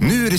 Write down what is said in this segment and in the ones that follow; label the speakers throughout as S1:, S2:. S1: Nu är det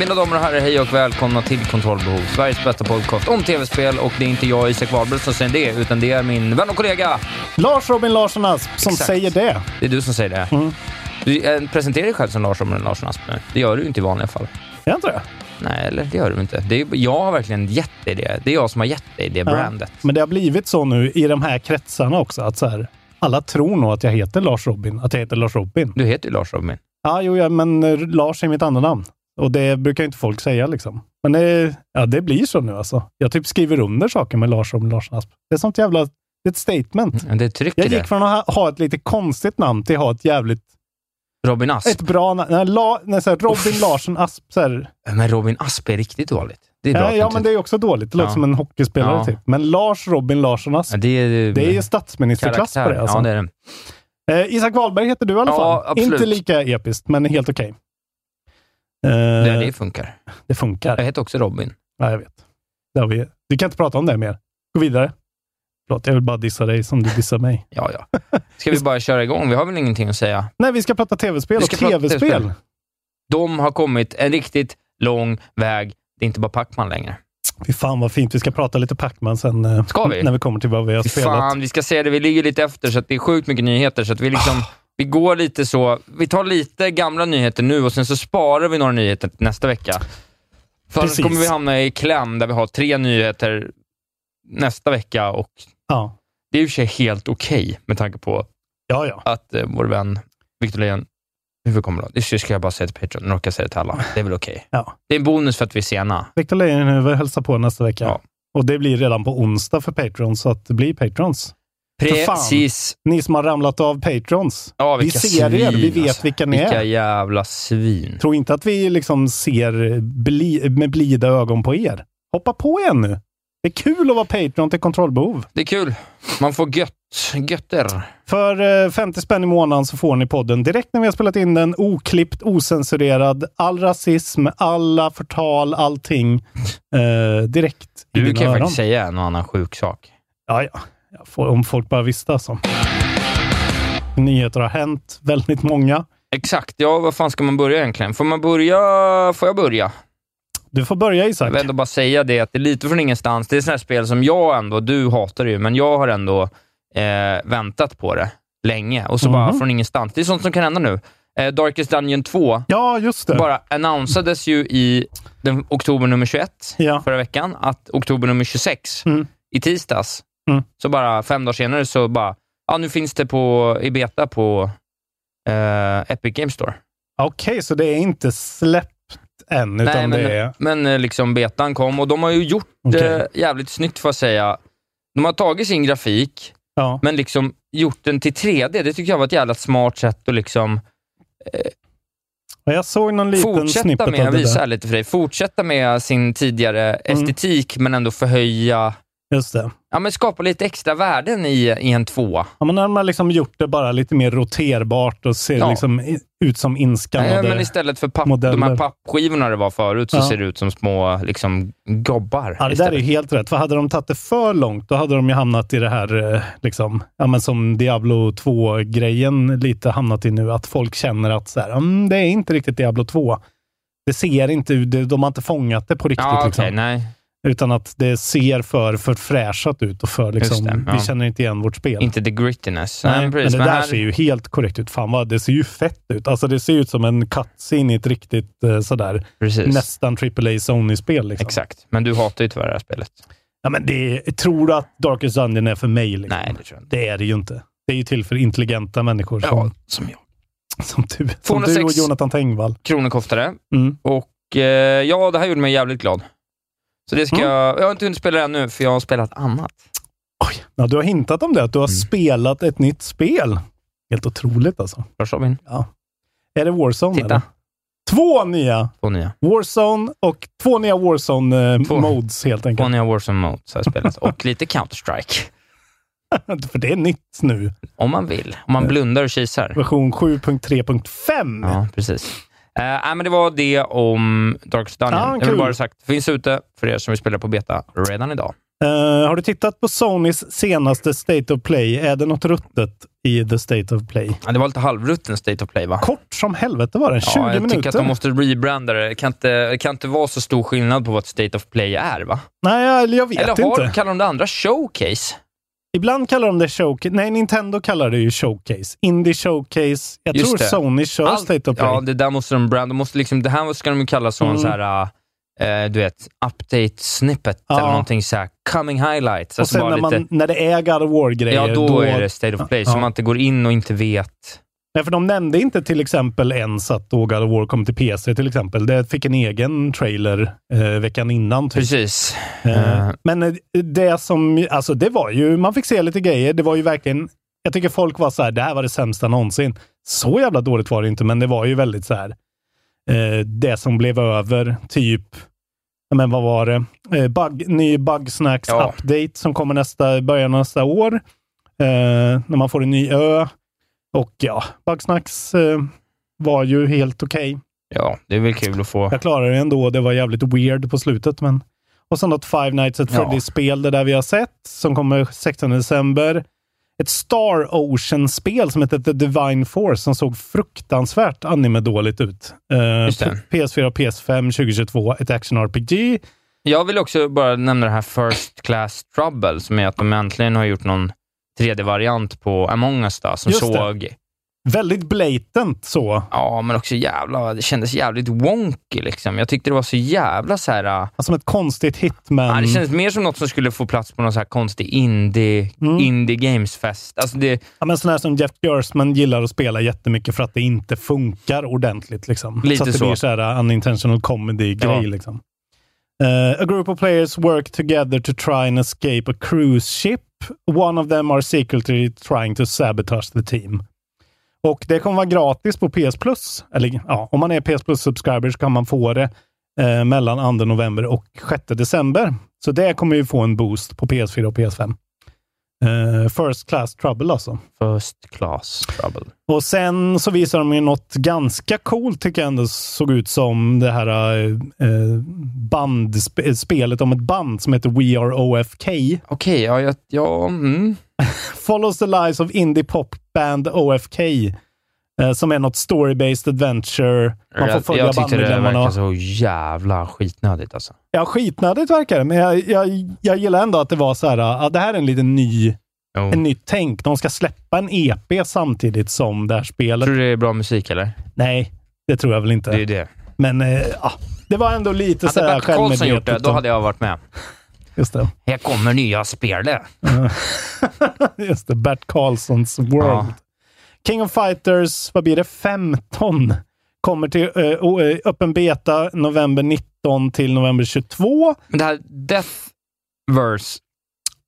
S2: Mina damer och herrar, hej och välkomna till Kontrollbehov, Sveriges bästa podcast om tv-spel. Och det är inte jag, Isak Wahlberg, som säger det, utan det är min vän och kollega.
S3: Lars Robin Larsson Asp som
S2: Exakt.
S3: säger det. Mm.
S2: Det är du som säger det. Du eh, presenterar dig själv som Lars Omren Larsson Asp nu. Det gör du ju inte i vanliga fall.
S3: Är inte det?
S2: Nej, eller det gör du inte. Det är, jag har verkligen gett dig det. Det är jag som har gett dig det brandet.
S3: Men det har blivit så nu i de här kretsarna också att så här, alla tror nog att jag heter Lars Robin, att jag heter Lars Robin.
S2: Du heter ju Lars Robin.
S3: Ja, jo, ja, men eh, Lars är mitt andra namn. Och det brukar ju inte folk säga liksom. Men det, ja, det blir så nu alltså. Jag typ skriver under saker med Lars Robin Larsson Asp. Det är sånt jävla... Det är ett statement.
S2: Men Det är tryck i
S3: Jag gick
S2: Mm, det.
S3: från att ha, ha ett lite konstigt namn till att ha ett jävligt...
S2: Robin Asp.
S3: Ett bra namn. Nej, La, nej, så här, Robin Larsson Asp. Så här,
S2: Men Robin Asp är riktigt dåligt. Det är bra.
S3: Ja,
S2: att
S3: ja
S2: du
S3: men
S2: inte-
S3: det är också dåligt. Det låter
S2: Ja.
S3: som en hockeyspelare
S2: Ja.
S3: typ. Men Lars Robin Larsson alltså, Asp,
S2: Ja, det är,
S3: det är ju statsministerklass
S2: Mm. karaktär.
S3: på det. Alltså.
S2: Ja, det är det.
S3: eh, Isak Wahlberg heter du i alla
S2: Ja,
S3: fall.
S2: absolut.
S3: Inte lika episkt, men helt okej. Eh,
S2: Det,
S3: det,
S2: det funkar.
S3: funkar.
S2: Jag heter också Robin.
S3: Ja, jag vet. Det har vi. Du kan inte prata om det mer. Gå vidare. Förlåt, jag vill bara dissa dig som du dissar mig.
S2: Ja, ja. Ska vi bara köra igång? Vi har väl ingenting att säga?
S3: Nej, vi ska prata tv-spel
S2: Vi
S3: och
S2: ska prata
S3: tv-spel.
S2: TV-spel. De har kommit en riktigt lång väg. Det är inte bara Pac-Man längre.
S3: Fy fan vad fint. Vi ska prata lite Pac-Man sen eh,
S2: Ska vi?
S3: när vi kommer till vad vi har
S2: Fy
S3: spelat.
S2: Fan, vi ska säga det. Vi ligger lite efter, så att det är sjukt mycket nyheter. Så att vi, liksom,
S3: Ah.
S2: vi går lite så. Vi tar lite gamla nyheter nu och sen så sparar vi några nyheter till nästa vecka. För annars
S3: Precis.
S2: kommer vi hamna i kläm där vi har tre nyheter nästa vecka och
S3: Ja.
S2: det är i och för sig helt okej med tanke på
S3: ja, ja.
S2: att eh, vår vän Victor Lejon huvudkommunal. Det ska jag bara säga till Patreon. Nu råkar jag säga det till alla. Det är väl okej.
S3: Ja.
S2: Det är en bonus för att vi är sena.
S3: Victor Leijonhufvud hälsar på nästa vecka.
S2: Ja.
S3: Och det blir redan på onsdag för Patrons, så att det blir Patrons. För fan.
S2: Precis.
S3: Ni som har ramlat av Patrons.
S2: Ja,
S3: vi
S2: vilka
S3: ser
S2: svin,
S3: er, vi vet
S2: alltså.
S3: vilka ni
S2: Vilka
S3: är.
S2: jävla svin.
S3: Tro inte att vi liksom ser bli, med blida ögon på er. Hoppa på er nu. Det är kul att vara Patreon till kontrollbehov.
S2: Det är kul. Man får gött, götter.
S3: För eh, 50 spänn i månaden så får ni podden direkt när vi har spelat in den. Oklippt, ocensurerad, all rasism, alla förtal, allting. Eh, direkt i
S2: Du
S3: dina
S2: kan ju
S3: öron.
S2: faktiskt säga en och annan sjuk sak.
S3: Ja, ja. Jag får- Om folk bara visste alltså. Nyheter har hänt, väldigt många.
S2: Exakt. Ja, var fan ska man börja egentligen? Får man börja? Får jag börja?
S3: Du får börja Isak.
S2: Jag vill ändå bara säga det, att det är lite från ingenstans. Det är sådana här spel som jag ändå, du hatar det ju, men jag har ändå eh, väntat på det länge. Och så bara
S3: Mhm.
S2: från ingenstans. Det är sånt som kan hända nu. Eh, Darkest Dungeon 2
S3: Ja, just det.
S2: bara annonsades ju i den, oktober nummer 21
S3: Ja.
S2: förra veckan, att oktober nummer 26
S3: Mm.
S2: i tisdags,
S3: Mm.
S2: så bara fem dagar senare så bara, ja nu finns det på, i beta på eh, Epic Games Store.
S3: Okej, så det är inte släppt än, utan
S2: Nej, men,
S3: det är...
S2: men eh, liksom betan kom och de har ju gjort det
S3: Okej.
S2: jävligt snyggt får jag säga. De har tagit sin grafik,
S3: Ja.
S2: men liksom gjort den till 3D. Det tycker jag var ett jävla smart sätt att liksom
S3: Och Jag såg någon liten
S2: fortsätta
S3: snippet
S2: med, jag
S3: av det
S2: visar
S3: där. Mm.
S2: här lite för dig, fortsätta med sin tidigare estetik men ändå förhöja
S3: Just det.
S2: ja, men skapa lite extra värden i, i en tvåa.
S3: Ja, men när man liksom gjort det bara lite mer roterbart och ser
S2: Ja.
S3: liksom i- ut som
S2: Nej,
S3: inskannade.
S2: men istället för papp,
S3: modeller.
S2: de här pappskivorna det var förut så
S3: Ja.
S2: ser det ut som små liksom, gobbar.
S3: Ja, det där är
S2: istället.
S3: ju helt rätt. För hade de tagit det för långt, då hade de ju hamnat i det här, eh, liksom, ja, men som Diablo 2-grejen lite hamnat i nu. Att folk känner att så här, mm, det är inte riktigt Diablo 2. Det ser inte ut, det- de har inte fångat det på riktigt.
S2: ja, okej,
S3: liksom.
S2: nej.
S3: Utan att det ser för, för fräschat ut och för liksom,
S2: det, ja.
S3: vi känner inte igen vårt spel.
S2: Inte the grittiness.
S3: Nej, men
S2: precis.
S3: det
S2: Men
S3: där
S2: här-
S3: ser ju helt korrekt ut. Fan vad, det ser ju fett ut. Alltså det ser ut som en cutscene i ett riktigt eh, sådär,
S2: precis.
S3: nästan AAA Sony-spel. Liksom.
S2: Exakt. Men du hatar ju tyvärr det här spelet.
S3: Ja, men det, tror du att Darkest Dungeon är för mig? Liksom?
S2: Nej, det tror jag inte.
S3: Det är det ju inte. Det är ju till för intelligenta människor som,
S2: som jag.
S3: som, du, som du
S2: 206.
S3: och Jonathan Tengvall.
S2: Kronor koftade.
S3: Mm.
S2: Och eh, ja, det här gjorde mig jävligt glad. Så det ska
S3: Mm.
S2: jag... Jag har inte hunnit spela det ännu, för jag har spelat annat.
S3: Ja, du har hintat om det, att du
S2: Mm.
S3: har spelat ett nytt spel. Helt otroligt alltså.
S2: Lars Robin,
S3: Är det Warzone?
S2: Titta.
S3: Eller? Två nya
S2: två nya.
S3: Warzone och två nya
S2: Två.
S3: Warzone-modes eh, helt
S2: Två
S3: enkelt.
S2: nya Warzone Modes har jag spelat. Och lite Counter-Strike.
S3: för det är nytt nu.
S2: Om man vill. Om man blundar och kisar.
S3: Version 7.3.5.
S2: Ja, precis. Eh, nej, men det var det om Darkest Dungeon.
S3: Ah,
S2: jag vill
S3: kul.
S2: bara ha sagt, finns ute för er som vill spela på beta redan idag.
S3: Eh, har du tittat på Sonys senaste State of Play? Är det något ruttet i The State of Play?
S2: Ja, det var lite halvrutten State of Play, va?
S3: Kort som helvete var den. 20
S2: ja, jag tycker
S3: minuter.
S2: att de måste rebranda det. Det kan inte, det kan inte vara så stor skillnad på vad ett State of Play är, va?
S3: Nej, jag, jag vet
S2: Eller har,
S3: inte.
S2: kallar de det andra showcase?
S3: Ibland kallar de det showcase. Nej, Nintendo kallar det ju showcase. Indie showcase. Jag
S2: Just
S3: tror
S2: det.
S3: Sony kör
S2: Allt-
S3: State of Play.
S2: Ja, det där måste de branda. De måste liksom, det här ska de ju kalla som en
S3: Mm.
S2: så här, eh, du vet, update snippet
S3: Ja.
S2: eller någonting så här, coming highlights.
S3: och
S2: Alltså
S3: sen
S2: bara
S3: när, man,
S2: lite,
S3: när det är God of War-grejer,
S2: ja, då, är det State of Play, så
S3: Ja.
S2: man inte går in och inte vet.
S3: Nej, för de nämnde inte till exempel ens att då God of War kom till PC till exempel. Det fick en egen trailer eh, veckan innan. Typ.
S2: Precis.
S3: Eh,
S2: Eh.
S3: Men eh, det som, alltså det var ju, man fick se lite grejer. Det var ju verkligen, jag tycker folk var så här, det här var det sämsta någonsin. Så jävla dåligt var det inte, men det var ju väldigt så här, eh, det som blev över, typ, ja, men vad var det? Eh, bug, ny Bugsnacks
S2: Ja.
S3: update som kommer nästa, början av nästa år. Eh, när man får en ny ö. Och ja, Bugsnacks eh, var ju helt okej.
S2: Ja, det är väl kul att få.
S3: Jag klarade det ändå. Det var jävligt weird på slutet, men... Och sen något Five Nights at
S2: Ja.
S3: Freddy's-spel, det där vi har sett, som kommer 16 december. Ett Star Ocean-spel som heter The Divine Force, som såg fruktansvärt anime-dåligt ut. Eh,
S2: Just det.
S3: på PS4 och PS5 2022, ett action-RPG.
S2: Jag vill också bara nämna det här First Class Trouble, som är att de äntligen har gjort någon 3D-variant på Among Us, då, som
S3: Just det.
S2: såg...
S3: Väldigt blatant så.
S2: Ja, men också jävla... Det kändes jävligt wonky, liksom. Jag tyckte det var så jävla så här... äh,
S3: Alltså Som ett konstigt hitman.
S2: Ja, det kändes mer som något som skulle få plats på någon så här konstig indie,
S3: Mm.
S2: indie games-fest. Alltså det,
S3: ja, men sån här som Jeff Gersman gillar att spela jättemycket för att det inte funkar ordentligt. Liksom.
S2: Lite
S3: så att det
S2: så.
S3: blir så här unintentional comedy-grej.
S2: Ja.
S3: Liksom. Eh, a group of players work together to try and escape a cruise ship. One of them are secretly trying to sabotage the team. Och det kommer vara gratis på PS Plus. Eller ja, om man är PS Plus-subscriber så kan man få det eh, mellan 2 november och 6 december. Så det kommer ju få en boost på PS4 och PS5. Eh, first class trouble alltså.
S2: First Class Trouble.
S3: Och sen så visar de ju något ganska coolt tycker jag ändå såg ut som det här eh, band, eh, spelet om ett band som heter We Are OFK.
S2: Okej, ja, jag... Ja, mm.
S3: Follows the lives of indie pop band OFK. Eh, som är något story-based adventure. Man får
S2: jag,
S3: följa
S2: jag tyckte det
S3: bandmedlemmarna.
S2: verkade så jävla skitnödigt alltså.
S3: Ja, skitnödigt verkar det, men jag, jag, jag gillar ändå att det var så här, ja, det här är en liten ny,
S2: Jo.
S3: en nytt tänk. De ska släppa en EP samtidigt som det här spelet.
S2: Tror du det är bra musik, eller?
S3: Nej, det tror jag väl inte.
S2: Det är det.
S3: Men eh, ja, det var ändå lite så
S2: Hade
S3: här
S2: Bert Karlsson gjort det,
S3: självmedvetet.
S2: då hade jag varit med.
S3: Just det.
S2: Här kommer nya spelet.
S3: Just det, Bert Karlssons World.
S2: Ja.
S3: King of Fighters, vad blir det, 15? Kommer till eh, o- eh, öppen beta november 19 till november 22.
S2: Men det här Death Verse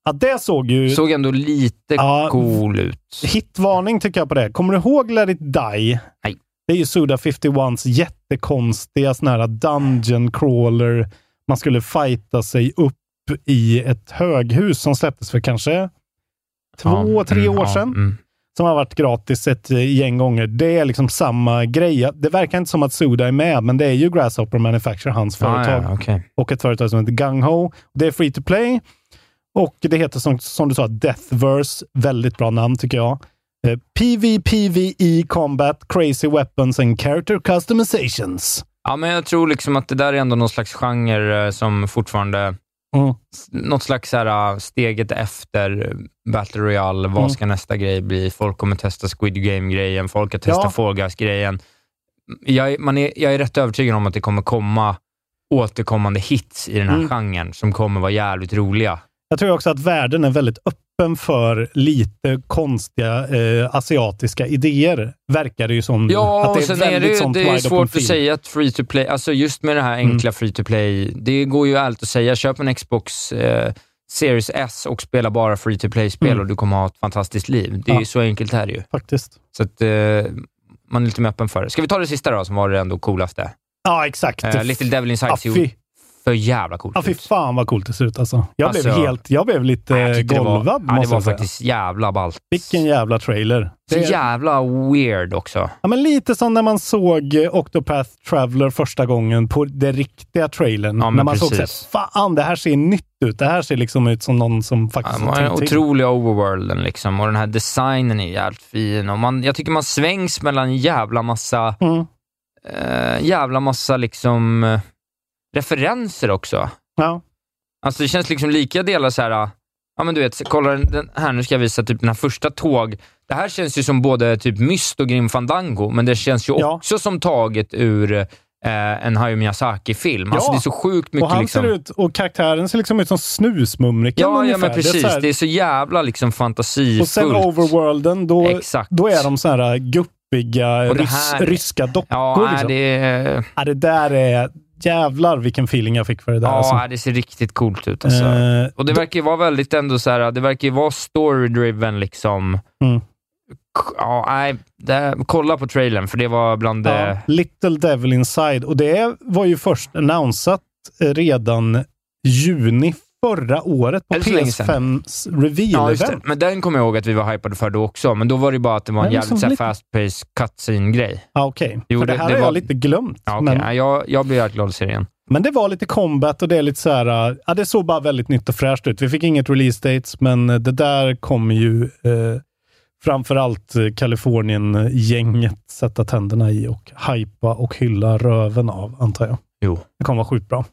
S3: Ja, det såg ju...
S2: såg ändå lite
S3: Ja.
S2: cool ut.
S3: Hitvarning tycker jag på det. Kommer du ihåg Let It Die?
S2: Nej.
S3: Det är ju Suda 51s jättekonstiga sån här dungeon crawler. Man skulle fighta sig upp i ett höghus som släpptes för kanske två,
S2: Ja,
S3: tre
S2: mm,
S3: år
S2: ja,
S3: sedan.
S2: mm.
S3: Som har varit gratis ett eh, gäng gånger. Det är liksom samma grej. Det verkar inte som att Suda är med, men det är ju Grasshopper Manufacture, hans företag
S2: Ah, ja, okej.
S3: och ett företag som heter Gung Ho. Det är free to play och det heter som, som du sa Deathverse. Väldigt bra namn tycker jag. Eh, PvPvE E Combat Crazy Weapons and Character Customizations.
S2: Ja, men jag tror liksom att det där är ändå någon slags genre eh, som fortfarande...
S3: Mm.
S2: s- Något slags så här, eh, steget efter eh, Battle Royale. Vad
S3: Mm.
S2: ska nästa grej bli? Folk kommer testa Squid Game-grejen. Folk har testat
S3: Ja.
S2: Fall Guys-grejen. Jag, är- man är, jag är rätt övertygad om att det kommer komma återkommande hits i den här
S3: Mm.
S2: genren som kommer vara jävligt roliga.
S3: Jag tror också att världen är väldigt öppen för lite konstiga eh, asiatiska idéer, verkar det ju som. nu.
S2: Ja,
S3: att
S2: och sen är det, ju-
S3: sånt
S2: det
S3: wide
S2: är
S3: open
S2: svårt att
S3: field.
S2: säga att free to play, alltså just med det här
S3: Mm.
S2: enkla free to play, det går ju allt att säga. Köp en Xbox eh, Series S och spela bara free to play-spel
S3: Mm.
S2: och du kommer ha ett fantastiskt liv. Det är
S3: Ja.
S2: ju så enkelt här ju.
S3: Faktiskt.
S2: Så att eh, man är lite mer öppen för det. Ska vi ta det sista då, som var det ändå coolaste?
S3: Ja, exakt.
S2: Eh, Little Devil Inside
S3: ja,
S2: ser ju
S3: Ah, fy,
S2: för jävla coolt
S3: ja, fy
S2: ut.
S3: fan vad coolt det ser ut alltså. Jag blev
S2: Alltså,
S3: helt, jag blev lite
S2: Jag tyckte det var-
S3: golvad
S2: ja, det
S3: måste
S2: var
S3: jag säga.
S2: faktiskt jävla ballt.
S3: Vilken jävla trailer.
S2: Så
S3: Det-
S2: jävla weird också.
S3: Ja, men lite som när man såg eh, Octopath Traveler första gången på den riktiga trailern.
S2: Ja, men
S3: när man såg
S2: precis.
S3: så här, fan det här ser nytt ut. Det här ser liksom ut som någon som faktiskt
S2: Ja, man har den
S3: har tänkt till.
S2: otroliga overworlden liksom och den här designen är jävligt fin. Och man, jag tycker man svängs mellan en jävla massa,
S3: Mm.
S2: eh, jävla massa liksom, eh, referenser också.
S3: Ja.
S2: Alltså det känns liksom lika delar så här, ah, ja men du vet, så- kolla den- den här, nu ska jag visa typ den här första tåg. Det här känns ju som både typ Myst och Grim Fandango, men det känns ju
S3: Ja.
S2: också som taget ur eh, en Hayao Miyazaki-film. Alltså
S3: Ja.
S2: det är så sjukt mycket
S3: Och han
S2: liksom...
S3: ser ut, och karaktären ser liksom ut som Snusmumriken
S2: Ja, ja,
S3: ungefär.
S2: men
S3: Det är så
S2: precis.
S3: här-
S2: Det är så jävla liksom fantasifullt.
S3: och sen overworlden, då,
S2: Exakt.
S3: då är de så här eh, guppiga
S2: Och det
S3: rys,
S2: här-
S3: ryska dockor.
S2: Ja,
S3: Ja,
S2: nej,
S3: liksom. det...
S2: det, är-
S3: Ja, det där är... Jävlar vilken feeling jag fick för det där.
S2: ja,
S3: alltså.
S2: nej, det ser riktigt coolt ut. Alltså.
S3: Eh,
S2: och det verkar ju vara väldigt ändå så här, det verkar ju vara story-driven liksom.
S3: Mm.
S2: K- Ja, nej, det, kolla på trailern, för det var bland eh, det...
S3: Ja, eh, Little Devil Inside. Och det var ju först annonsat eh, redan juni förra året på
S2: Eller så länge sedan.
S3: PS5s
S2: Ja, just det.
S3: reveal-event.
S2: Men den kommer jag ihåg att vi var hypade för då också, men då var det ju bara att det var en
S3: Men
S2: jävligt
S3: liksom
S2: så här
S3: lite-
S2: fast-paced cutscene-grej.
S3: Ja, Ah, okej.
S2: Jo,
S3: För det
S2: det-
S3: här
S2: det
S3: har
S2: var-
S3: jag lite glömt.
S2: Ja, okay.
S3: men,
S2: ja, jag, jag blir jävligt glad att se det igen.
S3: men det var lite combat och det är lite så här... eh, Ja, det såg bara väldigt nytt och fräscht ut. Vi fick inget release dates, men eh, det där kommer ju eh, framförallt eh, Kalifornien-gänget sätta tänderna i och hypa och hylla röven av, antar jag.
S2: Jo.
S3: Det kommer vara sjukt bra.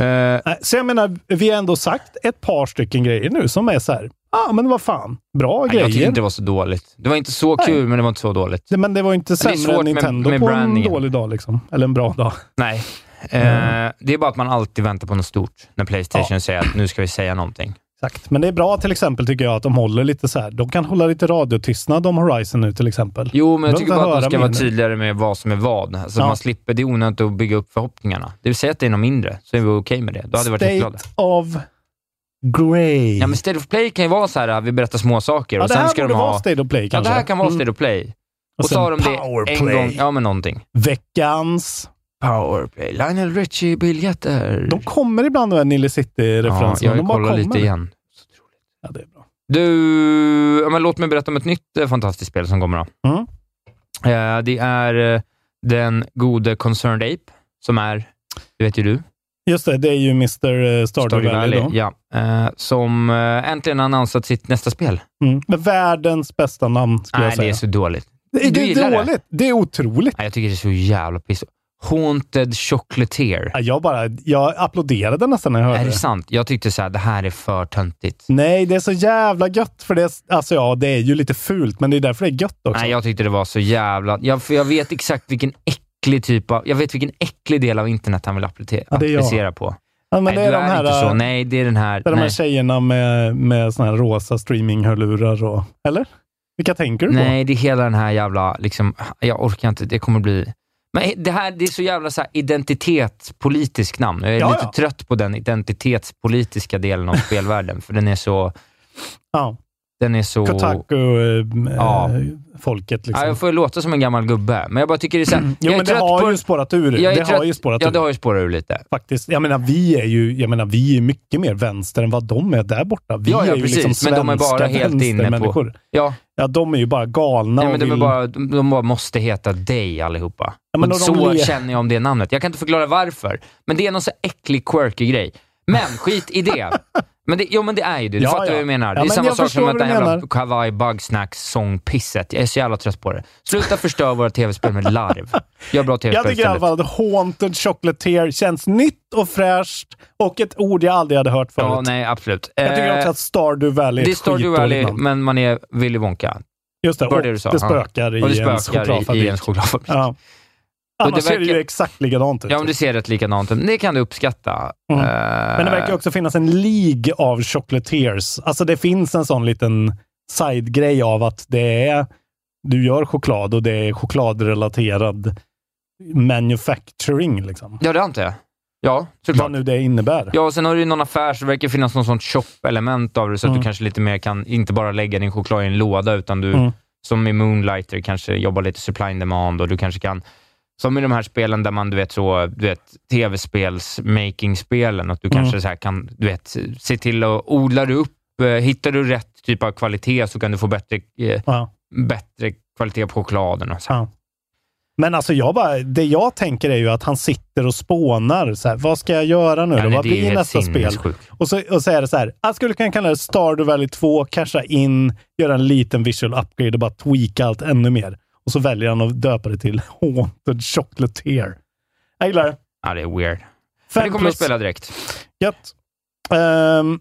S2: Eh,
S3: Nej, så jag menar, vi har ändå sagt ett par stycken grejer nu som är så här, ja ah, men vad fan, bra
S2: jag tyckte
S3: grejer.
S2: inte det var så dåligt. Det var inte så
S3: Nej.
S2: kul, men det var inte så dåligt.
S3: Det- Men det var inte
S2: det är
S3: sämre
S2: svårt med-
S3: än Nintendo
S2: med
S3: på
S2: brandingen.
S3: en dålig dag liksom. Eller en bra dag.
S2: Nej. Eh,
S3: Mm.
S2: Det är bara att man alltid väntar på något stort när Playstation säger att nu ska vi säga någonting.
S3: Exakt. Men det är bra till exempel tycker jag att de håller lite så här, de kan hålla lite radiotystnad om Horizon nu till exempel.
S2: Jo, men jag
S3: Behöver
S2: tycker bara
S3: inte
S2: att
S3: höra
S2: man ska vara typ-
S3: mer nu.
S2: tydligare med vad som är vad. Så
S3: Ja.
S2: man slipper, det är onödigt att bygga upp förhoppningarna. Det vill säga att det är något mindre, så är vi okej med det. Då hade vi varit jätteglada.
S3: State of Grey.
S2: Ja, men State of Play kan ju vara så här, vi berättar små saker
S3: Ja,
S2: och
S3: det här
S2: sen ska
S3: borde
S2: de
S3: vara
S2: ha...
S3: State of Play
S2: Ja,
S3: kanske.
S2: det här kan vara
S3: Mm.
S2: State of Play.
S3: Och
S2: Och så har de
S3: sen
S2: det en
S3: Powerplay.
S2: gång. Ja, men någonting.
S3: Veckans.
S2: Powerplay. Lionel Richie-biljetter.
S3: De kommer ibland med Nille
S2: Ja,
S3: City-referenserna.
S2: jag
S3: de bara
S2: kollar
S3: kommer.
S2: lite igen.
S3: Ja, det är bra.
S2: Du, ja, men låt mig berätta om ett nytt eh, fantastiskt spel som kommer. Då.
S3: Mm.
S2: Eh, det är eh, den gode Concerned Ape, som är, det vet ju du,
S3: Just det, det är ju Mr. Stardew, Stardew Valley. då.
S2: Ja, eh, som eh, äntligen har annonsat sitt nästa spel.
S3: Mm. Men världens bästa namn skulle
S2: Nej,
S3: jag
S2: det
S3: säga.
S2: är så dåligt.
S3: Det är,
S2: Du
S3: det
S2: gillar det?
S3: är dåligt. Det är otroligt.
S2: Nej, jag tycker det är så jävla piss. Haunted Chocolatier.
S3: Ja, Jag, bara, jag applåderade nästan när jag hörde
S2: Är det
S3: det.
S2: sant? Jag tyckte så här, det här är för töntigt.
S3: Nej, det är så jävla gött. För det, är- alltså ja, det är ju lite fult, men det är därför det är gött också.
S2: Nej, jag tyckte det var så jävla... Jag, för jag vet exakt vilken äcklig typ av... Jag vet vilken äcklig del av internet han vill applice-
S3: Ja, det är jag.
S2: applicera på.
S3: ja, men
S2: nej,
S3: det är
S2: du
S3: de här,
S2: inte så.
S3: äh,
S2: Nej, det är den här.
S3: det är de här
S2: nej.
S3: tjejerna med, med såna här rosa streaminghörlurar och... Eller? Vilka tänker du
S2: nej, det är hela den här jävla... Liksom, jag orkar inte. Det kommer bli... Men det här det är så jävla så här, identitetspolitisk namn. Jag är
S3: Ja,
S2: lite
S3: ja.
S2: trött på den identitetspolitiska delen av spelvärlden, för den är så...
S3: på? Ja.
S2: Den är så... Ja.
S3: Kotaku-folket.
S2: Ja,
S3: liksom. Mm.
S2: jag får ju låta som en gammal gubbe, men jag bara tycker det är så här,
S3: Jo,
S2: jag är
S3: men det
S2: trött
S3: har
S2: på-
S3: ju spårat ur.
S2: jag är
S3: Det har
S2: trött-
S3: ju spårat
S2: Ja,
S3: ur.
S2: det har ju spårat ur lite.
S3: Faktiskt. Jag menar, vi är ju jag menar, vi är mycket mer vänster än vad de är där borta. Vi
S2: Ja, ja,
S3: är ju
S2: precis,
S3: liksom
S2: men de är bara
S3: svenska
S2: helt inne på-
S3: vänstermänniskor.
S2: Ja,
S3: Ja, de är ju bara galna
S2: nej,
S3: och
S2: men de, är
S3: vill-
S2: bara, de de bara måste heta dig allihopa.
S3: Ja, men
S2: och
S3: och de
S2: så
S3: le-
S2: känner jag om det namnet. Jag kan inte förklara varför, men det är någon så äcklig, quirky grej. Men skit i det. Men det, jo, men det är ju det. Du
S3: Ja,
S2: fattar
S3: ja.
S2: vad jag menar.
S3: Ja,
S2: Det är
S3: men
S2: samma sak
S3: jag
S2: som
S3: förstår
S2: att
S3: vad
S2: det
S3: du
S2: här
S3: menar.
S2: kavaj, bugsnacks, sångpisset. Jag är så jävla trött på det. Sluta förstöra våra tv-spel med larv. Gör bra
S3: Jag
S2: tv-spel
S3: tycker i alla
S2: istället.
S3: fall att Haunted Chocolatier känns nytt och fräscht och ett ord jag aldrig hade hört förut.
S2: Ja, nej, absolut.
S3: Jag tycker också
S2: Eh,
S3: att Stardew Valley är
S2: det är
S3: ett
S2: Stardew
S3: skitdåligt
S2: Valley,
S3: namn.
S2: men man är Willy Wonka.
S3: Just det,
S2: var
S3: och
S2: det du sa,
S3: det
S2: ja.
S3: spökar i
S2: Och det
S3: ens
S2: spökar i,
S3: chokladfabrik.
S2: i ens chokladfabrik. Ja.
S3: Ja. Annars
S2: det
S3: ser det
S2: verkar-
S3: ju exakt likadant ut.
S2: men det ser rätt likadant ut. Det kan du uppskatta.
S3: Mm.
S2: Eh,
S3: Men det verkar också finnas en League av chocolatiers. Alltså det finns en sån liten side-grej av att det är, du gör choklad och det är chokladrelaterad manufacturing. Liksom.
S2: Ja, det antar jag. Ja, såklart.
S3: Vad nu det innebär.
S2: Ja, och sen har du ju någon affär så det verkar finnas något sånt shop-element av det, så att du
S3: Mm.
S2: kanske lite mer kan, inte bara lägga din choklad i en låda, utan du,
S3: Mm.
S2: som i Moonlighter, kanske jobbar lite supply and demand och du kanske kan, som i de här spelen där man, du vet, så, du vet tv-spels-making-spelen, att du
S3: Mm.
S2: kanske så här kan, du vet, se till att odla det upp. eh, Hittar du rätt typ av kvalitet så kan du få bättre, eh,
S3: Ja.
S2: bättre kvalitet på chokladen och så. här.
S3: Ja. Men alltså jag bara, det jag tänker är ju att han sitter och spånar. Så här, vad ska jag göra nu?
S2: Ja,
S3: då?
S2: nej,
S3: Vad
S2: det är ju
S3: blir
S2: helt
S3: nästa spel?
S2: sinnessjukt.
S3: Och så, och så är det så här, jag skulle kunna kalla det Stardew Valley 2, casha in, göra en liten visual upgrade och bara tweaka allt ännu mer. Och så väljer han att döpa det till Haunted Chocolatier. Jag gillar det.
S2: Ja, det är weird. Men
S3: Fem
S2: det kommer jag
S3: plus.
S2: spela direkt.
S3: Gött. Ehm,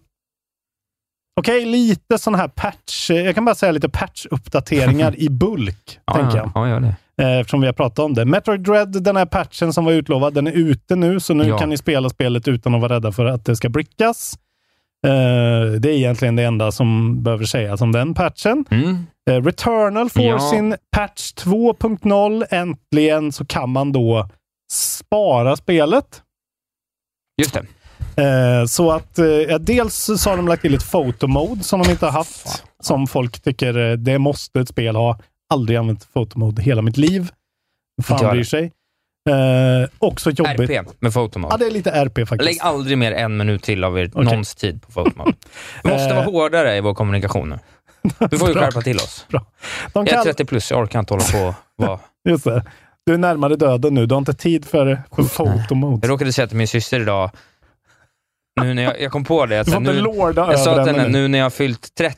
S3: Okej, lite sån här patch. Jag kan bara säga lite patch-uppdateringar i bulk,
S2: Ja,
S3: tänker jag.
S2: ja, ja, gör det.
S3: Eh, Eftersom vi har pratat om det. Metroid Dread, den här patchen som var utlovad, den är ute nu, så nu
S2: Ja.
S3: kan ni spela spelet utan att vara rädda för att det ska brickas. Eh, det är egentligen det enda som behöver sägas om den patchen.
S2: Mm.
S3: Eh, Returnal får
S2: Ja.
S3: sin patch 2.0. Äntligen så kan man då spara spelet.
S2: Just det.
S3: Eh, så att eh, ja, dels så har de lagt till ett fotomode som de inte har haft, som folk tycker eh, det måste ett spel ha. Aldrig använt fotomode hela mitt liv.
S2: Inte jag
S3: Fan bryr sig. Eh, också jobbigt.
S2: RP med
S3: Ja,
S2: fotomode.
S3: det är lite RP
S2: Lägg
S3: faktiskt.
S2: aldrig mer än minut till av er
S3: Okej.
S2: någons tid på fotomode. Vi måste vara
S3: Eh.
S2: hårdare i vår kommunikation nu. Du får ju
S3: Bra.
S2: skärpa till oss.
S3: De
S2: Jag är
S3: kan,
S2: 30 plus, jag orkar inte hålla på och vara...
S3: just det. Du är närmare döden nu. Du har inte tid för, för fotomode.
S2: Jag råkade säga till min syster idag, nu när jag, jag kom på det, att
S3: Du får inte
S2: nu,
S3: lorda
S2: jag sa
S3: över
S2: till henne,
S3: den nu.
S2: nu när jag har fyllt 30,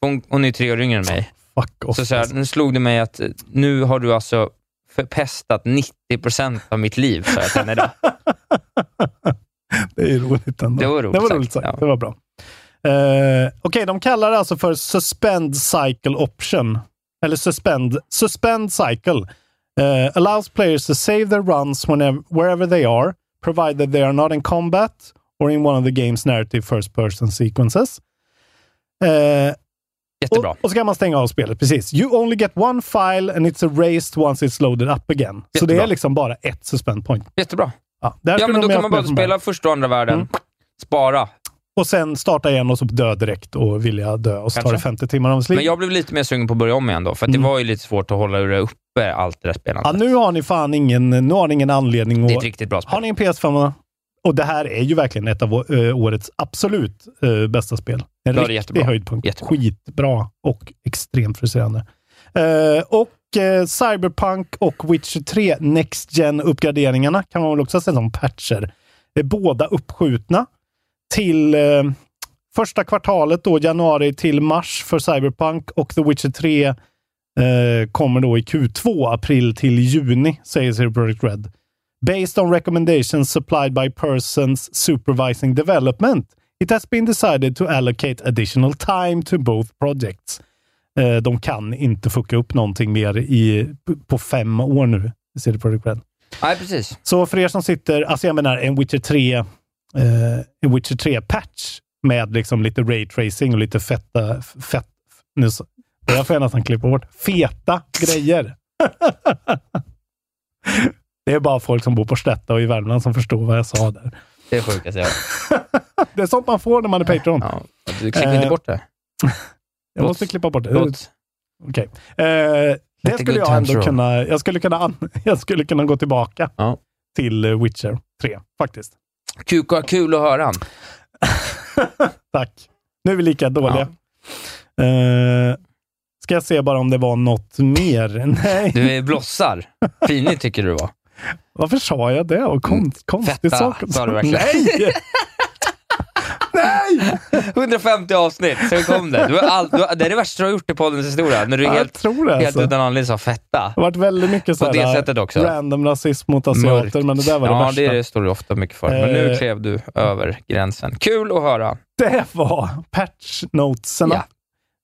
S2: hon, hon är ju tre år yngre än mig,
S3: Fuck off.
S2: så, så här, nu slog det mig att eh, nu har du alltså förpestat 90% av mitt liv, sa jag till henne idag.
S3: Det är ju roligt ändå.
S2: Det var roligt
S3: Det var
S2: sagt,
S3: roligt sagt.
S2: ja.
S3: Det var bra. Eh, Okej, de kallar det alltså för suspend cycle option. Eller suspend, suspend cycle. Eh, allows players to save their runs whenever, wherever they are, provided they are not in combat or in one of the game's narrative first person sequences. Eh,
S2: Jättebra.
S3: och, och så kan man stänga av spelet, precis. You only get one file and it's erased once it's loaded up again. Så det
S2: Jättebra.
S3: är liksom bara ett suspend point.
S2: Jättebra.
S3: Ja, där
S2: Ja,
S3: skulle
S2: men
S3: de
S2: då
S3: ha
S2: kan man
S3: haft med
S2: bara
S3: från början.
S2: spela första och andra världen,
S3: Mm.
S2: spara.
S3: Och sen starta igen och så dö direkt och vilja dö och så tar
S2: Kanske.
S3: det 50 timmar av ens liv.
S2: Men jag blev lite mer sugen på att börja om igen då, för att det
S3: Mm.
S2: var ju lite svårt att hålla det uppe, allt det där spelandet.
S3: ja, nu har ni fan ingen, nu har ni ingen anledning
S2: det är ett
S3: att...
S2: riktigt bra
S3: Har
S2: spel.
S3: ni en PS5? Och det här är ju verkligen ett av å- eh, årets absolut eh, bästa spel. En
S2: Ja, det är
S3: riktig
S2: jättebra.
S3: höjdpunkt.
S2: Jättebra.
S3: Skitbra och extremt frustrerande. Eh, och eh, Cyberpunk och Witcher 3 Next Gen-uppgraderingarna kan man väl också säga som patcher. Det är båda uppskjutna till eh, första kvartalet, då, januari till mars för Cyberpunk och The Witcher 3 eh, kommer då i Q2, april till juni, säger CD Projekt Red. Based on recommendations supplied by persons supervising development, it has been decided to allocate additional time to both projects. Eh, de kan inte fucka upp någonting mer i, på fem år nu, CD Projekt Red.
S2: Nej, precis.
S3: Så för er som sitter, alltså jag menar en Witcher 3, eh, en Witcher 3-patch med liksom lite raytracing och lite fetta, f- fett, nu så, det här får jag nästan klippa bort, feta grejer. det är bara folk som bor på Slätta och i Värmland som förstår vad jag sa där.
S2: Det är sjukt att säga.
S3: Det är sånt man får när man är Patreon.
S2: Ja. Du klipper inte
S3: Eh.
S2: bort det.
S3: Jag måste klippa bort det.
S2: Låt.
S3: Okej. Eh,
S2: Let
S3: det
S2: the
S3: skulle
S2: good
S3: jag
S2: times
S3: ändå
S2: roll.
S3: kunna... Jag skulle kunna, an- jag skulle kunna gå tillbaka
S2: Ja.
S3: till eh, Witcher 3, faktiskt.
S2: Kuk och kul att höra.
S3: Tack. Nu är vi lika dåliga. Eh, ska jag se bara om det var något mer? Nej.
S2: Du är blossar. Finig tycker du var.
S3: Varför sa jag det? Och kon- konstig
S2: Mm. Fetta,
S3: sak.
S2: sa du verkligen.
S3: Nej!
S2: 150 avsnitt, sen kom det. Du är allt, du, det är det värsta du har gjort i poddens historia. När du
S3: Jag
S2: helt,
S3: tror det.
S2: helt
S3: Alltså. Det
S2: utan anledning sa fetta.
S3: har varit väldigt mycket så
S2: På det sättet också.
S3: random rasism mot asiater,
S2: Mörkt.
S3: men det där var det
S2: ja,
S3: värsta.
S2: det står du ofta mycket för. Men nu
S3: Eh.
S2: klev du över gränsen. Kul att höra.
S3: Det var patchnotesarna.
S2: Ja.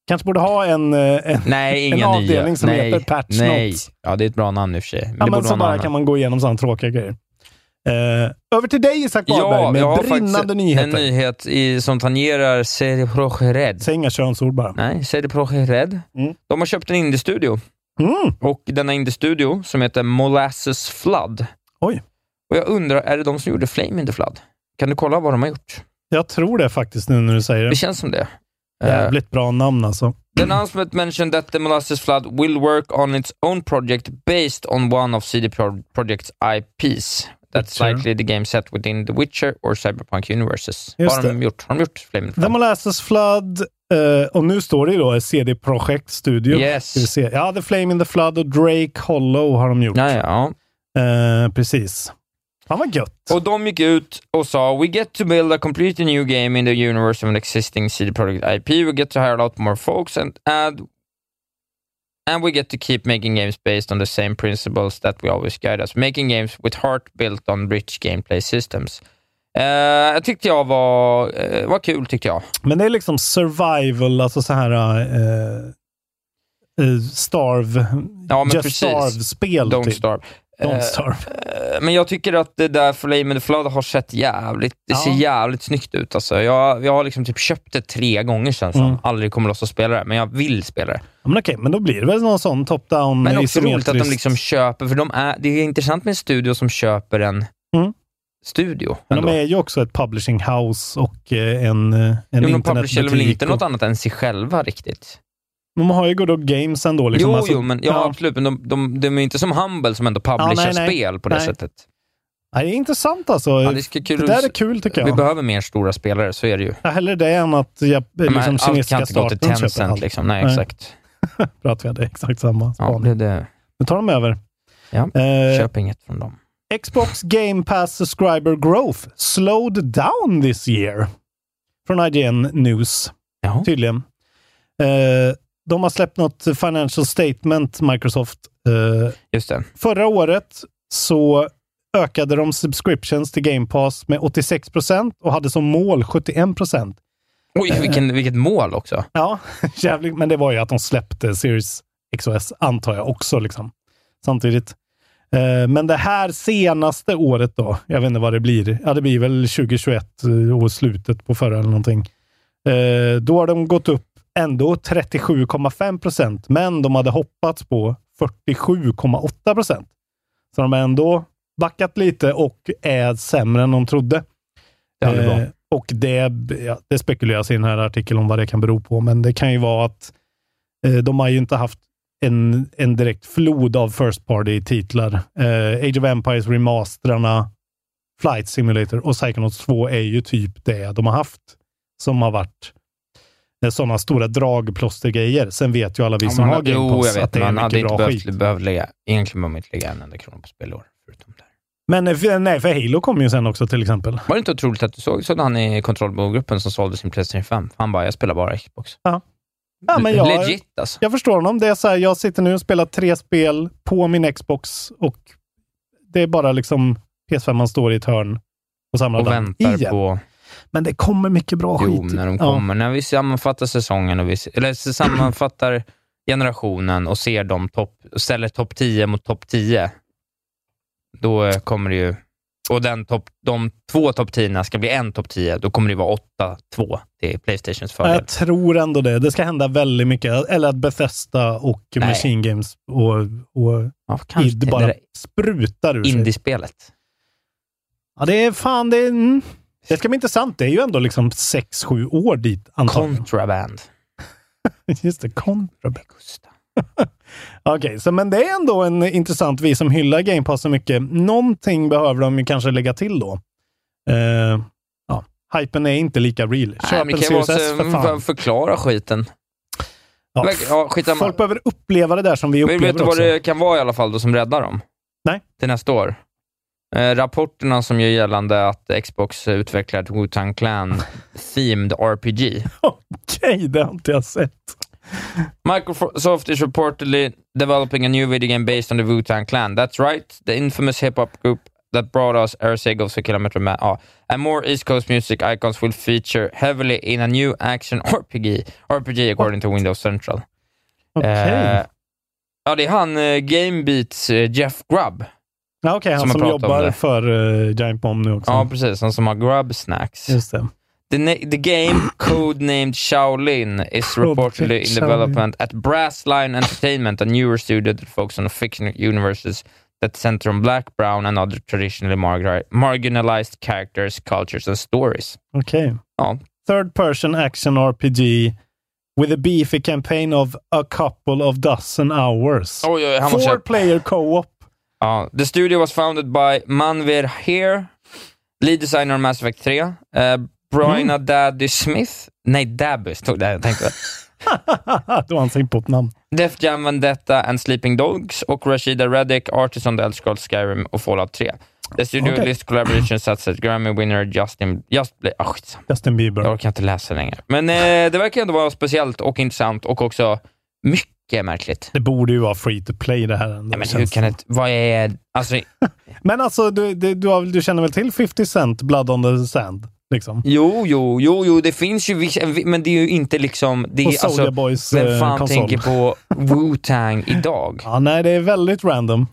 S3: Kanske borde ha en, eh, en
S2: Nej,
S3: En
S2: inga
S3: avdelning
S2: nya.
S3: som
S2: nej,
S3: heter Patch
S2: nej.
S3: Notes.
S2: Ja, det är ett bra namn i och för sig. Men
S3: Ja,
S2: det
S3: men
S2: borde
S3: så
S2: vara
S3: bara
S2: någon
S3: kan
S2: annan.
S3: man gå igenom sådana tråkiga grejer. Eh, över till dig Isak
S2: Ja,
S3: Wahlberg
S2: jag har
S3: med brinnande
S2: faktiskt
S3: nyheter.
S2: en nyhet i, som tangerar Seri Projered.
S3: Säg inga könsord bara.
S2: Nej, Seri Projered.
S3: Mm.
S2: De har köpt en indiestudio.
S3: Mm.
S2: Och denna indiestudio som heter Molasses Flood.
S3: Oj.
S2: Och jag undrar, är det de som gjorde Flame in the Flood? Kan du kolla vad de har gjort?
S3: Jag tror det faktiskt nu när du säger
S2: Det
S3: det.
S2: känns som det. Eh,
S3: Jävligt bra namn alltså.
S2: The announcement mentioned that the Molasses Flood will work on its own project based on one of CD Pro- Projekt's IPs. That's
S3: Witcher.
S2: likely the game set within The Witcher or Cyberpunk Universes. Vad
S3: Just
S2: har de gjort? Har de gjort Flame in the
S3: The
S2: Flood?
S3: Molasses Flood, eh, och nu står det ju då CD Projekt Studio.
S2: Yes.
S3: Ska vi se. Ja, The Flame in the Flood och Drake Hollow har de gjort.
S2: Ja, ja.
S3: Eh, precis. Fan vad gött.
S2: Och de gick ut och sa “We get to build a completely new game in the universe of an existing CD Projekt IP. We get to hire a lot more folks and add And we get to keep making games based on the same principles that we always guide us. Making games with heart built on rich gameplay systems. Eh, jag tyckte jag var, eh, var kul, tyckte jag.
S3: Men det är liksom survival, alltså så här eh, eh, starve,
S2: Ja, men
S3: just
S2: precis.
S3: starve-spel.
S2: Don't
S3: typ.
S2: Starve.
S3: Don't
S2: Eh,
S3: starve.
S2: eh, men jag tycker att det där Flame in the Flood har sett jävligt, det
S3: Ja.
S2: ser jävligt snyggt ut. Alltså. Jag, jag har liksom typ köpt det tre gånger känns som.
S3: Mm.
S2: Aldrig kommer loss att spela det, men jag vill spela det.
S3: Ja, Men okej, men då blir det väl någon sån top-down
S2: Men också roligt att de
S3: isometriskt.
S2: liksom köper, för de är, det är intressant med en studio som köper en
S3: Mm.
S2: studio.
S3: Men
S2: ändå.
S3: de är ju också ett publishing house och eh, en, eh, en
S2: Jo, men de publicerar väl
S3: internetbutik.
S2: inte något
S3: och,
S2: annat än sig själva riktigt?
S3: de har ju Good Old Games ändå. Liksom.
S2: jo,
S3: Alltså,
S2: jo, men, ja,
S3: ja.
S2: absolut, men de, de, de är inte som Humble som ändå publicerar
S3: nej, nej.
S2: spel på det
S3: Nej.
S2: sättet.
S3: Ja, det är intressant alltså.
S2: Ja, det,
S3: det,
S2: ska kul,
S3: där är kul tycker
S2: Vi
S3: jag.
S2: behöver mer stora spelare, så är det ju.
S3: Ja, hellre det än att jag,
S2: Men
S3: liksom,
S2: allt kan
S3: kinesiska
S2: inte gå till
S3: staten köper
S2: Tencent.
S3: allt.
S2: Liksom. Nej,
S3: Nej.
S2: exakt.
S3: Bra att vi hade exakt samma
S2: Ja,
S3: spaning.
S2: det, det.
S3: Nu tar de över.
S2: Ja.
S3: Eh,
S2: Köp inget från dem.
S3: Xbox Game Pass subscriber growth slowed down this year. Från IGN News,
S2: Jaha.
S3: tydligen. Eh, de har släppt något financial statement, Microsoft. Eh,
S2: Just det.
S3: förra året så ökade de subscriptions till Game Pass med 86 procent och hade som mål 71 procent.
S2: Oj, vilken, vilket mål också.
S3: Ja, jävligt. Men det var ju att de släppte Series XOS, antar jag också, liksom. samtidigt. Eh, Men det här senaste året då, jag vet inte vad det blir. Ja, det blir väl 2021 eh, och slutet på förra eller någonting. Eh, Då har de gått upp ändå 37,5 procent, men de hade hoppats på 47,8 procent. Så de har ändå backat lite och är sämre än de trodde.
S2: Det är aldrig bra.
S3: Eh, och det, ja, det spekuleras i den här artikeln om vad det kan bero på, men det kan ju vara att eh, de har ju inte haft en, en direkt flod av first party-titlar. Eh, Age of Empires, remasterarna, Flight Simulator och Psychonauts 2 är ju typ det de har haft som har varit eh, sådana stora dragplåstergrejer. Sen vet ju alla vi
S2: Ja,
S3: som
S2: man-
S3: har Game
S2: jo, jag
S3: Pass att
S2: vet.
S3: det är
S2: Man hade
S3: mycket
S2: inte
S3: bra skit.
S2: behövt, behövt lägga, egentligen behöver man inte lägga en enda krona på spel i år. Förutom där.
S3: Men eh, för- nej, för Halo kom ju sen också till exempel.
S2: Var det inte otroligt att du såg, såg han i kontrollbehov-gruppen som sålde sin Playstation 5? Han bara, jag spelar bara Xbox.
S3: Ja, men jag,
S2: Legit alltså.
S3: Jag förstår honom. Det är så här, jag sitter nu och spelar tre spel på min Xbox och det är bara liksom PS5 man står i ett hörn och samlar
S2: Och
S3: damm
S2: väntar
S3: igen.
S2: på...
S3: Men det kommer mycket bra
S2: Jo,
S3: skit.
S2: när de
S3: Ja.
S2: kommer. När vi sammanfattar säsongen, och vi, eller så sammanfattar generationen och ser dem topp, och ställer topp 10 mot topp 10, då eh, kommer det ju... Och den topp, de två topp 10 ska bli en topp 10, då kommer det vara 8-2 till Playstations
S3: Ja,
S2: fördel.
S3: Jag tror ändå det. Det ska hända väldigt mycket. Eller att Bethesda och
S2: Nej.
S3: Machine Games och, och
S2: Ja, kanske
S3: id
S2: det
S3: bara
S2: där
S3: sprutar ur sig.
S2: indiespelet.
S3: Ja, det är fan, det är... Mm. Det ska bli intressant. Det är ju ändå liksom sex sju år dit antagligen.
S2: Contraband.
S3: Just det, Contraband. Okej, så men det är ändå en intressant, vi som hyllar Game Pass så mycket. Någonting behöver de ju kanske lägga till då. Eh, ja. Hypen är inte lika real.
S2: Nej,
S3: Köp
S2: men
S3: en
S2: det kan ju
S3: Series
S2: vara
S3: S
S2: så-
S3: för fan.
S2: Förklara skiten.
S3: Ja,
S2: Verk- ja, skitsamma.
S3: folk behöver uppleva det där som vi
S2: Men
S3: upplever
S2: vet du vad
S3: också.
S2: det kan vara i alla fall då som räddar dem?
S3: Nej.
S2: Till nästa år? Eh, rapporterna som gör gällande att Xbox utvecklar ett Wu-Tang Clan themed RPG.
S3: Okej, det har inte jag sett.
S2: Microsoft is reportedly developing a new video game based on the Wu-Tang Clan. That's right, the infamous hip-hop group that brought us Airseagulls for Kilometer Man. Ah. And more East Coast music icons will feature heavily in a new action RPG, RPG according to Windows Central.
S3: Okej,
S2: Eh, ja, det är han eh, Gamebeats eh, Jeff Grubb.
S3: ja, okej, han
S2: som
S3: som,
S2: har pratat om
S3: jobbar
S2: det.
S3: för eh, Giant Bomb nu också.
S2: Ja, precis. Han som har Grub Snacks.
S3: Just det.
S2: The, na- the game, codenamed Shaolin, is
S3: Project
S2: reportedly in
S3: Shaolin.
S2: development at Brassline Entertainment, a newer studio that focuses on fictional universes that center on black, brown, and other traditionally margari- marginalized characters, cultures, and stories.
S3: Okej.
S2: Ja,
S3: third person action RPG with a beefy campaign of a couple of dozen hours.
S2: Oj, oj, han måste-
S3: Four player co-op.
S2: Ja, the studio was founded by Manvir Hare, lead designer of Mass Effect 3, eh, Bryna Daddy Smith, nej Dabby stod det, jag tänkte.
S3: Då har han sänkt på ett namn.
S2: Def Jam Vendetta and Sleeping Dogs och Rashida Reddick, Artist on the Elder Scrolls Skyrim och Fallout 3. The studio
S3: Okej.
S2: list collaboration sets at Grammy winner Justin... Just, oh, skitsamma,
S3: Justin Bieber.
S2: jag orkar inte läsa längre. Men eh, det verkar ändå vara speciellt och intressant och också mycket märkligt.
S3: Det borde ju vara free to play det här. Ändå,
S2: Ja, men hur
S3: känns
S2: kan
S3: det.
S2: det... Vad är... Alltså,
S3: men alltså, du, du, du, har, väl- du känner väl till 50 Cent, Blood on the Sand? Liksom.
S2: jo, jo, jo, jo, det finns ju vissa... Men det är ju inte liksom... Det
S3: Och
S2: är,
S3: Soulja
S2: alltså,
S3: Boys
S2: vem
S3: eh,
S2: fan
S3: konsol.
S2: tänker på Wu-Tang idag?
S3: Ja, nej, det är väldigt random.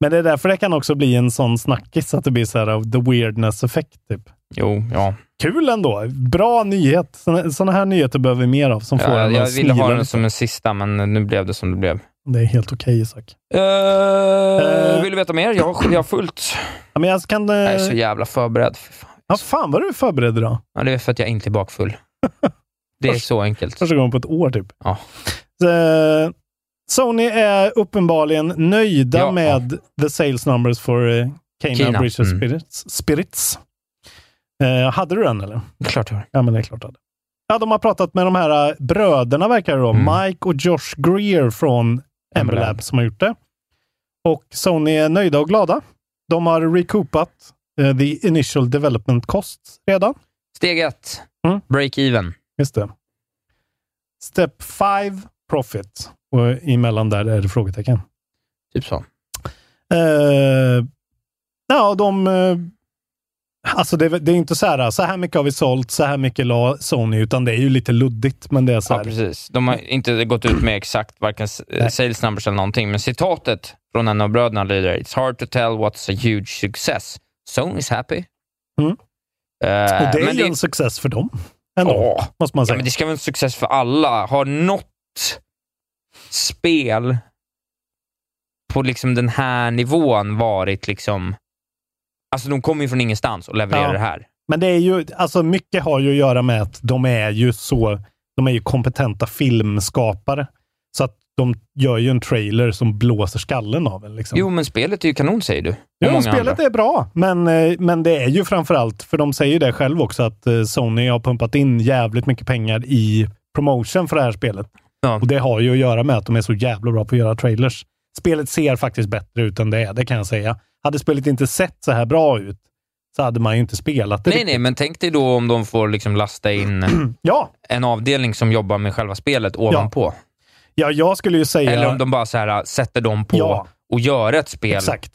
S3: Men det är därför det kan också bli en sån snackis, att det blir så här av the weirdness effekt. Typ.
S2: Jo, ja.
S3: Kul ändå. Bra nyhet. Sådana här nyheter behöver vi mer av som får
S2: Jag,
S3: en
S2: jag
S3: att
S2: ville ha
S3: snila
S2: den
S3: lite.
S2: som en sista, men nu blev det som det blev.
S3: Det är helt okej Isak.
S2: Eh,
S3: Eh.
S2: vill du veta mer? Jag har, jag har fullt.
S3: Ja, men jag kan...
S2: Jag är så
S3: Eh,
S2: jävla förberedd. Fy fan.
S3: ja, fan vad du är förberedd idag.
S2: Ja, det är för att jag inte är bakfull. Det är så enkelt.
S3: Första gången på ett år typ.
S2: Ja.
S3: Så, eh, Sony är uppenbarligen nöjda
S2: Ja.
S3: med the sales numbers for eh, Kena,
S2: Kena,
S3: Breach of
S2: mm.
S3: Spirits. Spirits. Eh, hade du den eller?
S2: Klart jag har.
S3: Ja, men det är klart. att- Ja, de har pratat med de här eh, bröderna verkar det då.
S2: Mm.
S3: Mike och Josh Greer från
S2: Ember
S3: Ember
S2: Lab.
S3: Lab som har gjort det. Och Sony är nöjda och glada. De har recoupat eh, the initial development costs redan.
S2: Steg ett.
S3: Mm.
S2: Break-even.
S3: Just det. Step 5, profit. Och emellan där är det frågetecken.
S2: Typ så.
S3: Eh, ja, de... eh, alltså det, är- det är inte så här, så här mycket har vi sålt, så här mycket la Sony, utan det är ju lite luddigt, men det är så
S2: Ja,
S3: här.
S2: precis. De har inte gått ut med exakt varken s- eh,
S3: Nej.
S2: sales numbers eller någonting, men citatet från en av bröderna lyder “It's hard to tell what's a huge success. Sony's happy.” Eh,
S3: Mm. och det är
S2: men
S3: ju en success för dem. Ändå,
S2: Ja.
S3: måste man
S2: Ja,
S3: säga.
S2: men det ska vara en success för alla. Har något spel på liksom den här nivån varit liksom... Alltså de kommer ju från ingenstans och levererar
S3: Ja.
S2: det här.
S3: Men det är ju, alltså mycket har ju att göra med att de är ju så, de är ju kompetenta filmskapare. Så att de gör ju en trailer som blåser skallen av en. Liksom.
S2: Jo, men spelet är ju kanon säger du. Och
S3: jo
S2: många
S3: spelet
S2: andra.
S3: är bra, men, eh, men det är ju framförallt, för de säger ju det själv också, att eh, Sony har pumpat in jävligt mycket pengar i promotion för det här spelet.
S2: Ja.
S3: Och det har ju att göra med att de är så jävla bra på att göra trailers. Spelet ser faktiskt bättre ut än det är, det kan jag säga. Hade spelet inte sett så här bra ut, så hade man ju inte spelat det.
S2: Nej,
S3: riktigt.
S2: nej, men tänk dig då om de får liksom lasta in
S3: Ja,
S2: en avdelning som jobbar med själva spelet ovanpå.
S3: Ja, jag skulle ju säga...
S2: Eller om de bara så här, äh, sätter dem på
S3: Ja.
S2: och gör ett spel,
S3: Exakt.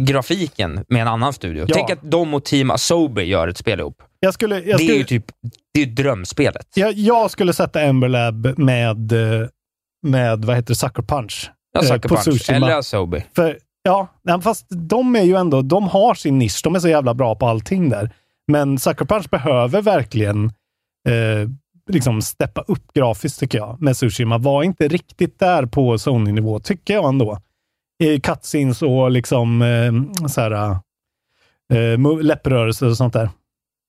S2: grafiken, med en annan studio.
S3: Ja.
S2: Tänk att de och Team Asobi gör ett spel ihop.
S3: Jag skulle, jag,
S2: Det är ju
S3: skulle,
S2: typ det är drömspelet.
S3: jag, jag skulle sätta Ember Lab med, eh, med vad heter det, Sucker Punch.
S2: Ja,
S3: Eh,
S2: Sucker
S3: på
S2: Punch.
S3: Tsushima.
S2: Eller Asobi.
S3: För, ja, nej, fast de är ju ändå, de har sin nisch. De är så jävla bra på allting där. Men Sucker Punch behöver verkligen eh, liksom steppa upp grafiskt tycker jag, med Tsushima. Var inte riktigt där på Sony-nivå, tycker jag ändå. Eh, cutscenes och liksom eh, så här, eh, mu- läpprörelser och sånt där.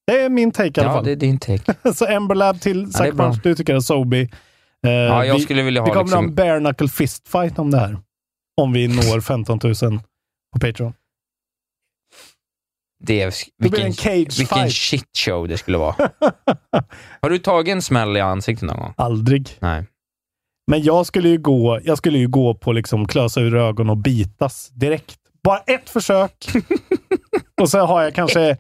S3: Det är min take i alla
S2: Ja,
S3: fall. Eh,
S2: det är din take.
S3: Så Ember Lab
S2: det
S3: till
S2: är
S3: Sucker
S2: bra.
S3: Punch, du tycker att Sobi. Eh,
S2: Ja, jag
S3: vi,
S2: skulle vilja
S3: vi
S2: ha
S3: kommer ha en
S2: liksom...
S3: bare knuckle fistfight om det här. Om vi når 15 000 på Patreon.
S2: Det, är-
S3: Det blir en
S2: vilken
S3: cage
S2: vilken
S3: fight.
S2: shitshow det skulle vara. Har du tagit en smäll i ansiktet någon gång?
S3: Aldrig.
S2: Nej.
S3: Men jag skulle ju gå, jag skulle ju gå på liksom klösa ur ögon och bitas direkt. Bara ett försök. och så har jag kanske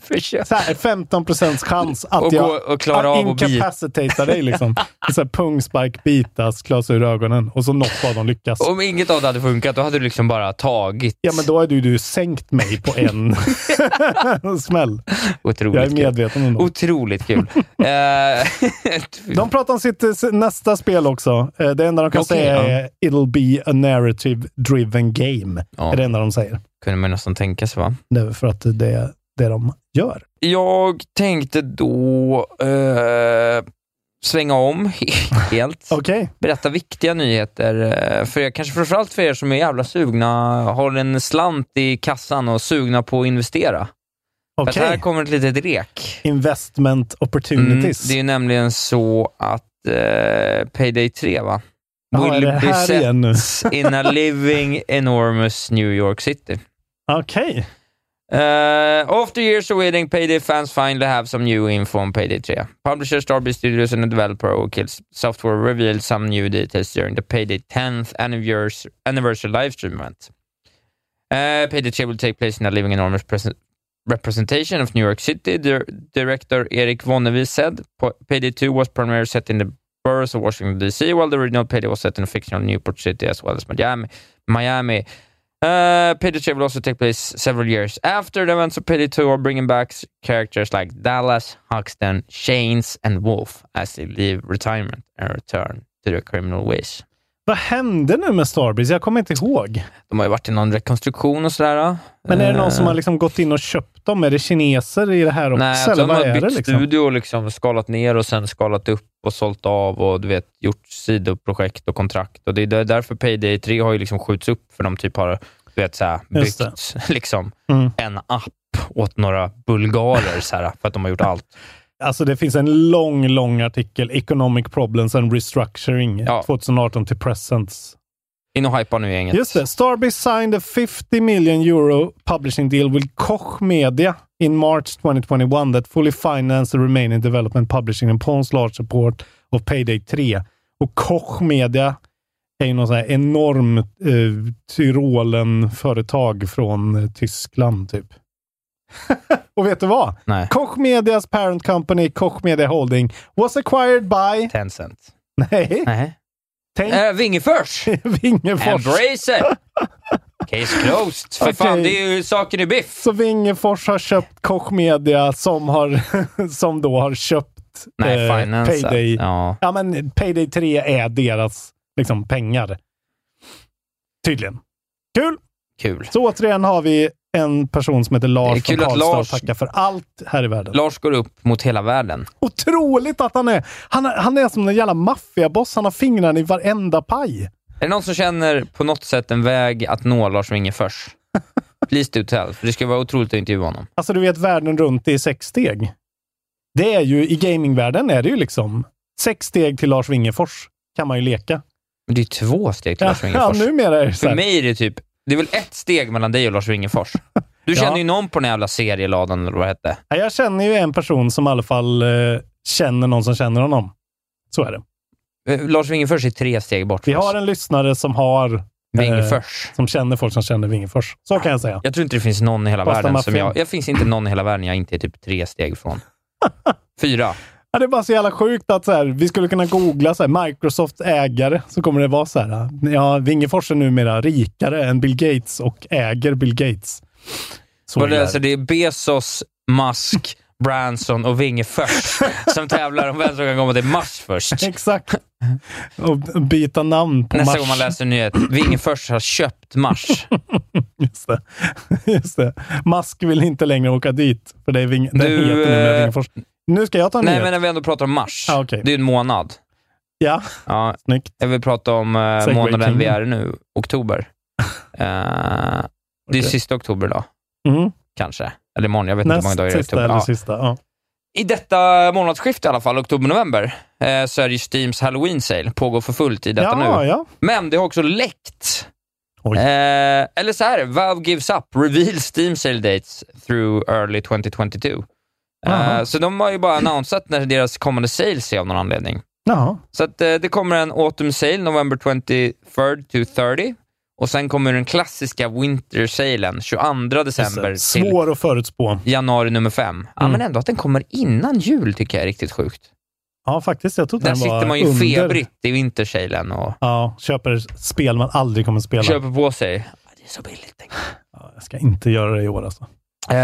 S2: Försök.
S3: så här 15 chans att
S2: Och gå-
S3: jag
S2: och klara
S3: att
S2: av att bita.
S3: incapacitata dig. Liksom. så här, pungspark, bitas, klösa ur ögonen och så något av dem lyckas.
S2: Om inget av det hade funkat, då hade du liksom bara tagit.
S3: Ja, men då har du, du sänkt mig på en smäll. Jag är
S2: Otroligt kul.
S3: medveten om det.
S2: Otroligt kul. Eh,
S3: De pratar om sitt eh, s- nästa spel också. Eh, Det enda de kan
S2: Okej,
S3: säga
S2: ja.
S3: är “It'll be a narrative-driven game”.
S2: Ja.
S3: är det enda de säger.
S2: kunde man nästan tänka sig, va?
S3: Det är för att det är det de gör.
S2: Jag tänkte då eh, svänga om helt.
S3: Okej.
S2: Berätta viktiga nyheter. eh, För er, kanske framförallt för er som är jävla sugna, har en slant i kassan och sugna på att investera. För att
S3: Okej.
S2: här kommer ett litet rek.
S3: Investment
S2: Mm,
S3: opportunities.
S2: det är ju nämligen så att eh, Payday 3, va?
S3: Jaha, är
S2: Will
S3: det här
S2: be
S3: igen nu?
S2: set in a living enormous New York City.
S3: Okej.
S2: Uh, after years of waiting, Payday fans finally have some new info on Payday 3. Publisher Starbreeze Studios and the developer Oakhill Software revealed some new details during the Payday 10th annivers- anniversary livestream event. Uh, Payday 3 will take place in a living enormous present- representation of New York City. Dir- director Erik Wonnevie said "Pa- Payday 2 was primarily set in the boroughs of Washington D.C., while the original Payday was set in fictional Newport City as well as Miami. Miami. Uh, Payday 3 will also take place several years after the events of Payday 2 are bringing back s- characters like Dallas, Hoxton, Shanes, and Wolf as they leave retirement and return to their criminal ways.
S3: Vad hände nu med Starbreeze? Jag kommer inte ihåg.
S2: De har ju varit i någon rekonstruktion och sådär.
S3: Men är det någon
S2: Eh,
S3: som har liksom gått in och köpt dem? Är det kineser i det här också?
S2: Nej, jag
S3: eller
S2: tror de
S3: vad
S2: har
S3: är det
S2: bytt
S3: liksom?
S2: studio och liksom skalat ner och sen skalat upp och sålt av och du vet, gjort sidoprojekt och kontrakt. Och Det är därför Payday 3 har ju liksom skjuts upp, för de typ har du vet, så här,
S3: Just
S2: byggt liksom,
S3: Mm.
S2: en app åt några bulgarer så här, för att de har gjort allt.
S3: Alltså det finns en lång, lång artikel. Economic Problems and Restructuring
S2: Ja.
S3: 2018 till Presents.
S2: In och hypa nu gänget.
S3: Just det. Starbreeze signed a 50 million euro publishing deal with Koch Media in March 2021 that fully financed the remaining development publishing and Pons large support of Payday 3. Och Koch Media är ju någon sån här enorm eh, Tyrolen-företag från eh, Tyskland, typ. Och vet du vad?
S2: Nej,
S3: Koch Medias parent company, Koch Media Holding, was acquired by...
S2: Tencent.
S3: Nej,
S2: Nej.
S3: tänk
S2: Äh, Vingefors!
S3: Vingefors.
S2: Embrace it! Case closed. För
S3: Okej.
S2: fan, det är ju saken i biff.
S3: Så Vingefors har köpt Koch Media som, har, som då har köpt
S2: Nej,
S3: eh,
S2: finance.
S3: Payday. Ja.
S2: Ja.
S3: men Payday 3 är deras liksom, pengar. Tydligen. Kul!
S2: Kul.
S3: Så återigen har vi en person som heter
S2: Det är
S3: Lars från
S2: kul att
S3: Karlstad
S2: Lars-
S3: och tackar för allt här i världen.
S2: Lars går upp mot hela världen.
S3: Otroligt att han är! Han, är- han är som en jävla maffiaboss. Han har fingrarna i varenda paj.
S2: Är det någon som känner på något sätt en väg att nå Lars Wingefors? Please do tell, för det skulle vara otroligt att intervjua honom.
S3: Alltså du vet världen runt i sex steg. Det är ju, i gamingvärlden är det ju liksom sex steg till Lars Wingefors kan man ju leka.
S2: Men Det är två steg till
S3: Ja,
S2: Lars
S3: ja
S2: Wingefors.
S3: numera är det så
S2: För
S3: här.
S2: mig är det typ, det är väl ett steg mellan dig och Lars Wingefors. Du
S3: Ja.
S2: känner ju någon på den här jävla serieladan eller vad det hette.
S3: Ja, Jag känner ju en person som i alla fall eh, känner någon som känner honom. Så är det.
S2: Eh, Lars Wingefors är tre steg bort
S3: Vi
S2: från
S3: har
S2: oss.
S3: en lyssnare som har, eh,
S2: Wingefors.
S3: som känner folk som känner Wingefors. Så kan jag säga.
S2: Jag tror inte det finns någon i hela
S3: Fast
S2: världen
S3: de har
S2: som
S3: fel.
S2: jag... Jag finns inte någon i hela världen jag inte är typ tre steg från. Fyra.
S3: Ja, det är bara så jävla sjukt att så här, vi skulle kunna googla så här, Microsoft ägare, så kommer det vara så här. eh, Ja, Wingefors är numera rikare än Bill Gates och äger Bill Gates. Så
S2: Och
S3: är
S2: det,
S3: det.
S2: alltså, det är Bezos, Musk, Branson och Wingefors som tävlar om vem som kan komma till Mars först.
S3: Exakt. Och b- byta namn på
S2: Nästa
S3: Mars.
S2: gång man läser en nyhet. Wingefors har köpt Mars.
S3: Just det. Just det. Mask vill inte längre åka dit, för det är Ving... det
S2: Du,
S3: heter numera
S2: eh,
S3: Vingefors. Nu ska jag ta en
S2: Nej,
S3: nyhet.
S2: men när vi ändå pratar om Mars.
S3: Ah, okej.
S2: Det är ju en månad.
S3: Ja,
S2: Ja,
S3: snyggt.
S2: jag vill prata om eh,
S3: Segway
S2: månaden
S3: King.
S2: vi är i nu, oktober. Eh, Det är
S3: Okej.
S2: sista oktober idag,
S3: Mm.
S2: kanske. Eller imorgon. Jag vet inte hur många
S3: Näst
S2: dagar det är i
S3: sista
S2: oktober.
S3: eller
S2: Ja.
S3: sista. Ja.
S2: I detta månadsskifte i alla fall, oktober-november, eh, så är det ju Steams Halloween Sale. Pågår för fullt i detta
S3: ja,
S2: nu.
S3: ja.
S2: Men det har också läckt.
S3: Oj.
S2: Eh, eller så här, Valve gives up, reveals Steam Sale dates through early 2022. Eh,
S3: Aha.
S2: så de har ju bara annonsat när deras kommande sales är av någon anledning.
S3: Jaha.
S2: Så att, eh, det kommer en Autumn Sale, November 23rd to 30. Och sen kommer den klassiska Winter Salen, 22 december till
S3: Svår att förutspå.
S2: januari nummer 5. Ja,
S3: Mm.
S2: men ändå att den kommer innan jul tycker jag är riktigt sjukt.
S3: Ja, faktiskt. Jag trodde
S2: Där
S3: den var
S2: sitter man ju
S3: under.
S2: febrigt i Winter Salen och
S3: Ja, köper spel man aldrig kommer spela.
S2: köper på sig. Ja, Det är så billigt. tänker jag.
S3: Ja, jag ska inte göra det i år alltså.
S2: Eh,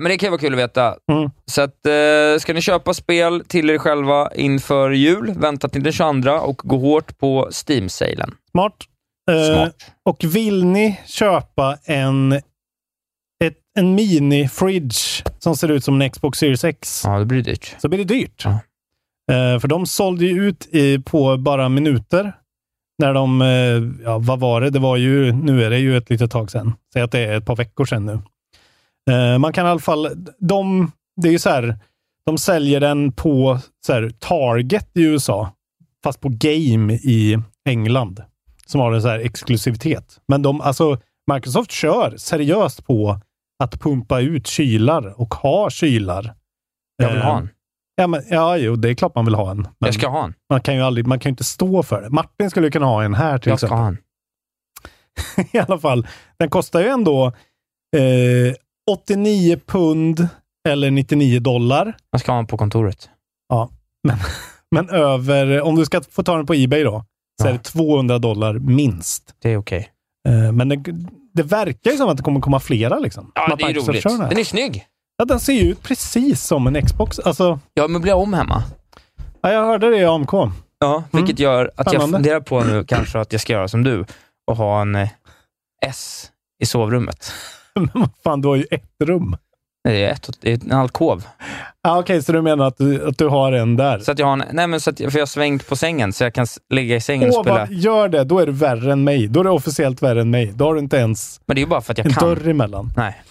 S2: men det kan ju vara kul att veta.
S3: Mm.
S2: Så att, eh, ska ni köpa spel till er själva inför jul, vänta till den 22 och gå hårt på Steam-salen.
S3: Smart. Eh,
S2: Smart.
S3: och vill ni köpa en, ett, en mini-fridge som ser ut som en Xbox Series X
S2: Ja, det blir dyrt.
S3: så blir det dyrt.
S2: Ja.
S3: Eh, för de sålde ju ut i, på bara minuter. När de, eh, ja vad var det? Det var ju, nu är det ju ett litet tag sedan. Säg att det är ett par veckor sedan nu. Eh, man kan i alla fall, de, det är ju så här, de säljer den på så här, Target i USA, fast på Game i England, som har en så här exklusivitet. Men de, alltså, Microsoft kör seriöst på att pumpa ut kylar och ha kylar.
S2: Jag vill
S3: Eh,
S2: ha en.
S3: Ja, men, ja, jo, det är klart man vill ha en. Men
S2: Jag ska ha en.
S3: man, kan ju aldrig, man kan ju inte stå för det. Martin skulle ju kunna ha en här till
S2: Jag ska
S3: exempel.
S2: ha en.
S3: I alla fall. Den kostar ju ändå eh, 89 pund eller 99 dollar.
S2: Jag ska ha en på kontoret.
S3: Men över, om du ska få ta den på Ebay då, så
S2: Ja.
S3: är det 200 dollar minst.
S2: Det är okej.
S3: Eh, men det, det verkar ju som att det kommer komma flera. Liksom.
S2: Ja,
S3: Som att
S2: det är
S3: Microsoft
S2: roligt.
S3: kör den här.
S2: Den är snygg.
S3: Ja, den ser ju ut precis som en Xbox. Alltså,
S2: Jag möblerar om hemma.
S3: ja, jag hörde det i AMK.
S2: Ja, vilket gör att jag
S3: Mm. Spännande.
S2: funderar på nu kanske att jag ska göra som du och ha en eh, S i sovrummet.
S3: Men vad fan, du har ju ett rum.
S2: Nej, Det är, ett, det är en alkov.
S3: Ah, Okej, så du menar att du, att du har en där?
S2: Så att jag har en, nej men så att, jag- för jag har svängt på sängen så jag kan s- ligga i sängen och
S3: Åh,
S2: spela.
S3: vad, gör det, då är du värre än mig. Då är du officiellt värre än mig. Då har du inte ens
S2: Men det är ju bara för att jag
S3: en
S2: kan.
S3: dörr emellan.
S2: Nej.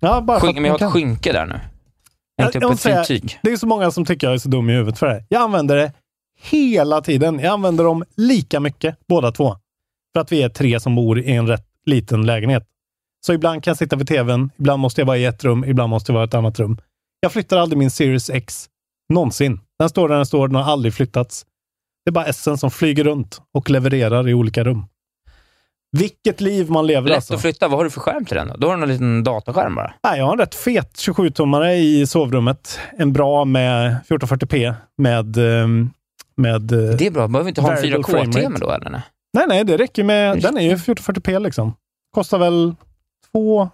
S3: Ja, bara för
S2: Skyn,
S3: att
S2: men
S3: man
S2: jag har
S3: kan.
S2: ett skynke där nu. typ Jag har hängt upp
S3: Jag- jag
S2: ett
S3: måste
S2: fint
S3: säga-
S2: tyg.
S3: Det är så många som tycker jag är så dum i huvudet för det. här. Jag använder det hela tiden. Jag använder dem lika mycket, båda två. För att vi är tre som bor i en rätt liten lägenhet. Så ibland kan jag sitta vid tvn, ibland måste jag vara i ett rum, ibland måste jag vara i ett annat rum. Jag flyttar aldrig min Series X. Någonsin. Den står där den står, den har aldrig flyttats. Det är bara S'en som flyger runt och levererar i olika rum. Vilket liv man lever
S2: Lätt
S3: alltså.
S2: att flytta. Vad har du för skärm till den då? Då har du en liten dataskärm bara.
S3: Nej, jag har en rätt fet 27-tummare i sovrummet. En bra med 1440p med... ehm, med eh,
S2: Det är bra. Behöver vi inte ha en
S3: Variable
S2: 4K-tema
S3: framerate.
S2: då eller? nej?
S3: Nej, nej, det räcker med... Den är ju 1440p liksom. Kostar väl två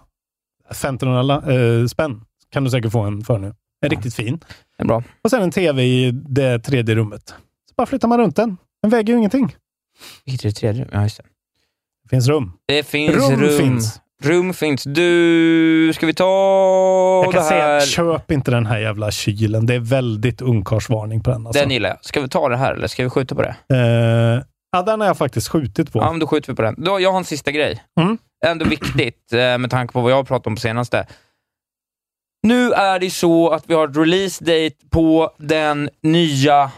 S3: 1500 la- eh, spänn. Kan du säkert få en för nu. En riktigt fin.
S2: Det är bra.
S3: Och sen en tv i det tredje rummet. Så bara flyttar man runt den. Den väger ju ingenting.
S2: Vilket är det tredje? Ja, just det.
S3: Det finns rum.
S2: Det finns
S3: Rum
S2: rum.
S3: finns.
S2: Rum finns. Du, ska vi ta
S3: jag
S2: det
S3: kan säga,
S2: här?
S3: köp inte den här jävla kylen. Det är väldigt ungkarlsvarning på den. Alltså.
S2: Den gillar jag. Ska vi ta det här eller ska vi skjuta på det?
S3: Eh, ja, den har jag faktiskt skjutit på.
S2: Ja, men då skjuter vi på den. Då, jag har en sista grej.
S3: Mm.
S2: Ändå viktigt eh, med tanke på vad jag har pratat om på senaste. Nu är det så att vi har ett release date på den nya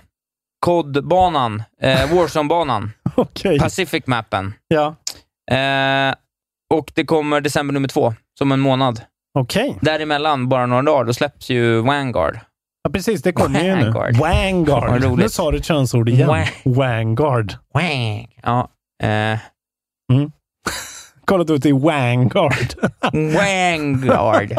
S2: kodbanan, eh, Warzone-banan,
S3: Okej.
S2: Pacific-mappen.
S3: Ja.
S2: Eh, och det kommer december nummer två, som en månad.
S3: Okej.
S2: Däremellan, bara några dagar, då släpps ju Vanguard.
S3: Ja, precis. Det kommer ju nu.
S2: Vanguard. Vad
S3: Vanguard.
S2: roligt.
S3: Nu sa du ett könsord igen.
S2: Wa-
S3: Vanguard.
S2: Wang. Ja. Eh,
S3: Kollat ut i Vanguard.
S2: Vanguard.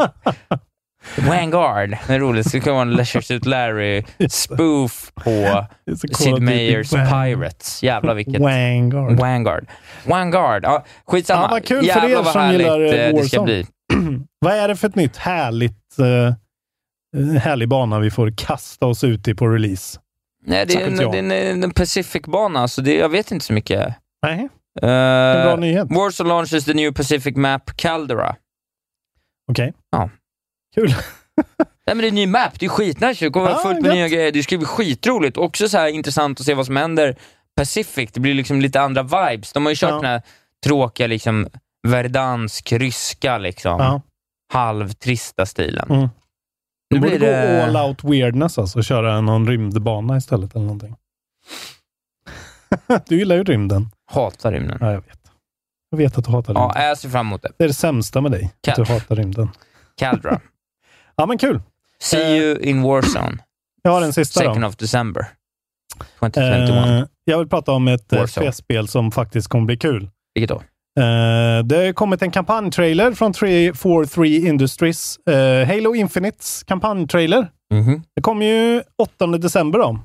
S2: Vanguard. Det är roligt. Det kan vara en Leisure Suit Larry spoof på
S3: Det är så kollat ut
S2: Sid
S3: i
S2: Meier's
S3: Wang-
S2: Pirates. Jävlar vilket...
S3: Vanguard.
S2: Vanguard. Vanguard. Ja, skitsamma.
S3: Ja, vad kul för
S2: Jävlar
S3: er
S2: vad
S3: som
S2: härligt
S3: gillar, eh,
S2: eh, det ska
S3: Warzone.
S2: bli.
S3: Vad är det för ett nytt härligt, eh, härlig bana vi får kasta oss ut i på release?
S2: Nej, det
S3: Tack
S2: är en,
S3: inte jag.
S2: det är en, en Pacific-bana, så det, jag vet inte så mycket.
S3: Nej,
S2: Uh,
S3: en bra nyhet.
S2: Warzone launches the new Pacific map Caldera.
S3: Okej.
S2: Ja.
S3: Kul.
S2: Nej men det är en ny map, det är skitnice. Det kommer vara
S3: Ah,
S2: fullt med
S3: gött.
S2: nya grejer. Det ska bli skitroligt. Också så här intressant att se vad som händer Pacific. Det blir liksom lite andra vibes. De har ju kört
S3: Ja.
S2: den här tråkiga liksom verdansk, ryska liksom.
S3: Ja.
S2: Halvtrista stilen.
S3: Mm.
S2: Nu
S3: Du borde
S2: blir det-
S3: gå all out weirdness alltså och köra någon rymdbana istället eller någonting. du gillar ju rymden.
S2: Hatar rymden.
S3: Ja, jag vet. Jag vet att du hatar
S2: Ja,
S3: rymden.
S2: jag ser fram emot det.
S3: Det är det sämsta med dig, att
S2: Kan-
S3: du hatar rymden.
S2: Caldra.
S3: Ja, men kul.
S2: See you in Warzone.
S3: Jag har en Eh, sista då.
S2: 2nd of December. 2021.
S3: Eh, jag vill prata om ett eh,
S2: Warzone.
S3: spel som faktiskt kommer bli kul.
S2: Vilket då?
S3: Eh, det har kommit en kampanjtrailer från 343 Industries. Eh, Halo Infinites kampanjtrailer.
S2: Mhm.
S3: Det kommer ju 8 december då.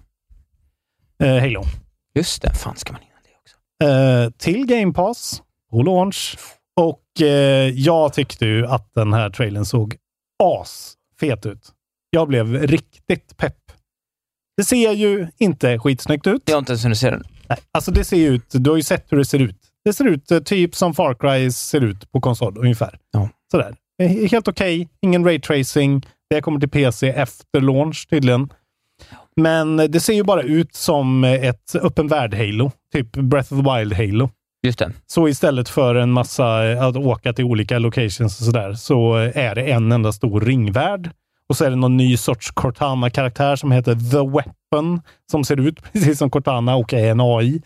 S3: Eh, Halo.
S2: Just det, fan ska man hinna det också?
S3: Eh, till Game Pass på launch. Och eh, jag tyckte ju att den här trailern såg asfet ut. Jag blev riktigt pepp. Det ser ju inte skitsnyggt ut.
S2: Jag har inte ens hunnit se den.
S3: Nej, alltså det ser ju ut, du har ju sett hur det ser ut. Det ser ut eh, typ som Far Cry ser ut på konsol ungefär.
S2: Ja.
S3: Sådär. Eh, he- Helt okej, ingen ray tracing. Det kommer till PC efter launch tydligen. Men eh, det ser ju bara ut som eh, ett öppen värld-Halo. Typ Breath of the Wild-Halo.
S2: Just det.
S3: Så istället för en massa eh, att åka till olika locations och sådär, så eh, är det en enda stor ringvärld. Och så är det någon ny sorts Cortana-karaktär som heter The Weapon, som ser ut precis som Cortana och är en AI.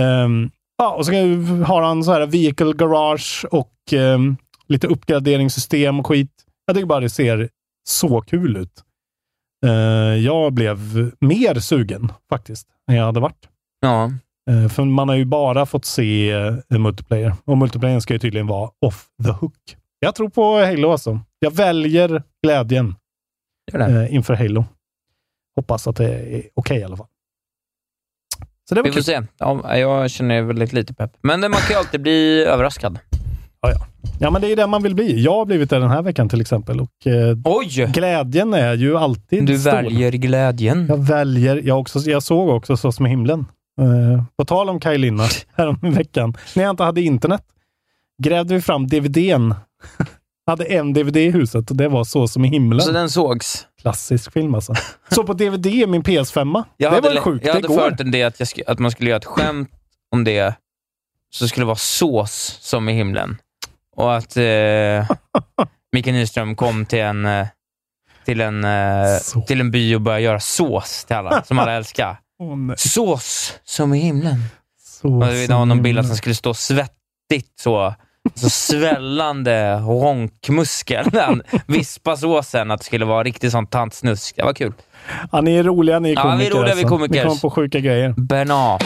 S3: Ehm, ja, och så kan- har han så här vehicle garage och ehm, lite uppgraderingssystem och skit. Jag tycker bara det ser så kul ut. Eh, jag blev mer sugen faktiskt, än jag hade varit.
S2: Ja.
S3: Eh, För man har ju bara fått se eh, multiplayer. Och multiplayer ska ju tydligen vara off the hook. Jag tror på Halo alltså. Jag väljer glädjen
S2: Gör det.
S3: eh, inför Halo. Hoppas att det är okej i alla fall. Så det var
S2: Vi får
S3: kul.
S2: se. Ja, jag känner väldigt lite pepp. Men eh, man kan ju alltid bli överraskad.
S3: Ja, men det är det man vill bli. Jag har blivit det den här veckan till exempel. Och eh,
S2: Oj!
S3: glädjen är ju alltid
S2: Du
S3: stor.
S2: väljer glädjen.
S3: Jag väljer. Jag, också, jag såg också Så som i himlen. Eh, på tal om Kaj här om veckan, när jag inte hade internet, grävde vi fram DVDn. hade en DVD i huset och det var Så som i himlen.
S2: Så den sågs.
S3: Klassisk film alltså. Så på DVD i min PS5.
S2: Jag
S3: det
S2: hade,
S3: var ju
S2: le-
S3: sjukt.
S2: Jag
S3: Det
S2: hade
S3: går.
S2: förut en idé att, jag sk- att man skulle göra ett skämt om det, så det skulle vara sås som i himlen. Och att eh, Micke Nyström kom till en, eh, till, en, eh,
S3: Så.
S2: till en by och började göra sås till alla, som alla älskar.
S3: Åh, nej.
S2: Sås som i himlen.
S3: Så
S2: Och Alltså, det
S3: som
S2: var någon
S3: i
S2: bild att han
S3: himlen.
S2: skulle stå svettigt så. Så svällande ronkmuskel när han vispade såsen. Att det skulle vara riktigt sån tantsnusk. Det var kul.
S3: Ja, ni är roliga ni är
S2: Ja,
S3: komiker. alltså.
S2: vi är roliga, vi är komiker.
S3: Ni kommer på sjuka grejer.
S2: Bernard.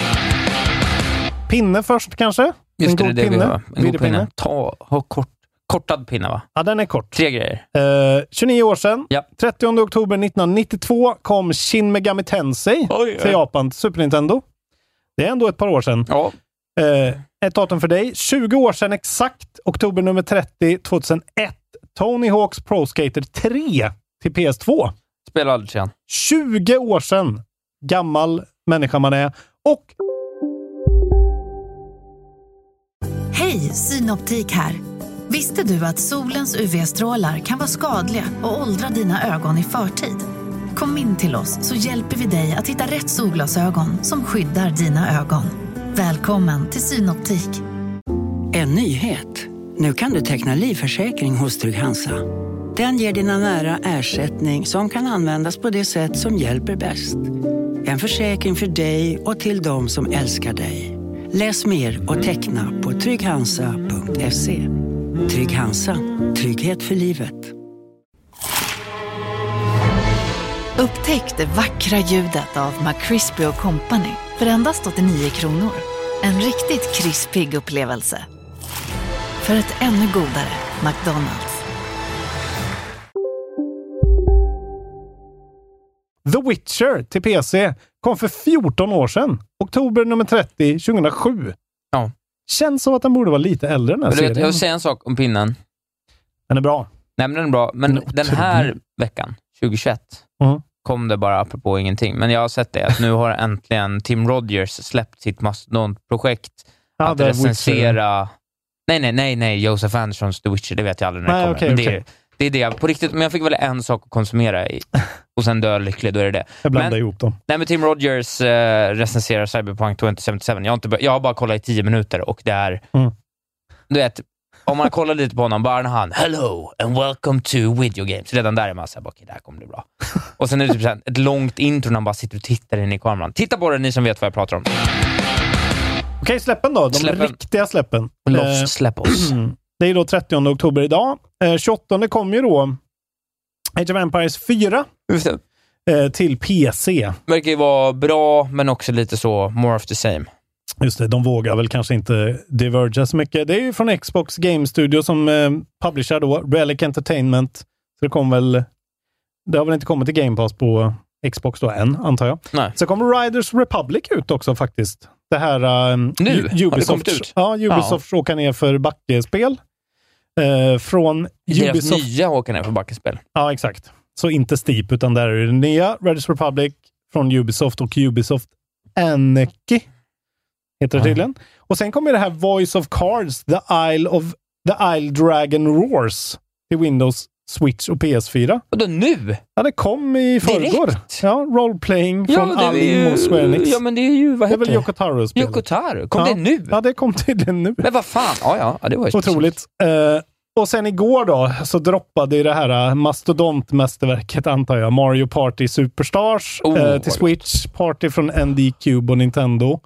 S3: Pinne först kanske?
S2: Just
S3: en
S2: det,
S3: god
S2: det är det vi
S3: pinne.
S2: behöver. En god
S3: Virrepinne.
S2: pinne. Ta, ha kort, kortad pinne va?
S3: Ja, den är kort.
S2: Tre grejer.
S3: Eh, 29 år sedan,
S2: Ja.
S3: 30 oktober 1992, kom Shin Megami Tensei
S2: Oj,
S3: till Japan, Super Nintendo. Det är ändå ett par år sedan.
S2: Ja,
S3: Eh, ett datum för dig. 20 år sedan exakt, oktober nummer 30, 2001. Tony Hawks Pro Skater 3 till PS2.
S2: spela aldrig igen.
S3: 20 år sedan. Gammal människa man är. Och
S4: Hej, Synoptik här. Visste du att solens UV-strålar kan vara skadliga och åldra dina ögon i förtid? Kom in till oss så hjälper vi dig att hitta rätt solglasögon som skyddar dina ögon. Välkommen till Synoptik.
S5: En nyhet. Nu kan du teckna livförsäkring hos Trygg-Hansa. Den ger dina nära ersättning som kan användas på det sätt som hjälper bäst. En försäkring för dig och till de som älskar dig. Läs mer och teckna på trygghansa.se. Trygg-Hansa. Trygghet för livet.
S4: Upptäck det vackra ljudet av McCrispy Company för endast 89 kronor. En riktigt krispig upplevelse. För ett ännu godare McDonalds.
S3: The Witcher till PC kom för 14 år sedan. Oktober nummer 30, 2007.
S2: Ja.
S3: Känns som att den borde vara lite äldre den
S2: Men
S3: här
S2: du
S3: serien.
S2: vet, jag vill säga en sak om pinnen.
S3: Den är bra.
S2: Nej, men den är bra. Men
S3: Den är
S2: den här veckan, 2021,
S3: Mm.
S2: kom det bara apropå ingenting. Men jag har sett det, att nu har äntligen Tim Rogers släppt sitt mastodontprojekt
S3: Ja,
S2: att
S3: det är Witcher.
S2: recensera... Nej, nej, nej, nej. Joseph Andersons The Witcher, det vet jag aldrig när
S3: Nej,
S2: det kommer.
S3: okej,
S2: men det,
S3: okej.
S2: är, det är det. jag- På riktigt, men jag fick väl en sak att konsumera i, och sen dö lycklig, då är det det.
S3: Jag blandar
S2: Men-
S3: ihop dem.
S2: Nej, men Tim Rogers eh, recenserar Cyberpunk 2077. Jag har, inte bör- jag har bara kollat i tio minuter och det är...
S3: Mm.
S2: Du vet, om man kollar lite på honom, bara när han “Hello and welcome to video games”. Redan där är man såhär, okej, det här kommer bli bra. Och sen är det typ såhär, ett långt intro när han bara sitter och tittar in i kameran. Titta på det ni som vet vad jag pratar om.
S3: Okej, släppen då. De
S2: Släppen.
S3: riktiga släppen. Eh,
S2: Lofs, släpp oss.
S3: Det är då 30 oktober idag. Eh, 28 kommer ju då Age of Empires 4
S2: Just det.
S3: eh, till PC.
S2: Verkar ju vara bra, men också lite så more of the same.
S3: Just det, de vågar väl kanske inte diverga så mycket. Det är ju från Xbox Game Studio som eh, publicerar då, Relic Entertainment. Så det kommer väl... Det har väl inte kommit till Game Pass på Xbox då än, antar jag.
S2: Nej.
S3: Så kommer Riders Republic ut också faktiskt. Det här eh,
S2: Nu?
S3: Ju-
S2: Har det
S3: Ubisofts,
S2: kommit ut?
S3: Ja, Ubisofts åka ner för backe-spel. Eh, från
S2: Deras
S3: Ubisoft...
S2: nya åker ner för backespel.
S3: Ja, exakt. Så inte Steep, utan där är det nya Riders Republic från Ubisoft och Ubisoft Anarchy. Heter det
S2: Ja.
S3: tydligen. Och sen kommer det här Voice of Cards, The Isle of The Isle Dragon Roars till Windows, Switch och PS4.
S2: Vadå nu?
S3: Ja, det kom i förrgår.
S2: Direkt?
S3: Ja, Roleplaying
S2: Ja,
S3: från
S2: men det är
S3: Alim
S2: ju,
S3: och Square Enix.
S2: ja, men det är ju, vad
S3: det är
S2: heter
S3: väl
S2: det?
S3: Yoko Taro-spelet?
S2: Yoko Taro. Kom
S3: ja.
S2: det nu?
S3: Ja, det kom tydligen nu.
S2: Men vad fan? Ja, ja, ja det var ju
S3: Otroligt. Eh, och sen igår då, så droppade ju det här eh, mastodontmästerverket, antar jag. Mario Party Superstars
S2: Oh,
S3: eh,
S2: vad
S3: till
S2: gott.
S3: Switch. Party från ND Cube och Nintendo.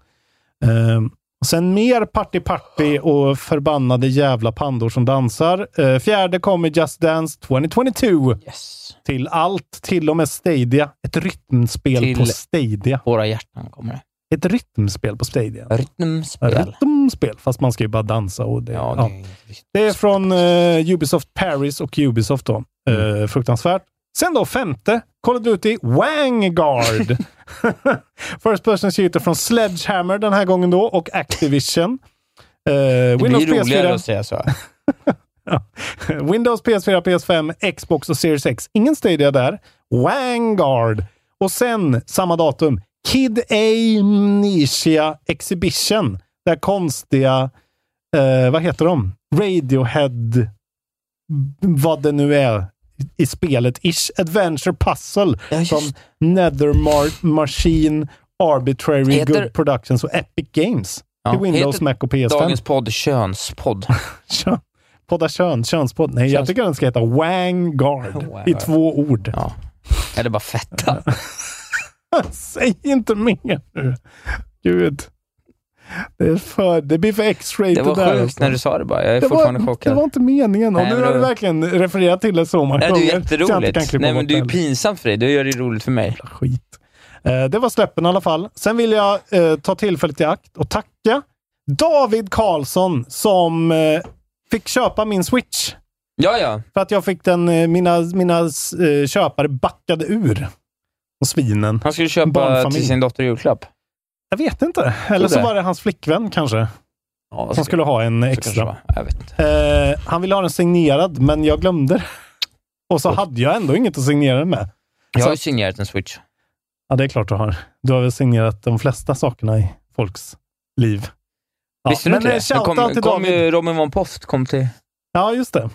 S3: Eh, och sen mer Party Party och förbannade jävla pandor som dansar. Eh, fjärde kommer Just Dance 2022
S2: Yes.
S3: till allt, till och med Stadia. Ett rytmspel
S2: Till-
S3: på Stadia.
S2: Våra hjärtan kommer det.
S3: Ett rytmspel på Stadia.
S2: Rytmspel.
S3: Rytmspel, fast man ska ju bara dansa och det...
S2: Ja, det
S3: ja.
S2: är inget rytm.
S3: Det är från eh, Ubisoft Paris och Ubisoft då. Eh,
S2: Mm.
S3: fruktansvärt. Sen då femte, Call of Duty Vanguard. First person shooter från Sledgehammer den här gången då och Activision. Eh,
S2: Det
S3: Windows,
S2: blir ju roligare
S3: PS4,
S2: att säga så.
S3: Windows, PS4, PS5, Xbox och Series X. Ingen Stadia där. Vanguard. Och sen, samma datum, Kid Amnesia Exhibition. Där konstiga, eh, vad heter de? Radiohead, vad det nu är i spelet, ish. Adventure Puzzle
S2: Ja, just.
S3: som Nether Mar- Machine, Arbitrary
S2: Heter-
S3: Good Productions och Epic Games.
S2: Ja,
S3: Till Windows,
S2: heter
S3: Mac och PS5.
S2: Dagens podd, könspodd.
S3: Kön. Podda kön, könspodd. Nej, jag
S2: Köns-
S3: tycker den ska heta Wangard
S2: Wangard.
S3: i två ord.
S2: Ja. Eller bara fetta.
S3: Säg inte mer nu. Gud. Det, är för, det blir för X-rated
S2: Det var
S3: där.
S2: sjukt
S3: alltså.
S2: när du sa det bara. Jag är
S3: det,
S2: fortfarande
S3: var, det
S2: chockad.
S3: var inte meningen. Och
S2: Nej,
S3: nu
S2: men
S3: har
S2: det
S3: du
S2: var-
S3: verkligen refererat till det så många
S2: Nej, det är
S3: gånger.
S2: ju
S3: så jag inte kan
S2: jätteroligt.
S3: klippa
S2: Nej, men
S3: bort
S2: det är
S3: det
S2: ju
S3: heller.
S2: pinsamt för dig. Du gör det ju roligt för mig.
S3: skit. Eh, det var släppen i alla fall. Sen vill jag eh, ta tillfället i akt och tacka David Karlsson som eh, fick köpa min Switch.
S2: Ja, ja.
S3: För att jag fick den, eh, mina, mina eh, köpare backade ur. Och svinen.
S2: Han skulle köpa
S3: Barnfamilj.
S2: till sin dotter i julklapp.
S3: Jag vet inte. Eller så
S2: det.
S3: var det hans flickvän kanske.
S2: Ja,
S3: Som skulle ha en extra.
S2: Jag vet inte.
S3: Eh, han ville ha den signerad, men jag glömde det. Och så hade jag ändå inget att signera den med.
S2: Jag har
S3: Så-
S2: ju signerat en switch.
S3: Alltså- Ja, det är klart du har. Du har väl signerat de flesta sakerna i folks liv. Ja,
S2: Visste du
S3: men
S2: inte
S3: eh,
S2: det? Det
S3: shoutout
S2: kom,
S3: till
S2: kom
S3: David.
S2: ju Robin von Post kom till
S3: Ja, just det. Ja,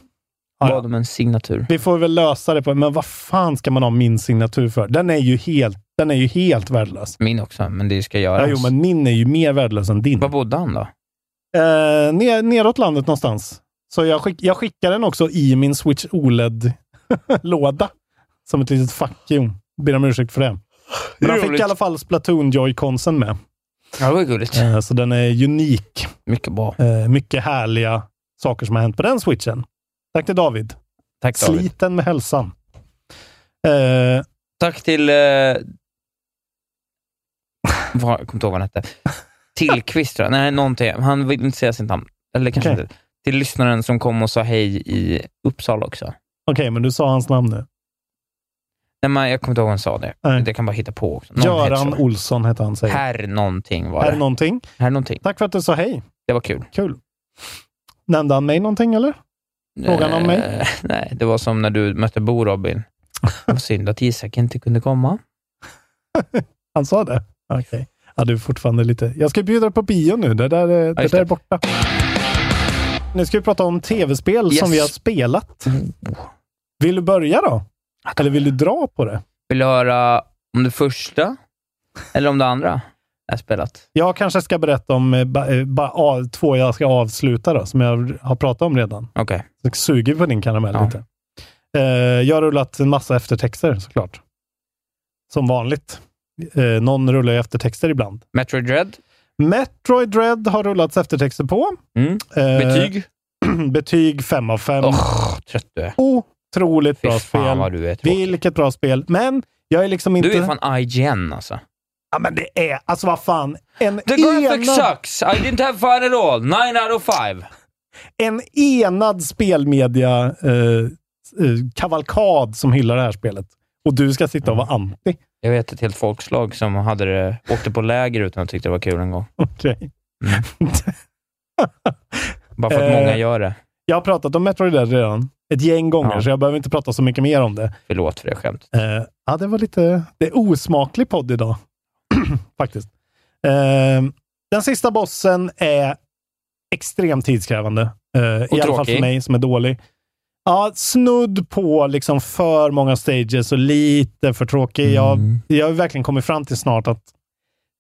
S2: bad
S3: ja.
S2: om en signatur.
S3: Vi får väl lösa det. på Men vad fan ska man ha min signatur för? Den är ju helt, den är ju helt värdelös.
S2: Min också, men det ska göras.
S3: Ja, jo, men min är ju mer värdelös än din.
S2: Var bodde han då?
S3: Eh, ner, neråt landet någonstans. Så jag, skick, jag skickar den också i min Switch OLED-låda. Som ett litet fuck you. Ber om ursäkt för det. Men han fick
S2: Roligt.
S3: i alla fall Splatoon Joy-Consen med.
S2: Ja, det var ju gulligt.
S3: Eh, så den är unik.
S2: Mycket bra.
S3: Eh, mycket härliga saker som har hänt på den switchen. Tack till David.
S2: Tack David.
S3: Sliten med hälsan. Eh,
S2: Tack till... Eh... Vad, jag kommer inte ihåg vad han hette. Tillqvist tror jag. Nej, någonting. Han vill inte säga sitt namn. Eller kanske
S3: Okej.
S2: inte. Till lyssnaren som kom och sa hej i Uppsala också.
S3: Okej, men du sa hans namn nu.
S2: Nej, men jag kommer inte ihåg vad han sa det.
S3: Nej.
S2: Det kan bara hitta på också. Någon
S3: Göran
S2: heter så.
S3: Olsson hette han säger.
S2: Herr någonting var
S3: Här
S2: det.
S3: är någonting.
S2: Herr någonting.
S3: Tack för att du sa hej.
S2: Det var kul.
S3: Kul. Nämnde han mig någonting eller? Frågan om mig?
S2: Eh, Nej, det var som när du mötte Bo Robin. Vad synd att Isak inte kunde komma.
S3: Han sa det? Okej. Ja, du är fortfarande lite... Jag ska bjuda dig på bio nu. Det där, är- det
S2: just
S3: där är
S2: det.
S3: borta. Nu ska vi prata om tv-spel som
S2: Yes. Mm.
S3: vi har spelat. Vill du börja då? Eller vill du dra på det?
S2: Vill du höra om det första eller om det andra? jag har spelat.
S3: Jag kanske ska berätta om eh, ba, eh, ba, av, två jag ska avsluta då, som jag har pratat om redan.
S2: Okej.
S3: Så suger på din karamell
S2: Ja.
S3: lite. Eh, jag har rullat en massa eftertexter såklart. Som vanligt. Eh, någon rullar ju eftertexter ibland.
S2: Metroid Dread.
S3: Metroid Dread har rullats eftertexter på.
S2: Mm.
S3: Eh,
S2: Betyg?
S3: betyg 5 av 5.
S2: Åh, trött du är.
S3: Otroligt
S2: Fy fan
S3: bra spel.
S2: vad du är tråkig.
S3: Vilket bra spel. Men jag är liksom inte...
S2: Du är fan IGN alltså.
S3: Ja, men det är... Alltså vad fan. En
S2: The graphics
S3: enad-
S2: sucks! I didn't have fun at all! 9 out of 5!
S3: en enad spelmedia eh, eh, kavalkad som hyllar det här spelet. Och du ska sitta och vara
S2: Mm.
S3: anti.
S2: Jag vet ett helt folkslag som hade det, åkte på läger utan att tyckte det var kul en gång.
S3: Okej.
S2: Mm. Bara för att
S3: Eh.
S2: många gör det.
S3: Jag har pratat om Metroid Dread redan ett gäng gånger,
S2: Ja.
S3: så jag behöver inte prata så mycket mer om det.
S2: Förlåt för det skämt.
S3: Eh, ja, det var lite... Det är osmaklig podd idag. Faktiskt. Eh, den sista bossen är extremt tidskrävande. Eh, I alla fall
S2: tråkig.
S3: för mig som är dålig. Ja, snudd på liksom för många stages och lite för tråkig. Jag, jag har verkligen kommit fram till snart att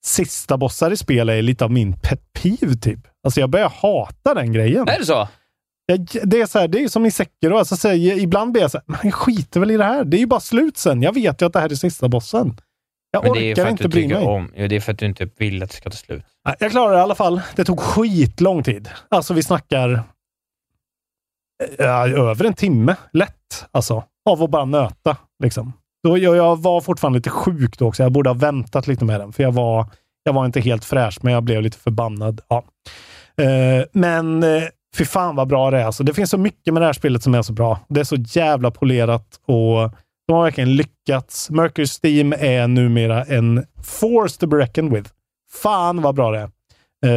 S3: sista bossar i spel är lite av min pet peeve, typ. Alltså jag börjar hata den grejen.
S2: Är det så?
S3: Jag, det är så här, det är som i Sekiro. Alltså, så här, ibland blir jag så här, man skiter väl i det här. Det är ju bara slut sen. Jag vet ju att det här är sista bossen. Jag
S2: Men det är ju för
S3: orkar
S2: att
S3: inte
S2: du
S3: bry
S2: tycker
S3: mig.
S2: om... Jo, det är för att du inte vill att det ska ta slut.
S3: Nej, Jag klarade det i alla fall. Det tog skitlång tid. Alltså vi snackar ja, över en timme. Lätt. Alltså. Av att bara nöta. Liksom. Då, jag, jag var fortfarande lite sjuk då också. Jag borde ha väntat lite med den. För jag var, jag var inte helt fräsch, men jag blev lite förbannad. Ja. Eh, men uh, fy fan vad bra det är. Alltså. Det finns så mycket med det här spelet som är så bra. Det är så jävla polerat och de har verkligen lyckats. Mercury Steam är numera en force to be reckoned with. Fan vad bra det är.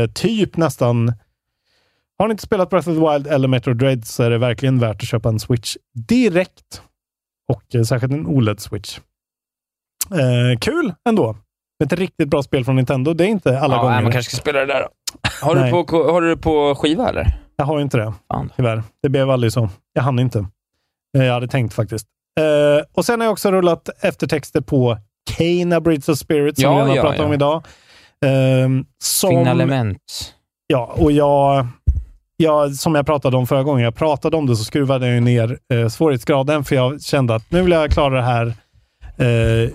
S3: Eh, typ nästan... Har ni inte spelat Breath of the Wild eller Metro Dread så är det verkligen värt att köpa en Switch direkt. Och eh, särskilt en OLED-switch. Eh, kul ändå. Ett riktigt bra spel från Nintendo. Det är inte alla
S2: ja,
S3: gånger.
S2: nej, man kanske ska spela det där då. Har du,
S3: Nej.
S2: på, har du det på skiva eller?
S3: Jag har ju inte det.
S2: Fan.
S3: Tyvärr. Det blev aldrig så. Jag hann inte. Eh, Jag hade tänkt faktiskt. Eh, och sen har jag också rullat eftertexter på Kena Bridge of Spirit, som
S2: Ja,
S3: vi redan har
S2: ja,
S3: pratat
S2: ja.
S3: om idag. Ehm, som,
S2: Finalement.
S3: Ja, och jag, jag, som jag pratade om förra gången jag pratade om det, så skruvade jag ju ner eh, svårighetsgraden, för jag kände att nu vill jag klara det här. Eh,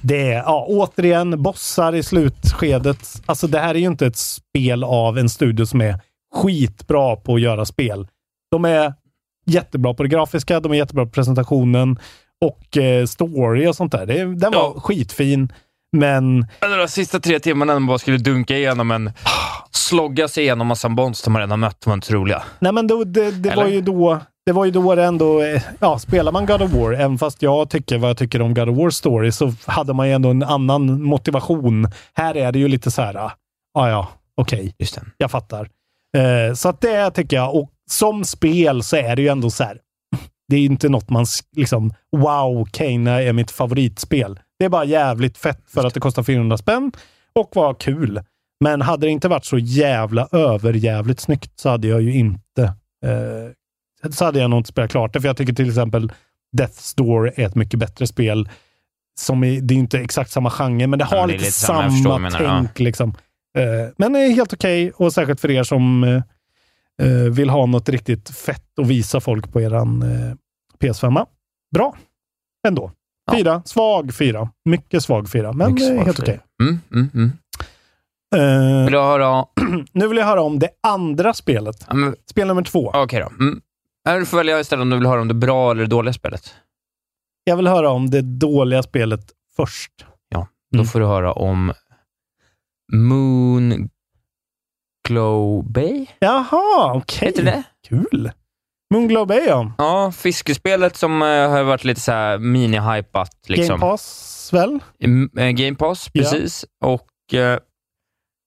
S3: det är, ja, återigen, bossar i slutskedet. Alltså, det här är ju inte ett spel av en studio som är skitbra på att göra spel. De är jättebra på det grafiska, de är jättebra på presentationen och eh, story och sånt där. Det, den var
S2: Ja.
S3: skitfin, men
S2: Eller de sista tre timmarna när man bara skulle dunka igenom en... Slogga sig igenom massa bonds de redan mött, var inte roliga.
S3: Nej, men då, det, det,
S2: Eller?
S3: var ju då, det var ju då det ändå... eh, Ja, spelar man God of War, även fast jag tycker vad jag tycker om God of War Story, så hade man ju ändå en annan motivation. Här är det ju lite så här, ah, ja, ja, okej,
S2: Just det.
S3: jag fattar. Eh, så att det tycker jag, och som spel så är det ju ändå så här, det är ju inte något man s- liksom, wow, Kena är mitt favoritspel. Det är bara jävligt fett för att det kostar 400 spänn och var kul. Men hade det inte varit så jävla överjävligt snyggt så hade jag ju inte eh, så hade jag nog inte spelat klart det. För jag tycker till exempel Death's Door är ett mycket bättre spel. Som är, det är inte exakt samma genre, men det har
S2: det är
S3: lite,
S2: lite samma, jag
S3: samma,
S2: förstår vad du menar,
S3: tänk. Liksom. Eh, men det är helt okej och särskilt för er som eh, eh, vill ha något riktigt fett att visa folk på eran eh, PS5. Bra ändå.
S2: Ja.
S3: Fyra. Svag fyra. Mycket svag fyra, men
S2: Mycket
S3: eh,
S2: svårt
S3: helt
S2: för
S3: okej.
S2: dig. Mm, mm, mm.
S3: Eh,
S2: Vill du höra?
S3: nu vill jag höra om det andra spelet.
S2: Ja, men-
S3: Spel nummer två.
S2: Okej då. Mm. Här får välja istället om du vill höra om det bra eller det dåliga spelet.
S3: Jag vill höra om det dåliga spelet först.
S2: Då
S3: Mm.
S2: får du höra om Moon Glow Bay.
S3: Jaha, okej.
S2: Heter det
S3: Kul. Moonglow Bay, ja.
S2: Ja, fiskespelet som eh, har varit lite så här mini-hypat. Liksom.
S3: Game Pass, väl?
S2: Mm, eh, Game Pass,
S3: Ja.
S2: precis. Och eh,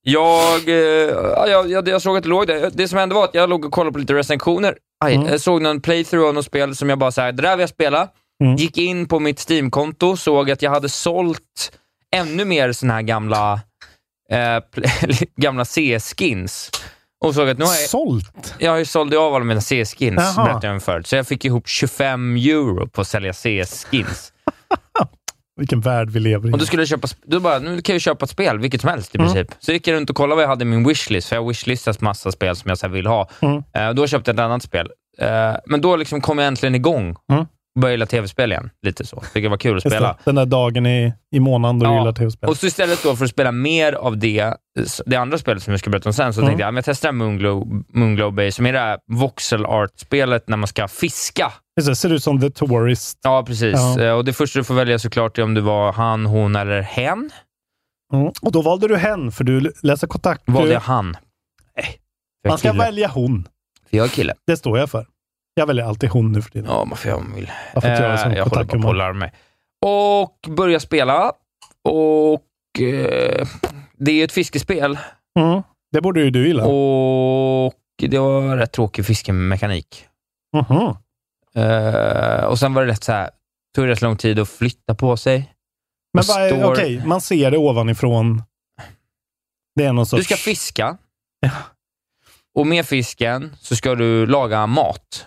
S2: jag, eh, ja, jag, jag, jag såg att det låg där. Det som hände var att jag låg och kollade på lite recensioner. Aj,
S3: Mm.
S2: Jag såg någon playthrough av något spel som jag bara såhär, det där vill jag spela.
S3: Mm.
S2: Gick in på mitt Steam-konto, såg att jag hade sålt ännu mer såna här gamla, eh, pl- gamla C-skins. Och såg att nu har jag,
S3: Sålt.
S2: jag har ju sålde av alla mina CS-skins,
S3: Jaha.
S2: berättade jag om förut. Så jag fick ihop 25 euro på att sälja CS-skins.
S3: Vilken värld vi lever i.
S2: Om du skulle köpa, sp- du bara, nu kan jag ju köpa ett spel, vilket som helst i
S3: Mm.
S2: princip. Så gick jag runt och kollade vad jag hade i min wishlist, för jag wishlistat massa spel som jag så här vill ha.
S3: Mm.
S2: Eh, då köpte jag ett annat spel. Eh, men då liksom kom jag äntligen igång
S3: Mm.
S2: och började gilla tv-spel igen. Lite så. Tycker det var kul att
S3: Just det,
S2: spela.
S3: Den där dagen i, i månaden då du
S2: Ja,
S3: gillar tv-spel.
S2: Och så istället då för att spela mer av det, det andra spelet som jag ska berätta om sen, så
S3: Mm.
S2: tänkte jag att jag testar Moonglow, Moonglow Bay, som är det här voxel art-spelet när man ska fiska.
S3: Just det, ser ut som The Tourist.
S2: Ja, precis.
S3: Ja.
S2: Eh, Och Det första du får välja såklart är om du var han, hon eller hen.
S3: Mm. Och då valde du hen, för du läser kontakt.
S2: Valde
S3: du,
S2: jag han? Eh,
S3: Nej.
S2: För jag
S3: man
S2: är
S3: ska
S2: kille.
S3: välja hon.
S2: För jag är kille.
S3: Det står jag för. Jag väljer alltid hon nu för tiden.
S2: Ja, man får göra vad man vill.
S3: Jag får inte göra
S2: Eh,
S3: som
S2: jag håller bara på att
S3: Kotakuman.
S2: lära mig. Och börja spela. Och eh, Det är ett fiskespel
S3: Mm. Det borde ju du gilla.
S2: och det var rätt tråkig fiskemekanik.
S3: Mhm.
S2: Eh, och sen var det rätt så här, tog det rätt lång tid att flytta på sig.
S3: Men
S2: Och
S3: vad är-
S2: står-
S3: okej, man ser det ovanifrån. Det är någon sorts...
S2: Du ska fiska. Och med fisken så ska du laga mat.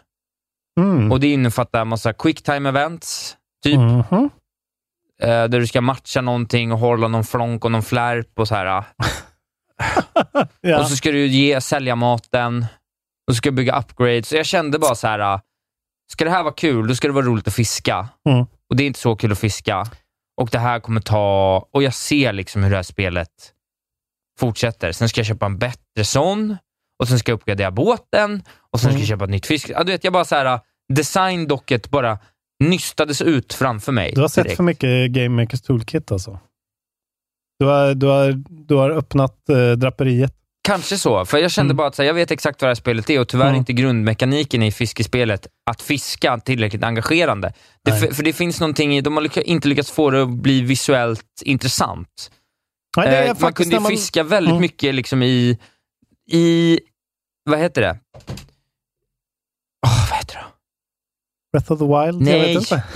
S3: Mm.
S2: Och det innefattar en massa quick time events, typ,
S3: Mhm.
S2: eh, där du ska matcha någonting och hålla någon flonk och någon flärp och så här. eh.
S3: Ja.
S2: Och så ska du ge, sälja maten. Och så ska du bygga upgrades. Så jag kände bara så här, äh, ska det här vara kul, då ska det vara roligt att fiska.
S3: Mm.
S2: Och det är inte så kul att fiska. Och det här kommer ta... Och jag ser liksom hur det här spelet fortsätter. Sen ska jag köpa en bättre sån. Och sen ska jag uppgradera båten. Och
S3: Mm.
S2: sen ska jag köpa ett nytt fisk. Ja, du vet, jag bara så här, äh, designdocket bara nystades ut framför mig.
S3: Du har sett
S2: direkt.
S3: för mycket Game Makers Toolkit alltså. Du har, du har, du har öppnat eh, draperiet.
S2: Kanske så, för jag kände
S3: Mm.
S2: bara att så här, jag vet exakt vad det här spelet är och tyvärr
S3: Mm.
S2: inte grundmekaniken i fiskespelet att fiska tillräckligt engagerande. Det,
S3: Nej.
S2: för, för det finns någonting i, de har lyck- inte lyckats få det att bli visuellt intressant.
S3: Nej, det är
S2: Eh, man
S3: faktiskt
S2: kunde
S3: när
S2: ju fiska väldigt
S3: Mm.
S2: mycket liksom i, i, vad heter det? Åh, vad heter det?
S3: Breath of the Wild? Jag
S2: Nej.
S3: vet inte.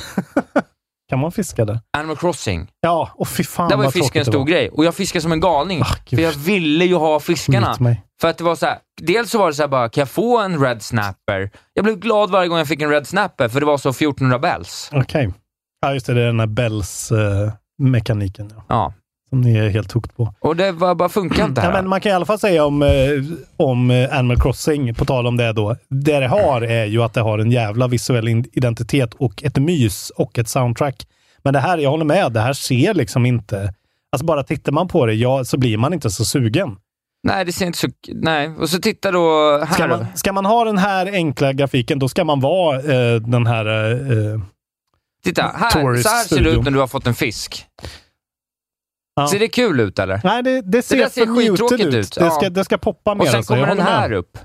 S3: kan man fiska där?
S2: Animal Crossing.
S3: Ja, och fy fan
S2: Där var ju
S3: vad
S2: fisken en
S3: tråkigt det
S2: stor grej och jag fiskade som en galning.
S3: Ah,
S2: för
S3: gud.
S2: jag ville ju ha fiskarna.
S3: Skjut mig.
S2: För att det var så här, dels så var det så här bara, kan jag få en red snapper? Jag blev glad varje gång jag fick en red snapper, för det var så 1400 bells.
S3: Okej. Ja, just det. Det är den här Bells-mekaniken. ja,
S2: Ja.
S3: som ni är helt hooked på.
S2: Och det var, bara funkar inte
S3: Ja,
S2: här.
S3: men man kan i alla fall säga om, eh, om eh, Animal Crossing, på tal om det då. Det det har är ju att det har en jävla visuell in- identitet och ett mys och ett soundtrack. Men det här, jag håller med, det här ser liksom inte... Alltså bara tittar man på det ja, så blir man inte så sugen.
S2: Nej, det ser inte så... Nej. Och så titta då här.
S3: Ska man, ska man ha den här enkla grafiken, då ska man vara eh, den här... Eh,
S2: titta, här. Så här ser det
S3: Tourist-studion.
S2: ut när du har fått en fisk.
S3: Ja.
S2: Ser det kul ut eller?
S3: nej, det, det ser,
S2: där
S3: det
S2: ser skittråkigt
S3: ut.
S2: ut,
S3: Det,
S2: ja.
S3: ska, det ska poppa mer.
S2: Och sen
S3: alltså, jag
S2: kommer den
S3: håller med.
S2: här upp.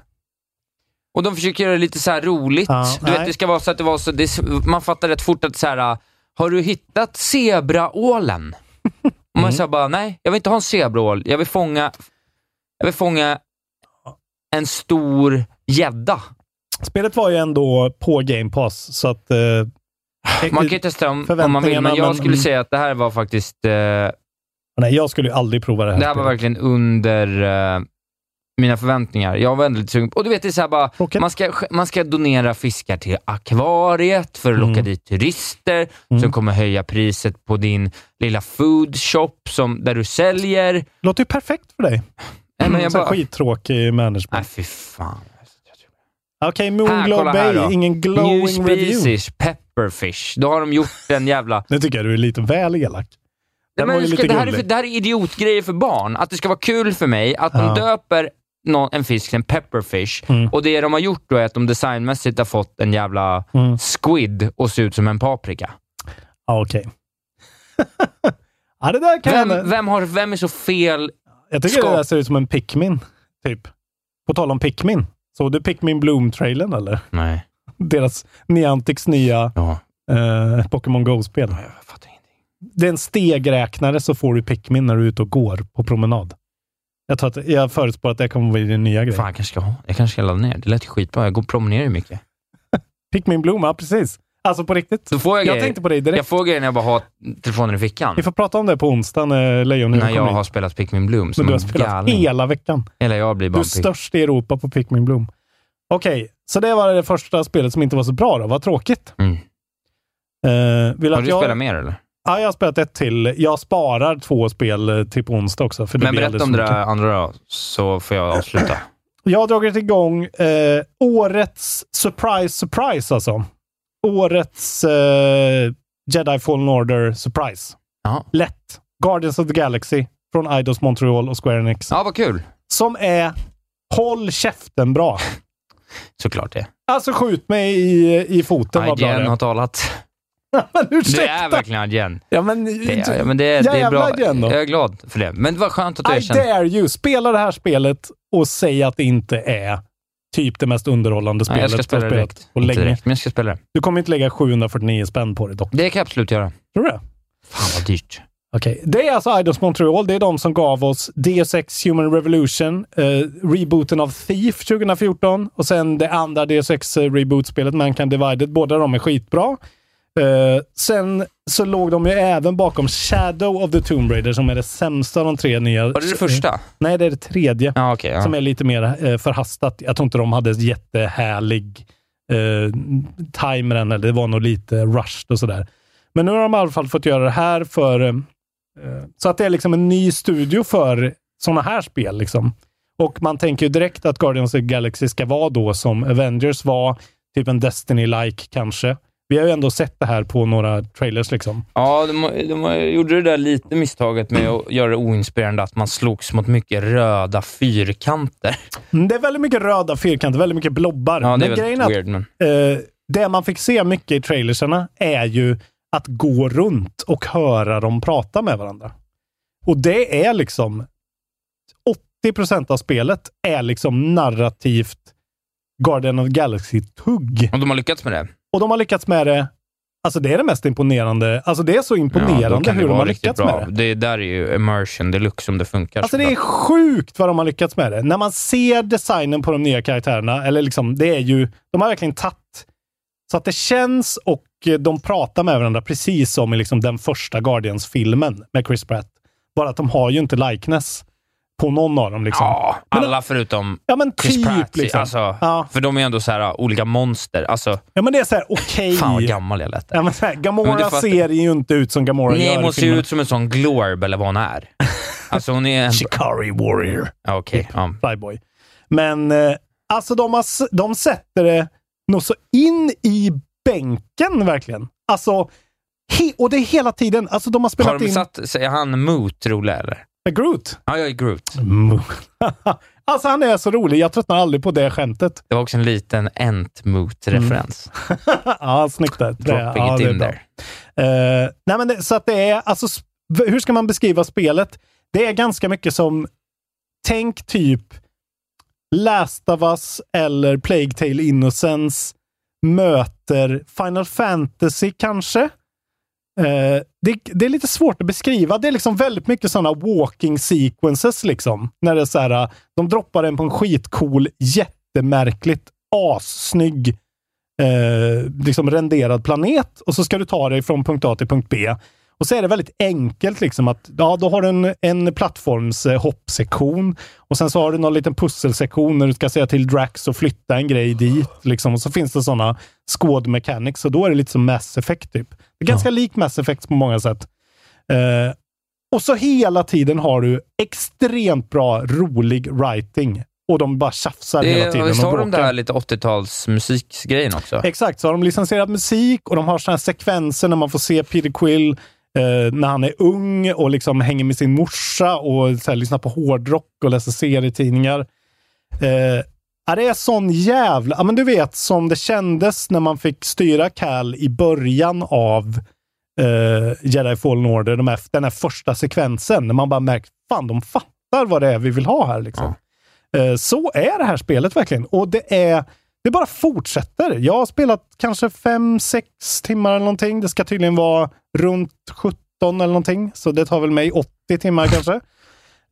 S2: Och de försöker göra det lite så här roligt.
S3: Ja,
S2: du vet,
S3: nej.
S2: det ska vara så att det var så... Det, man fattar rätt fort att så här, har du hittat zebraålen? Och
S3: Mm.
S2: man sa bara, nej, jag vill inte ha en zebraål. Jag vill fånga, jag vill fånga en stor gädda.
S3: Spelet var ju ändå på Game Pass, så att... Eh,
S2: Man kan ju testa om, om man vill,
S3: Förväntningarna,
S2: men jag
S3: men-
S2: skulle säga att det här var faktiskt, eh, det
S3: nej, jag skulle ju aldrig prova det här.
S2: här var
S3: spelet.
S2: verkligen under eh, mina förväntningar. Jag var ändå lite sugen. på- Och du vet, det är så här bara,
S3: Tråkigt.
S2: man ska, man ska donera fiskar till akvariet för att locka
S3: Mm.
S2: dit turister som
S3: Mm.
S2: kommer höja priset på din lilla food shop som, där du säljer. Nej,
S3: Låter ju perfekt för dig.
S2: men jag
S3: Så här
S2: bara...
S3: Skittråkig
S2: Nej,
S3: management.
S2: fy fan.
S3: Okej,
S2: Här,
S3: Moonglow
S2: kolla här då.
S3: Bay. Ingen
S2: New
S3: glowing review.
S2: species, pepperfish. Då har de gjort en jävla...
S3: Nu tycker jag du är lite väl elak.
S2: Nej,
S3: Den var
S2: men
S3: ju
S2: ska,
S3: lite
S2: det, här är
S3: gullig.
S2: för, det här är idiotgrejer för barn. Att det ska vara kul för mig att de
S3: Ja.
S2: döper någon, en fisk till en pepperfish
S3: Mm.
S2: och det de har gjort då är att de designmässigt har fått en jävla
S3: Mm.
S2: squid och ser ut som en paprika.
S3: Ja, okej. ja, det där kan
S2: Vem, vem, har, vem är så fel?
S3: Jag tycker
S2: ska-
S3: det där ser ut som en Pikmin, typ. På tal om Pikmin. Såg du Pikmin Bloom-trailern eller?
S2: Nej.
S3: Deras Niantics nya
S2: Ja.
S3: eh, Pokémon Go-spel.
S2: Jag fattar ingenting.
S3: Det är en stegräknare så får du Pikmin när du är ute och går på promenad. Jag, tror att, jag förutspår att det kommer bli din nya grej.
S2: Fan, jag kanske ska ha. Jag kanske ska ladda ner. Det lät ju skitbra. Jag går och promenerar ju mycket.
S3: Pikmin Bloom, ja precis. Alltså på riktigt.
S2: Då får jag
S3: jag
S2: grejer.
S3: tänkte på dig direkt.
S2: Jag får grejer när jag bara har telefonen i fickan.
S3: Vi får prata om det på onsdag när Lejonhuvud
S2: När
S3: kommer
S2: jag har
S3: hit.
S2: spelat Pikmin Bloom
S3: Men
S2: som
S3: du har
S2: en
S3: spelat
S2: galning.
S3: hela veckan.
S2: Hela jag blir
S3: Du
S2: bara
S3: är
S2: en Pikmin.
S3: störst i Europa på Pikmin Bloom. Okej, så det var det första spelet som inte var så bra då. Vad tråkigt.
S2: Mm.
S3: Eh, vill
S2: Har
S3: att
S2: du
S3: jag...
S2: spelat mer eller?
S3: Ja, jag har spelat ett till. Jag sparar två spel eh, till på onsdag också. För det
S2: Men
S3: blir
S2: berätta
S3: alldeles
S2: om
S3: för
S2: det
S3: mycket.
S2: där andra då, så får jag avsluta.
S3: Jag har dragit igång eh, årets surprise, surprise alltså. Årets eh, Jedi Fallen Order surprise.
S2: Ja.
S3: Lätt. Guardians of the Galaxy från Idos Montreal och Square Enix.
S2: Ja, vad kul.
S3: Som är håll käften bra.
S2: Såklart det.
S3: Alltså skjut mig i, i foten vad bra det
S2: IGN har
S3: är.
S2: talat.
S3: Men
S2: Det är
S3: ursäkta!
S2: verkligen IGN.
S3: Ja, men,
S2: Det är, ja, men det, är- det är
S3: Jävla
S2: bra.
S3: IGN då.
S2: Jag är glad för det. Men vad skönt att du
S3: I
S2: erkände.
S3: dare you! Spela det här spelet och säg att det inte är typ det mest underhållande
S2: Nej,
S3: spelet
S2: jag ska spela
S3: du
S2: det
S3: har spelat
S2: direkt.
S3: på
S2: Inte
S3: länge.
S2: direkt. Men jag ska spela det.
S3: Du kommer inte lägga 749 spänn på det dock.
S2: Det kan jag absolut göra.
S3: Tror du det?
S2: Fan vad dyrt.
S3: Okej. Det är alltså Idos Montreal. Det är de som gav oss Deus Ex Human Revolution, eh, rebooten av Thief 2014 och sen det andra Deus Ex eh, reboot-spelet Mankind Divided. Båda de är skitbra. Eh, sen så låg de ju även bakom Shadow of the Tomb Raider som är det sämsta av de tre nya.
S2: Var det det första?
S3: Nej, det är det tredje.
S2: Ja, okej.
S3: Som
S2: ja.
S3: är lite mer eh, förhastat. Jag tror inte de hade jättehärlig eh, timer än, eller det var nog lite rushed och sådär. Men nu har de i alla fall fått göra det här för... Eh, så att det är liksom en ny studio för sådana här spel. Liksom. Och man tänker ju direkt att Guardians of the Galaxy ska vara då som Avengers var, typ en Destiny-like kanske. Vi har ju ändå sett det här på några trailers liksom.
S2: Ja, de, har- de har- gjorde det där lite misstaget med att göra det oinspirerande att man slogs mot mycket röda fyrkanter.
S3: Mm, Det är väldigt mycket röda fyrkanter, väldigt mycket blobbar.
S2: Ja, det är
S3: Men grejen
S2: väldigt
S3: är att
S2: weird, men...
S3: Eh, det man fick se mycket i trailersarna är ju att gå runt och höra dem prata med varandra. Och det är liksom 80 procent av spelet är liksom narrativt Guardian of the Galaxy-tugg.
S2: Och de har lyckats med det.
S3: Och de har lyckats med det. Alltså det är det mest imponerande. Alltså det är så
S2: Ja, då
S3: imponerande
S2: kan det
S3: hur de
S2: vara
S3: har
S2: riktigt
S3: lyckats
S2: bra.
S3: med det.
S2: Det där är ju immersion deluxe om det funkar.
S3: Alltså
S2: så
S3: det
S2: bra.
S3: är sjukt vad de har lyckats med det. När man ser designen på de nya karaktärerna, eller liksom, det är ju, de har verkligen tagit så att det känns och eh, de pratar med varandra precis som i liksom den första Guardians-filmen med Chris Pratt. Bara att de har ju inte likeness på någon av dem. Liksom.
S2: Ja, alla förutom
S3: Ja, men
S2: Chris
S3: typ
S2: Pratt.
S3: liksom.
S2: Alltså,
S3: Ja.
S2: För de är ändå så här ah, olika monster. Alltså,
S3: Ja, men det är så här, okej.
S2: fan vad gammal jag lät.
S3: Ja, men så här, Gamora
S2: Men du fattar-
S3: ser ju inte ut som Gamora
S2: Nej,
S3: gör
S2: men
S3: i
S2: hon ser ju
S3: filmen.
S2: ut som en sån glorb eller vad hon är. Alltså hon är... en-
S3: Shikari Warrior.
S2: Ja, Okej, ja.
S3: Flyboy. Men eh, alltså de, har, s- de sätter det nog så in i bänken verkligen. Alltså, he, och det är hela tiden. Alltså de har spelat
S2: Har de
S3: in
S2: satt, säger han Moot rolig eller?
S3: Groot.
S2: Ja, jag är Groot.
S3: alltså han är så rolig. Jag tröttnar aldrig på det skämtet.
S2: Det var också en liten Ent-Moot-referens.
S3: Mm. ja, snyggt där. Det,
S2: Dropping
S3: ja,
S2: it
S3: det är
S2: in
S3: bra.
S2: there.
S3: Eh, nej men det, så att det är, alltså, sp- v- hur ska man beskriva spelet? Det är ganska mycket som, tänk typ Last of Us eller Plague Tale Innocence möter Final Fantasy kanske. Eh, det, det är lite svårt att beskriva. Det är liksom väldigt mycket sådana walking sequences liksom. När det är så här, de droppar en på en skitcool, jättemärkligt, assnygg eh, liksom renderad planet och så ska du ta dig från punkt A till punkt B. Och så är det väldigt enkelt liksom att ja, då har du en, en plattforms eh, hoppsektion och sen så har du någon liten pusselsektion när du ska säga till Drax att flytta en grej dit liksom. Och så finns det sådana skåd mechanics och då är det lite som Mass Effect typ. Det är ganska likt Mass Effect på många sätt. Eh, och så hela tiden har du extremt bra, rolig writing. Och de bara tjafsar hela
S2: Det,
S3: tiden.
S2: visst
S3: och
S2: har de
S3: bråkar.
S2: där lite 80-talsmusiksgrejen också?
S3: Exakt, så har de licensierat musik och de har såna här sekvenser när man får se Peter Quill eh, när han är ung och liksom hänger med sin morsa och så här, lyssnar på hårdrock och läser serietidningar. Eh, ja, det är sån jävla... Ja, men du vet, som det kändes när man fick styra Cal i början av eh, Jedi Fallen Order, de här, den här första sekvensen, när man bara märkt fan, de fattar vad det är vi vill ha här. Liksom. Eh, så är det här spelet verkligen. Och det är... Det bara fortsätter. Jag har spelat kanske 5-6 timmar eller någonting. Det ska tydligen vara runt 17 eller någonting, så det tar väl mig 80 timmar kanske.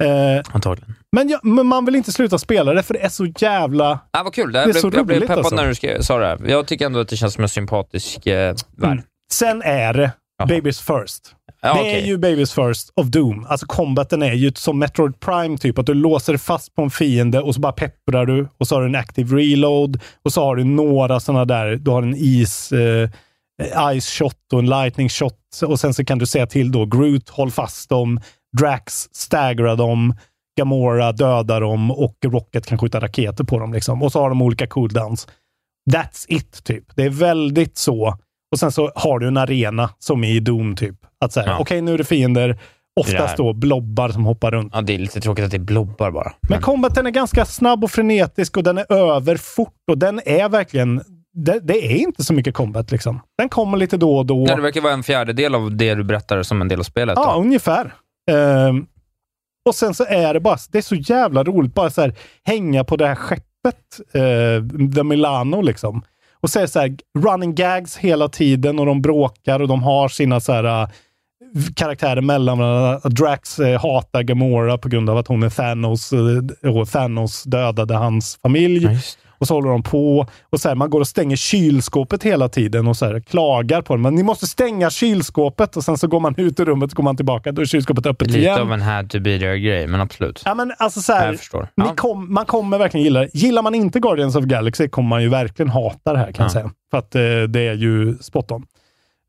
S3: Eh,
S2: Antagligen.
S3: men, jag, men man vill inte sluta spela det, för det är så jävla...
S2: Ah, vad kul. Det
S3: Det är
S2: jag,
S3: så
S2: blev, jag blev
S3: roligt,
S2: peppad
S3: alltså.
S2: när du ska, sa det här. Jag tycker ändå att det känns som en sympatisk eh, värld.
S3: Sen är det
S2: Jaha.
S3: Babies First.
S2: Ja,
S3: Mm. det
S2: okej.
S3: är ju Babies First of Doom. Alltså combaten är ju som Metroid Prime, typ att du låser fast på en fiende och så bara pepprar du och så har du en active reload och så har du några sådana där, du har en is... Eh, Ice Shot och en Lightning Shot. Och sen så kan du säga till då Groot, håll fast dem. Drax, staggra dem. Gamora, döda dem. Och Rocket kan skjuta raketer på dem. Liksom. Och så har de olika cooldowns. That's it, typ. Det är väldigt så. Och sen så har du en arena som i Doom, typ. Att säga,
S2: Ja.
S3: okej, nu är det fiender. Oftast då blobbar som hoppar runt.
S2: Ja, det är lite tråkigt att det är blobbar bara.
S3: Men combaten är ganska snabb och frenetisk och den är över fort och den är verkligen... Det, det är inte så mycket combat liksom. Den kommer lite då och då.
S2: Ja, det verkar vara en fjärdedel av det du berättar som en del av spelet.
S3: Ja,
S2: då.
S3: ungefär. Ehm, och sen så är det bara, det är så jävla roligt, bara så här, hänga på det här skeppet, eh, The Milano liksom. Och så är det så här, running gags hela tiden och de bråkar och de har sina så här, eh, karaktärer mellan varandra. Drax eh, hatar Gamora på grund av att hon är Thanos eh, och Thanos dödade hans familj.
S2: Ja, just det.
S3: Och så håller de på. Och så här, man går och stänger kylskåpet hela tiden och så här, klagar på dem. Men ni måste stänga kylskåpet och sen så går man ut ur rummet och går man tillbaka. Då är kylskåpet öppet
S2: Lite
S3: igen.
S2: av en had to be there-grej, men absolut.
S3: Ja, men alltså så
S2: Jag
S3: här,
S2: förstår.
S3: ni
S2: Ja.
S3: kom, man kommer verkligen gilla det. Gillar man inte Guardians of Galaxy kommer man ju verkligen hata det här kan jag
S2: Ja.
S3: säga. För att eh, det är ju spot on.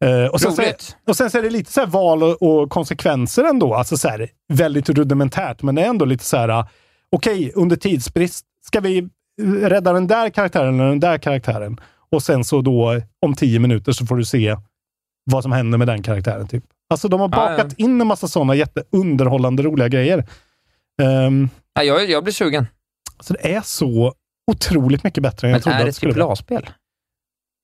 S3: Eh, och, sen så är,
S2: Roligt.
S3: och sen så är det lite så här val och, och konsekvenser ändå. Alltså så här, väldigt rudimentärt, men det är ändå lite så här, ah, okej, under tidsbrist, ska vi eh, rädda den där karaktären eller den där karaktären? Och sen så då, eh, om tio minuter så får du se vad som händer med den karaktären. Typ. Alltså de har
S2: Ja, ja.
S3: bakat in en massa sådana jätteunderhållande roliga grejer. Ehm,
S2: Ja, jag, jag blir sugen.
S3: så det är så otroligt mycket bättre än jag
S2: Men
S3: trodde
S2: är
S3: att
S2: det
S3: det
S2: ett typ
S3: skulle vara.
S2: AAA-spel?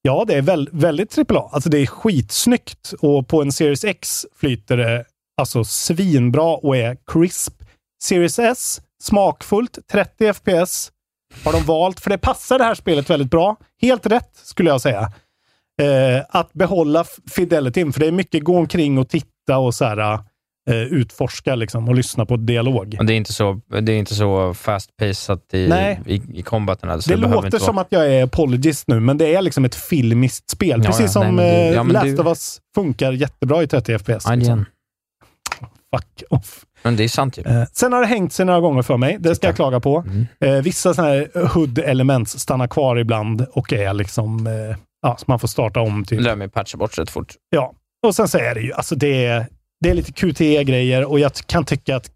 S3: Ja, det är väl, väldigt AAA. Alltså det är skitsnyggt och på en Series X flyter det alltså svinbra och är crisp. Series S, smakfullt, 30 FPS har de valt, för det passar det här spelet väldigt bra. Helt rätt skulle jag säga. Eh, att behålla f- fidelityn, för det är mycket gå omkring och titta och så här, eh, utforska liksom, och lyssna på dialog.
S2: Och Det är inte så, det är inte så fast-pacat i,
S3: Nej.
S2: i, i combaten. Alltså,
S3: Det,
S2: behöver
S3: låter
S2: inte vara-
S3: som att jag är apologist nu, men det är liksom ett filmiskt spel.
S2: Ja,
S3: Precis
S2: ja, nej, men
S3: som
S2: det-
S3: eh,
S2: ja, men
S3: Last
S2: du-
S3: of Us funkar jättebra i 30 FPS.
S2: Ja,
S3: Liksom.
S2: igen.
S3: Fuck off.
S2: Men det är sant ju.
S3: Eh, sen har det hängt sig några gånger för mig. Det ska jag klaga på.
S2: Mm.
S3: Eh, vissa sådana här HUD-elements stannar kvar ibland och är liksom... Eh, ja, så man får starta om. Typ.
S2: Lär mig patcha bort rätt fort.
S3: Ja, och sen så är det ju, alltså det är, det är lite QTE-grejer och jag t- kan tycka att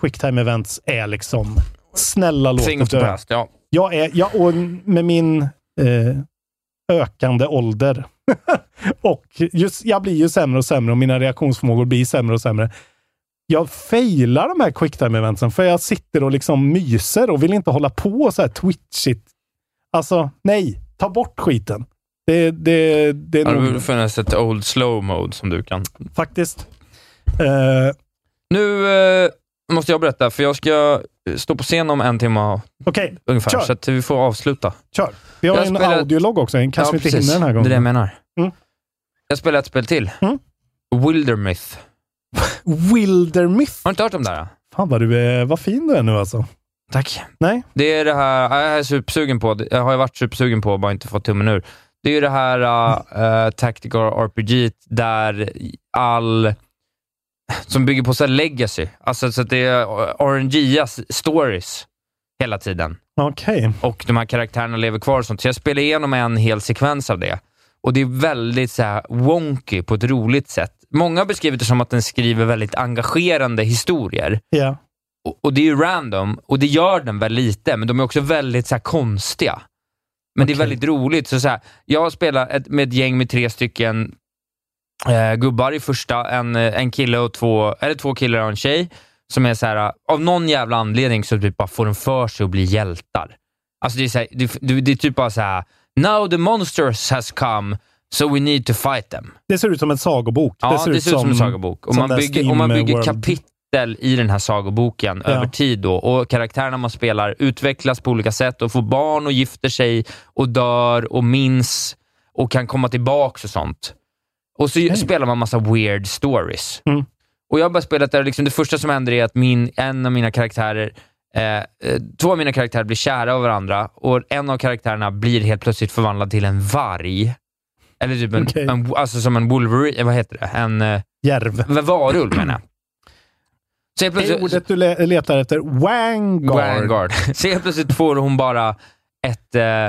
S3: quicktime events är liksom, snälla låt
S2: Thing
S3: det
S2: of the
S3: dö.
S2: past, ja.
S3: Jag är, jag, och med min eh, ökande ålder och just, jag blir ju sämre och sämre och mina reaktionsförmågor blir sämre och sämre. Jag failar de här quicktime-eventsen för jag sitter och liksom myser och vill inte hålla på så här twitchigt. Alltså, nej. Ta bort skiten. Det, det, det är
S2: Har
S3: nog...
S2: det funnits ett old slow mode som du kan?
S3: faktiskt. Eh,
S2: Nu eh, måste jag berätta, för jag ska eh, stå på scen om en timme
S3: Okej,
S2: ungefär,
S3: Kör.
S2: så att vi får avsluta.
S3: kör. Vi har
S2: Jag
S3: en
S2: spelar-
S3: audiolog också. Den kanske vi inte hinner den här
S2: Det är det jag
S3: gången.
S2: menar.
S3: Mm.
S2: Jag spelar ett spel till.
S3: Mm.
S2: Wildermyth.
S3: Wildermyth.
S2: Har du inte hört om det här?
S3: Fan vad, du är, vad fin du är nu alltså.
S2: Tack.
S3: Nej.
S2: Det är det här, ja, jag är supersugen på, det har jag varit supersugen på, bara inte fått tummen ur. Det är ju det här uh, Tactical RPG där all, som bygger på så här legacy, alltså så att det är RNG stories hela tiden.
S3: Okej.
S2: och de här karaktärerna lever kvar och sånt. Så jag spelar igenom en hel sekvens av det. Och det är väldigt så här wonky på ett roligt sätt. Många har beskrivit det som att den skriver väldigt engagerande historier.
S3: Ja.
S2: Och, och det är ju random, och det gör den väl lite, men de är också väldigt så här konstiga. Men det är
S3: Okej.
S2: väldigt roligt. Så så här, jag spelar ett, med ett gäng med tre stycken eh, gubbar i första, en, eh, en kille och två, eller två killar och en tjej, som är så här, eh, av någon jävla anledning så typ bara får de för sig att bli hjältar. Alltså det är, så här, det, det, det är typ bara så här, now the monsters has come, so we need to fight them.
S3: Det ser ut som en sagobok.
S2: Ja, det ser ut som, en sagobok. Och
S3: som
S2: man,
S3: den
S2: bygger, och man
S3: Steam
S2: bygger
S3: World.
S2: kapitel i den här sagoboken
S3: Ja.
S2: över tid då. Och karaktärerna man spelar utvecklas på olika sätt och får barn och gifter sig och dör och minns och kan komma tillbaks och sånt. Och så spelar man massa weird stories.
S3: Mm.
S2: Och jag har bara spelat där, liksom det första som händer är att min, en av mina karaktärer Eh, eh, två av mina karaktärer blir kära av varandra och en av karaktärerna blir helt plötsligt förvandlad till en varg. Eller typ en,
S3: Okej.
S2: en, alltså som en Wolverine, eh, vad heter det? En eh,
S3: Järv.
S2: vad- varulv menar jag. Så helt
S3: Det är
S2: plötsligt,
S3: ordet du le- letar efter. Wangard.
S2: Vanguard. Så helt plötsligt får hon bara ett, eh,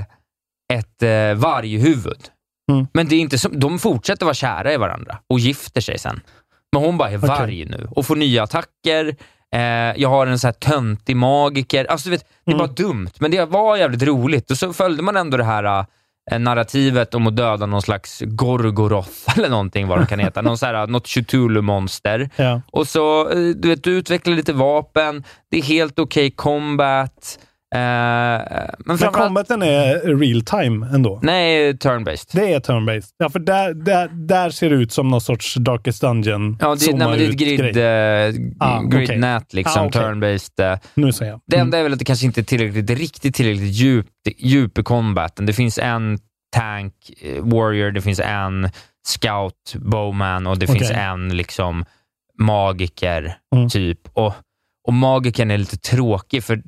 S2: ett eh, varghuvud.
S3: Mm.
S2: Men det är inte som, de fortsätter vara kära i varandra och gifter sig sen. Men hon bara är
S3: Okej.
S2: varg nu och får nya attacker. Eh, jag har en så här töntig magiker. Alltså, du vet, det är
S3: Mm.
S2: bara dumt, men det var jävligt roligt. Och så följde man ändå det här eh, narrativet om att döda någon slags Gorgoroth eller någonting, vad de kan heta. någon så här, eh, något Cthulhu-monster.
S3: Ja.
S2: Och så, eh, du vet, du utvecklar lite vapen, det är helt okej combat. Eh, men
S3: Men
S2: framförallt,
S3: combaten är real time ändå.
S2: nej, turn-based.
S3: Det är turn-based. Ja, för där, där, där ser det ut som någon sorts Darkest Dungeon.
S2: Ja, det, nej, men det är ett
S3: zooma ut-grej.
S2: grid, eh,
S3: Ah, okej.
S2: gridnät, liksom,
S3: Ah, okej.
S2: turn-based. eh.
S3: Nu ser jag.
S2: Det
S3: Mm.
S2: enda är väl att det kanske inte är tillräckligt, riktigt tillräckligt djup, djup i combaten. Det finns en tank, eh, warrior, det finns en scout, bowman och det
S3: Okej.
S2: finns en liksom magiker,
S3: Mm.
S2: typ. Och, och magikern är lite tråkig, för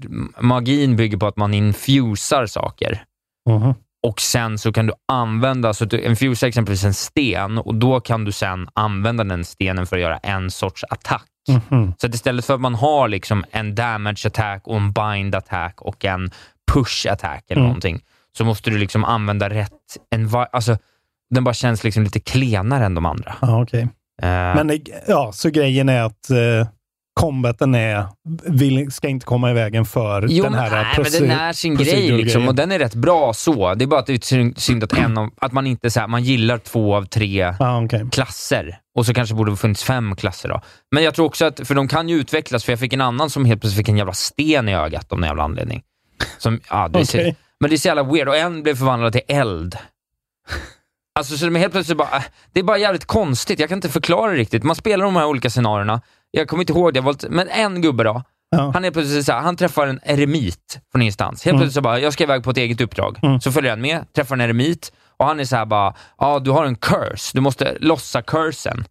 S2: magin bygger på att man infusar saker
S3: Mhm.
S2: och sen så kan du använda, så att du infusar exempelvis en sten och då kan du sen använda den stenen för att göra en sorts attack.
S3: Mhm.
S2: Så att istället för att man har liksom en damage attack och en bind attack och en push attack eller
S3: Mm.
S2: någonting, så måste du liksom använda rätt. En va- alltså, den bara känns liksom lite klenare än de andra.
S3: Ja, okej.
S2: Eh,
S3: Men det- ja, så grejen är att eh, combaten är, vill, ska inte komma i vägen för
S2: jo,
S3: den här eh,
S2: men, nej,
S3: proce-
S2: men den är sin grej liksom,
S3: procedurgrejen.
S2: och den är rätt bra så. Det är bara att det är synd- synd att, en av, att man inte så här, man gillar två av tre
S3: Ja, okej.
S2: klasser och så kanske borde det funnits fem klasser då. Men jag tror också att, för de kan ju utvecklas, för jag fick en annan som helt plötsligt fick en jävla sten i ögat av någon jävla anledning. Som, ja, det är så,
S3: Okej.
S2: men det är så jävla weird och en blev förvandlad till eld. Alltså så de är helt plötsligt bara, äh, det är bara jävligt konstigt, jag kan inte förklara det riktigt. Man spelar de här olika scenarierna, jag kommer inte ihåg det, jag valt, men en gubbe då,
S3: Ja.
S2: han är plötsligt så här, han träffar en eremit från instans. Helt
S3: Mm.
S2: plötsligt så bara, jag ska iväg på ett eget uppdrag.
S3: Mm.
S2: Så följer han med, träffar en eremit och han är så här bara, ja du har en curse, du måste lossa cursen.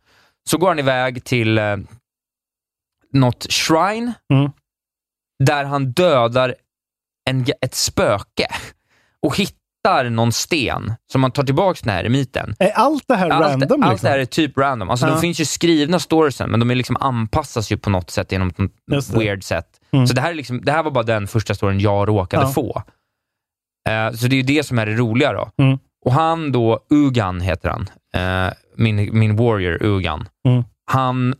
S2: Så går han iväg till eh, något shrine,
S3: Mm.
S2: där han dödar en, ga- ett spöke och hittar någon sten som man tar tillbaka till den här eremiten.
S3: Är allt det här
S2: Allt,
S3: random?
S2: allt
S3: liksom?
S2: det här är typ random. Alltså,
S3: Ja.
S2: De finns ju skrivna storiesen, men de är liksom anpassas ju på något sätt genom ett
S3: Just det.
S2: weird sätt.
S3: Mm.
S2: Så det här, är liksom, det här var bara den första storyn jag råkade
S3: Ja.
S2: få. Eh, så det är ju det som är det roliga då.
S3: Mm.
S2: Och han då, Ugan heter han, Eh, min, min warrior Ugan,
S3: Mm.
S2: han, han,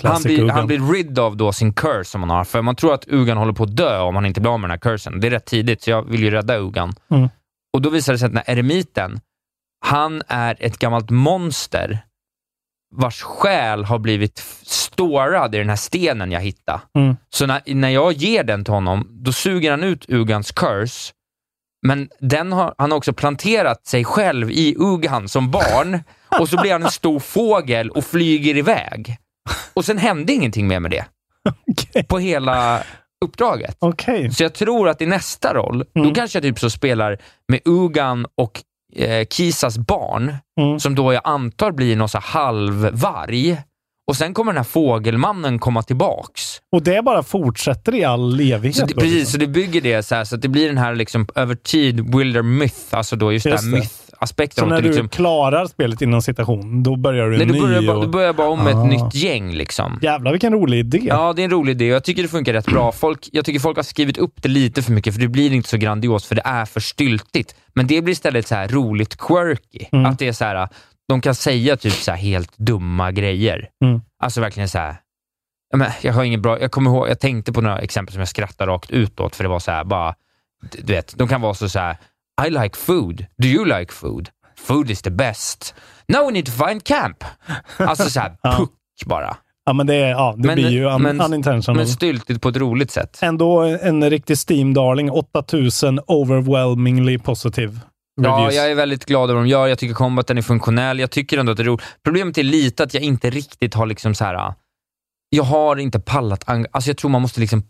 S3: Classic
S2: blir,
S3: Ugan.
S2: han blir rid av då sin curse som han har, för man tror att Ugan håller på att dö om han inte blir av med den här cursen. Det är rätt tidigt, så jag vill ju rädda Ugan.
S3: Mm.
S2: Och då visar det sig att den här eremiten, han är ett gammalt monster vars själ har blivit f- storad i den här stenen jag hittade.
S3: Mm.
S2: Så när, när jag ger den till honom, då suger han ut Ugans curse, men den har, han har också planterat sig själv i Ugan som barn och så blir han en stor fågel och flyger iväg. Och sen hände ingenting mer med det
S3: Okej.
S2: på hela uppdraget.
S3: Okej.
S2: Så jag tror att i nästa roll,
S3: Mm.
S2: då kanske jag typ så spelar med Ugan och eh, Kisas barn,
S3: Mm.
S2: som då jag antar blir någon så här halvvarg. Och sen kommer den här fågelmannen komma tillbaks.
S3: Och det bara fortsätter i all evighet?
S2: Så det,
S3: då,
S2: precis, så
S3: liksom.
S2: det bygger det så här, så att det blir den här liksom över tid wilder myth, alltså då just,
S3: Just
S2: den
S3: det.
S2: här myth-aspekten.
S3: så
S2: Och
S3: när
S2: att
S3: du
S2: det liksom,
S3: klarar spelet inom citation, då börjar du
S2: nej,
S3: en
S2: du,
S3: ny?
S2: börjar, bara-
S3: och...
S2: du börjar bara om med
S3: Ah.
S2: ett nytt gäng liksom.
S3: Jävlar vilken rolig idé.
S2: Ja, det är en rolig idé och jag tycker det funkar rätt bra. Folk, jag tycker folk har skrivit upp det lite för mycket för det blir inte så grandios för det är för styltigt. Men det blir istället så här roligt quirky.
S3: Mm.
S2: Att det är så här, de kan säga typ så här helt dumma grejer.
S3: Mm.
S2: Alltså verkligen så här. ja, men Jag har ingen bra, jag kommer ihåg, jag tänkte på några exempel som jag skrattade rakt utåt för det var så här bara, d- du vet, de kan vara så, så här, I like food, do you like food? Food is the best. Now we need to find camp. Alltså så här,
S3: Ja.
S2: puck bara.
S3: Ja, men det, är- ja, det
S2: Men-
S3: blir ju un,
S2: men-
S3: unintentional.
S2: Men styltigt på ett roligt sätt.
S3: Ändå en riktig Steam-darling. 8000 overwhelmingly positive
S2: Ja,
S3: reviews.
S2: jag är väldigt glad över vad de gör. Jag tycker combaten är funktionell. Jag tycker ändå att det är roligt. Problemet är lite att jag inte riktigt har liksom så här. ah, Jag har inte pallat. eng- Alltså jag tror man måste liksom...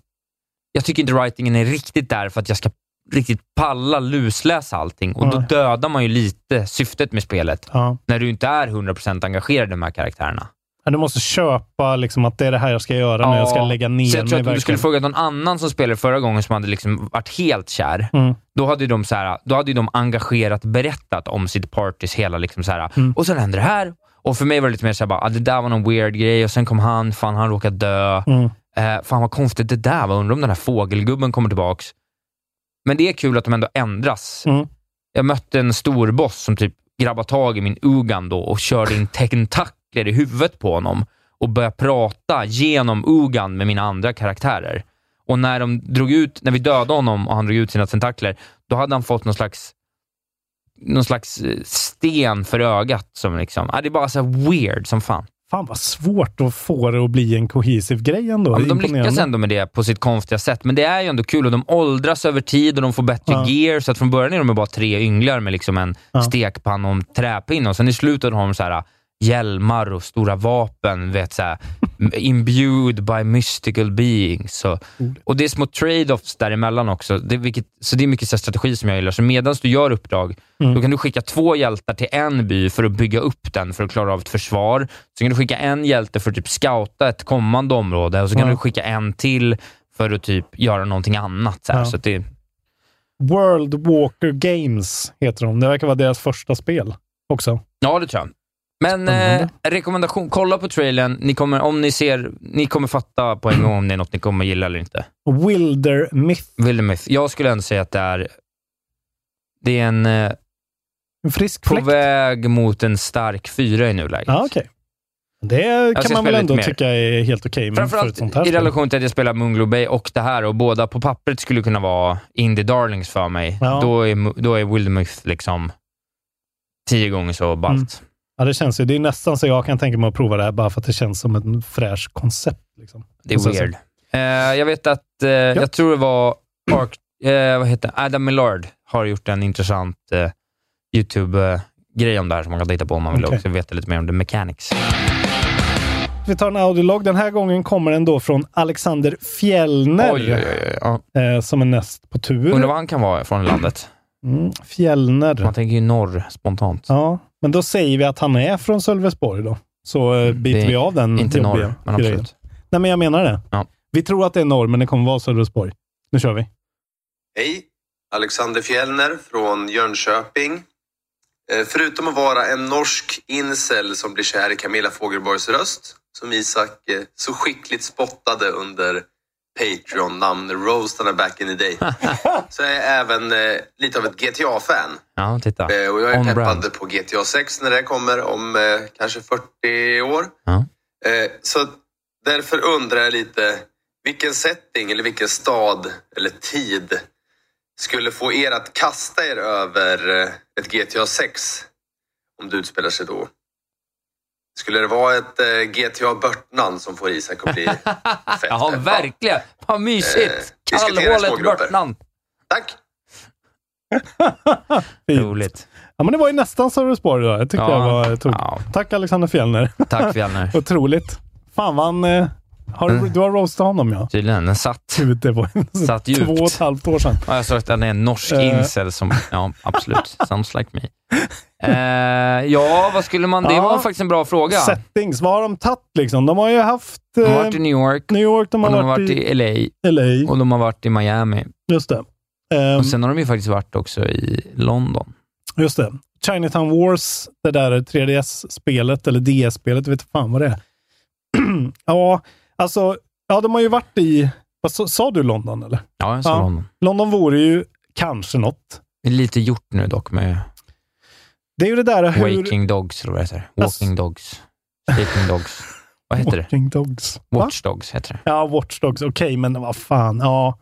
S2: Jag tycker inte writingen är riktigt där för att jag ska riktigt palla lusläsa allting och då
S3: Nej.
S2: dödar man ju lite syftet med spelet
S3: Ja.
S2: när du inte är 100% engagerad i de här karaktärerna.
S3: Men Du måste köpa liksom, att det är det här jag ska göra nu. Jag ska lägga ner
S2: Så jag tror
S3: mig
S2: att om du skulle
S3: verkligen.
S2: fråga någon annan som spelade förra gången som hade liksom varit helt kär,
S3: Mm.
S2: då hade ju de, så här, då hade ju de engagerat berättat om sitt partys hela, liksom så här,
S3: Mm.
S2: och sen hände det här. Och för mig var det lite mer såhär, ah, det där var någon weird grej och sen kom han, fan han råkade dö.
S3: Mm.
S2: Eh, fan vad konstigt det där var, undrar om den här fågelgubben kommer tillbaks. Men det är kul att de ändå ändras.
S3: Mm.
S2: Jag mötte en stor boss som typ grabbar tag i min Ugan då och körde in tentakler i huvudet på honom och började prata genom Ugan med mina andra karaktärer. Och när de drog ut, när vi dödade honom och han drog ut sina tentakler, då hade han fått någon slags någon slags eh, sten för ögat. Som liksom, ah, det är bara så här weird som fan.
S3: Fan vad svårt att få det att bli en kohesiv grej ändå.
S2: Ja, men de
S3: Imponerande.
S2: lyckas ändå med det på sitt konstiga sätt, men det är ju ändå kul och de åldras över tid och de får bättre
S3: Ja.
S2: gear. Så att från början är de ju bara tre ynglar med liksom en
S3: Ja.
S2: stekpanna och en träpinne och sen i slutet har de så här äh, hjälmar och stora vapen, vet så här, imbued by mystical beings. Så, och det är små trade-offs däremellan också, det, vilket, så det är mycket så här strategi som jag gillar. Så medan du gör uppdrag,
S3: Mm.
S2: då kan du skicka två hjältar till en by för att bygga upp den, för att klara av ett försvar. Sen kan du skicka en hjälte för att typ scouta ett kommande område och så kan
S3: Ja.
S2: du skicka en till för att typ göra någonting annat. Så här.
S3: Ja.
S2: Så att det,
S3: World Walker Games heter de. Det verkar vara deras första spel också.
S2: Ja, det tror jag. Men
S3: Spännande.
S2: eh, rekommendation, kolla på trailern. Ni kommer, om ni ser, ni kommer fatta på en gång om det är något ni kommer gilla eller inte.
S3: Wilder Myth.
S2: Vildermyth. Jag skulle ändå säga att det är, det är en, eh,
S3: En frisk
S2: på
S3: fläkt.
S2: väg mot en stark fyra i nuläget.
S3: Ja, okej. Det
S2: ska
S3: kan man väl
S2: spela
S3: ändå
S2: lite mer.
S3: tycka är helt okej. men Mm, för ett sånt här
S2: Framförallt i
S3: spel.
S2: relation till att jag spelar Munglo Bay och det här och båda på pappret skulle kunna vara Indie Darlings för mig.
S3: Ja.
S2: Då är, Mu- då är Wildermyth liksom tio gånger så ballt.
S3: Ja, det känns ju. Det är nästan så jag kan tänka mig att prova det här bara för att det känns som ett fräscht koncept. Liksom.
S2: Det
S3: Och
S2: är
S3: sen så-
S2: weird. Eh, jag vet att, eh, jag tror det var Ark, eh, vad heter han? Adam Millard har gjort en intressant eh, YouTube-grej om det här som man kan titta på om man vill
S3: Okej.
S2: också veta lite mer om the mechanics.
S3: Vi tar en audiolog. Den här gången kommer den då från Alexander Fjellner,
S2: Oj, oj, oj, oj. Ja.
S3: Eh, som är näst på
S2: Undrar
S3: tur.
S2: var han kan vara från i landet.
S3: Mm, Fjellner.
S2: Man tänker ju norr spontant.
S3: Ja, men då säger vi att han är från Sölvesborg då. Så eh, biter
S2: Mm, Det är
S3: vi av den
S2: Inte
S3: jobbiga
S2: norr, men
S3: grejen.
S2: absolut.
S3: Nej, men jag menar det.
S2: Ja.
S3: Vi tror att det är norr, men det kommer vara Sölvesborg. Nu kör vi.
S6: Hej! Alexander Fjellner från Jönköping. Eh, Förutom att vara en norsk incel som blir kär i Camilla Fogelborgs röst, som Isak eh, så skickligt spottade under Patreon-namn-roastarna back in the day, så är jag även eh, lite av ett GTA-fan.
S2: Ja, titta.
S6: Eh, Och jag är
S2: On
S6: peppad
S2: brand.
S6: på GTA 6 när det kommer om eh, kanske 40 år.
S2: Ja.
S6: Eh, Så att därför undrar jag lite, vilken setting eller vilken stad eller tid skulle få er att kasta er över eh, ett GTA 6 om det utspelar sig då? Skulle det vara ett eh, GTA Börtnan som får Isak att bli fett
S2: Ja,
S6: peppad?
S2: verkligen. Vad mysigt.
S6: Eh, diskutera i
S2: Kallhålet
S6: smågrupper.
S2: Börtnan.
S6: Tack!
S3: Fint.
S2: Roligt.
S3: Ja, men det var ju nästan Sölvesborg då. Jag tyckte
S2: Ja.
S3: jag var... Tog.
S2: Ja.
S3: Tack Alexander Fjellner.
S2: Tack Fjellner.
S3: Otroligt. Fan vad han... Eh, har, du- du har roastat honom ja.
S2: Tydligen, den satt.
S3: Gud, det var
S2: Mm. Satt
S3: två och ett
S2: djupt.
S3: halvt år sedan.
S2: Ja, jag sa att han är en norsk
S3: Eh.
S2: incel som... Ja, absolut. Sounds like me. Eh, ja, vad skulle man... Det
S3: Ja.
S2: var faktiskt en bra fråga.
S3: Settings, vad har de tagit liksom? De har ju haft eh,
S2: De har varit i New York,
S3: New York, de har,
S2: och de har
S3: varit, i,
S2: i LA
S3: LA.
S2: och de har varit i Miami.
S3: Just det. Ehm,
S2: Och sen har de ju faktiskt varit också i London.
S3: just det. Chinatown Wars, det där 3DS-spelet, eller DS-spelet, jag vet fan vad det är. ja, alltså, ja, de har ju varit i... Vad, sa, sa du London eller?
S2: Ja, jag sa
S3: Ja.
S2: London.
S3: London vore ju kanske något.
S2: Det är lite gjort nu dock med
S3: Det är ju det där hur...
S2: Waking Dogs, eller vad det heter.
S3: Alltså-
S2: Walking Dogs. Sleeping Dogs. Vad heter det?
S3: Walking Dogs. Va?
S2: Watch Dogs heter det.
S3: Ja, Watch Dogs. Okej, men vad fan. Ja,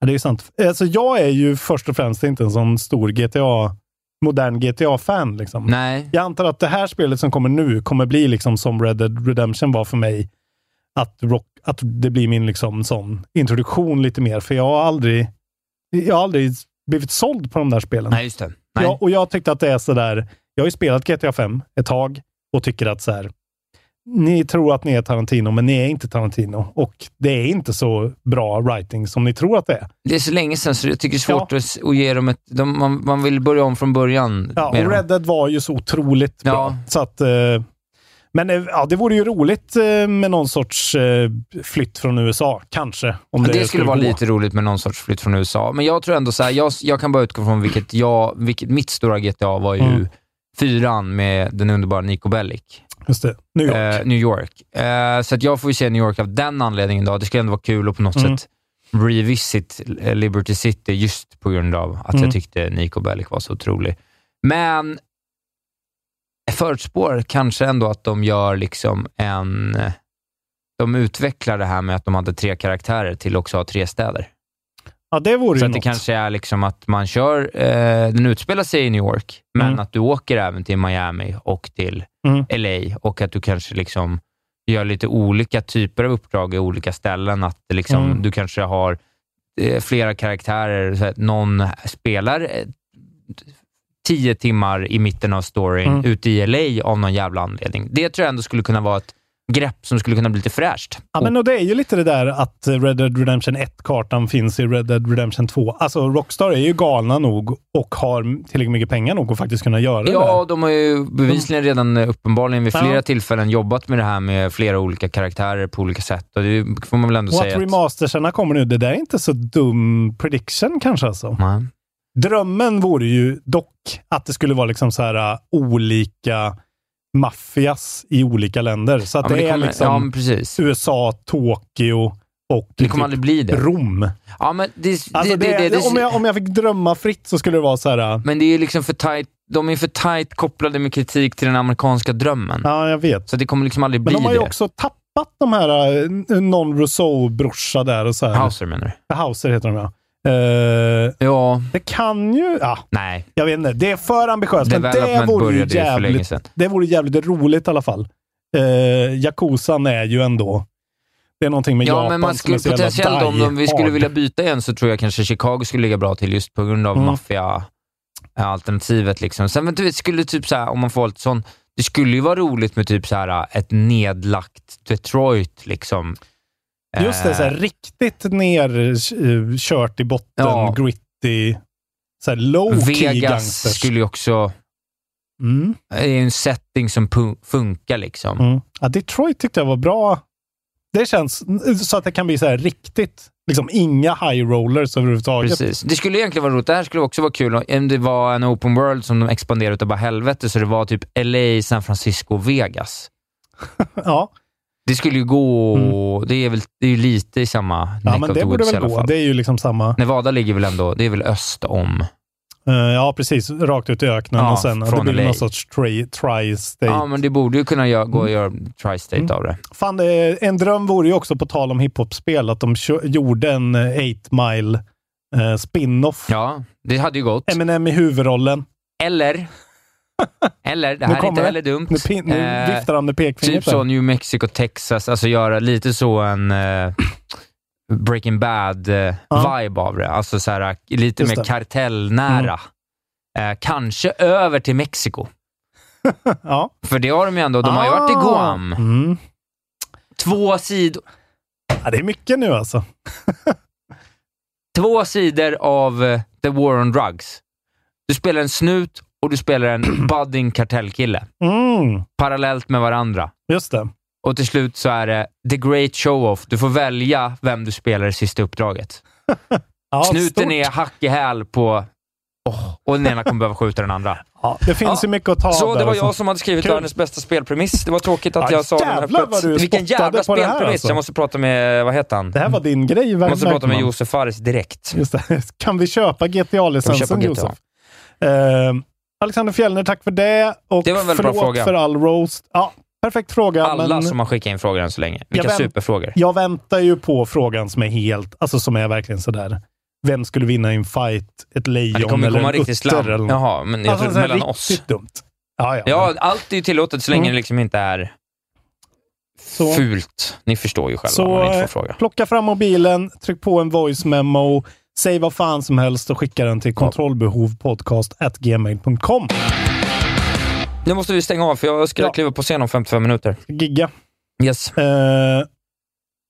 S3: Ja, det är ju sant. Alltså, jag är ju först och främst inte en sån stor GTA, modern GTA-fan. Liksom.
S2: Nej,
S3: Jag antar att det här spelet som kommer nu kommer bli liksom som Red Dead Redemption var för mig. Att, rock, att det blir min liksom sån introduktion lite mer, för jag har aldrig, jag har aldrig blivit såld på de där spelen.
S2: nej just det. Nej.
S3: Ja, och jag tyckte att det är sådär, jag har ju spelat GTA 5 ett tag och tycker att så här. ni tror att ni är Tarantino, men ni är inte Tarantino. Och det är inte så bra writing som ni tror att det är.
S2: Det är så länge sedan så jag tycker det är svårt att, s- att ge dem ett... De, man, man vill börja om från början.
S3: Ja,
S2: med
S3: och
S2: dem.
S3: Red Dead var ju så otroligt bra.
S2: Ja.
S3: Så att, eh, men eh, ja, det vore ju roligt eh, med någon sorts eh, flytt från USA, kanske. Om
S2: Ja, det, skulle vara
S3: gå.
S2: lite roligt med någon sorts flytt från USA. Men jag tror ändå så här, jag, jag kan bara utgå från vilket, jag, vilket mitt stora GTA var ju
S3: Mm.
S2: fyran med den underbara Nico Bellic,
S3: Just det. New York.
S2: eh, New York. Eh, så att jag får ju se New York av den anledningen. Då. Det skulle ändå vara kul att på något
S3: Mm.
S2: sätt revisit eh, Liberty City just på grund av att
S3: Mm.
S2: jag tyckte Nico Bellic var så otrolig. Men förutspår kanske ändå att de gör liksom en... De utvecklar det här med att de hade tre karaktärer till också ha tre städer.
S3: Ja, det vore
S2: Så
S3: ju
S2: att det
S3: något.
S2: kanske är liksom att man kör, eh, den utspelar sig i New York, men
S3: Mm.
S2: att du åker även till Miami och till
S3: Mm.
S2: LA och att du kanske liksom gör lite olika typer av uppdrag i olika ställen. Att det liksom,
S3: Mm.
S2: du kanske har eh, flera karaktärer. Så att någon spelar eh, tio timmar i mitten av storyn
S3: Mm.
S2: ute i LA av någon jävla anledning. Det tror jag ändå skulle kunna vara ett grepp som skulle kunna bli lite fräscht.
S3: Ja, men och det är ju lite det där att Red Dead Redemption 1-kartan finns i Red Dead Redemption 2. Alltså, Rockstar är ju galna nog och har tillräckligt mycket pengar nog att faktiskt kunna göra det
S2: Ja,
S3: där.
S2: de har ju bevisligen redan eh, uppenbarligen vid
S3: Ja.
S2: flera tillfällen jobbat med det här med flera olika karaktärer på olika sätt. Och det får man väl ändå
S3: Och att
S2: säga. att,
S3: remastersarna kommer nu, det där är inte så dum prediction kanske alltså.
S2: Nej.
S3: Drömmen vore ju dock att det skulle vara liksom så här uh, olika maffias i olika länder. Så att
S2: Ja,
S3: det,
S2: men det
S3: är
S2: kommer- ja, men
S3: liksom
S2: precis.
S3: USA, Tokyo och typ
S2: det kommer aldrig bli det.
S3: Rom.
S2: Ja, men det,
S3: Alltså
S2: det, det, det, det,
S3: om, jag, om jag fick drömma fritt så skulle det vara så här. uh,
S2: Men det är ju liksom för tight, de är för tight kopplade med kritik till den amerikanska drömmen.
S3: Ja, jag vet.
S2: Så det kommer liksom aldrig
S3: Men
S2: bli
S3: de har ju
S2: det.
S3: också tappat de här uh, non Rousseau-brorsa där och så här.
S2: Hauser menar du?
S3: Hauser heter de ja. Eh,
S2: Ja,
S3: det kan ju... Ja,
S2: nej.
S3: jag vet inte. Det är för ambitiöst, men det
S2: Development
S3: vore ju
S2: började ju för länge
S3: jävligt,
S2: sedan.
S3: det vore jävligt roligt i alla fall. Uh, Yakuzan är ju ändå... Det är någonting med
S2: Ja,
S3: Japan
S2: men man skulle
S3: som är så jävla
S2: potentiellt om de, vi
S3: die-hard.
S2: skulle vilja byta igen så tror jag kanske Chicago skulle ligga bra till just på grund av
S3: Mm.
S2: maffia-alternativet. Liksom. Sen vet du, det skulle typ så här, om man får lite sån, det skulle ju vara roligt med typ så här ett nedlagt Detroit. Liksom.
S3: Just det, så här,
S2: Eh,
S3: riktigt nerkört i botten,
S2: Ja.
S3: gritty, så här low-key
S2: Vegas
S3: gangsters.
S2: skulle ju också,
S3: Mm.
S2: det är ju en setting som pu- funkar liksom.
S3: Mm. Ja, Detroit tyckte jag var bra. Det känns så att det kan bli så här riktigt, liksom inga high rollers överhuvudtaget.
S2: Precis. Det skulle egentligen vara roligt. Det här skulle också vara kul om det var en open world som de expanderade utav bara helvete, så det var typ LA, San Francisco, Vegas.
S3: Ja,
S2: Det skulle ju gå... Det är väl det är ju lite i samma
S3: Mm. ja
S2: neck
S3: men
S2: of
S3: det
S2: the
S3: borde
S2: woods i
S3: väl
S2: alla
S3: gå.
S2: fall.
S3: Det är ju liksom samma.
S2: Nevada ligger väl ändå... Det är väl öst om...
S3: Eh, ja, precis. Rakt ut i öknen
S2: Ja,
S3: och sen
S2: från
S3: det blir
S2: LA.
S3: någon sorts tri- tri-state.
S2: Ja, men det borde ju kunna gö- gå
S3: Mm.
S2: att göra tri-state av det.
S3: Fan, eh, en dröm vore ju också, på tal om hiphop-spel, att de kö- gjorde en 8 mile eh, spin-off.
S2: Ja, det hade ju gått.
S3: Eminem i huvudrollen.
S2: Eller... Eller, det här är inte
S3: kommer
S2: heller dumt.
S3: Nu, pin- nu
S2: Eh,
S3: viftar han med pekfingret.
S2: typ
S3: där.
S2: så New Mexico, Texas. Alltså göra lite så en... eh, Breaking Bad-vibe
S3: Ja.
S2: av det. Alltså så här, lite
S3: Just
S2: mer
S3: det. Mm.
S2: kartellnära. Eh, kanske över till Mexiko.
S3: ja.
S2: För det har de ju ändå. De har ju varit i
S3: Ah.
S2: Guam.
S3: Mm.
S2: Två sidor...
S3: ja, det är mycket nu alltså.
S2: två sidor av eh, The War on Drugs. Du spelar en snut och du spelar en budding kartellkille
S3: Mm.
S2: parallellt med varandra.
S3: Just det.
S2: Och till slut så är det the great show-off. Du får välja vem du spelar i sista uppdraget.
S3: Ja,
S2: Snuten
S3: stort.
S2: är hack i häl på... Åh, och den ena kommer behöva skjuta den andra.
S3: Ja, det finns ju mycket att ta
S2: Så
S3: där
S2: det var
S3: alltså.
S2: jag som hade skrivit
S3: Kul.
S2: världens bästa spelpremiss. Det var tråkigt att
S3: Ja,
S2: jag sa den här
S3: jävlar vad du
S2: plötsligt. Vilken
S3: spottade
S2: jävla
S3: på det här,
S2: spelpremiss!
S3: alltså.
S2: Jag måste prata med... Vad heter han?
S3: Det här var din grej.
S2: Jag
S3: Ver-
S2: måste prata med
S3: Bergman.
S2: Josef Fares direkt.
S3: Just det. Kan vi köpa
S2: Kan
S3: GTA-licensen,
S2: vi köpa GTA?
S3: Josef? Eh, Alexander Fjellner, tack för det. Och
S2: Det var en väldigt bra
S3: förlåt
S2: fråga.
S3: för all roast. Ja, perfekt fråga.
S2: Alla
S3: men
S2: som har skickat in frågor än så länge. Vilka
S3: Jag vänt-
S2: superfrågor.
S3: Jag väntar ju på frågan som är helt, alltså som är verkligen sådär. Vem skulle vinna i en fight? Ett
S2: Men det
S3: lejon
S2: kommer ju
S3: eller
S2: komma
S3: en
S2: riktigt
S3: utter? Eller
S2: slam.
S3: något.
S2: Jaha, men jag
S3: Alltså,
S2: tror
S3: sådär
S2: mellan
S3: riktigt
S2: oss.
S3: dumt. Ja, ja.
S2: Ja, allt är ju tillåtet så länge
S3: Mm.
S2: det liksom inte är
S3: Så-
S2: fult. Ni förstår ju själva
S3: Så,
S2: om man inte
S3: eh,
S2: får fråga.
S3: Plocka fram mobilen, tryck på en voice memo, säg vad fan som helst och skicka den till kontrollbehovpodcast.gmail.com.
S2: Nu måste vi stänga av för jag ska
S3: Ja.
S2: kliva på scen om 55 minuter.
S3: Gigga.
S2: Yes.
S3: Eh,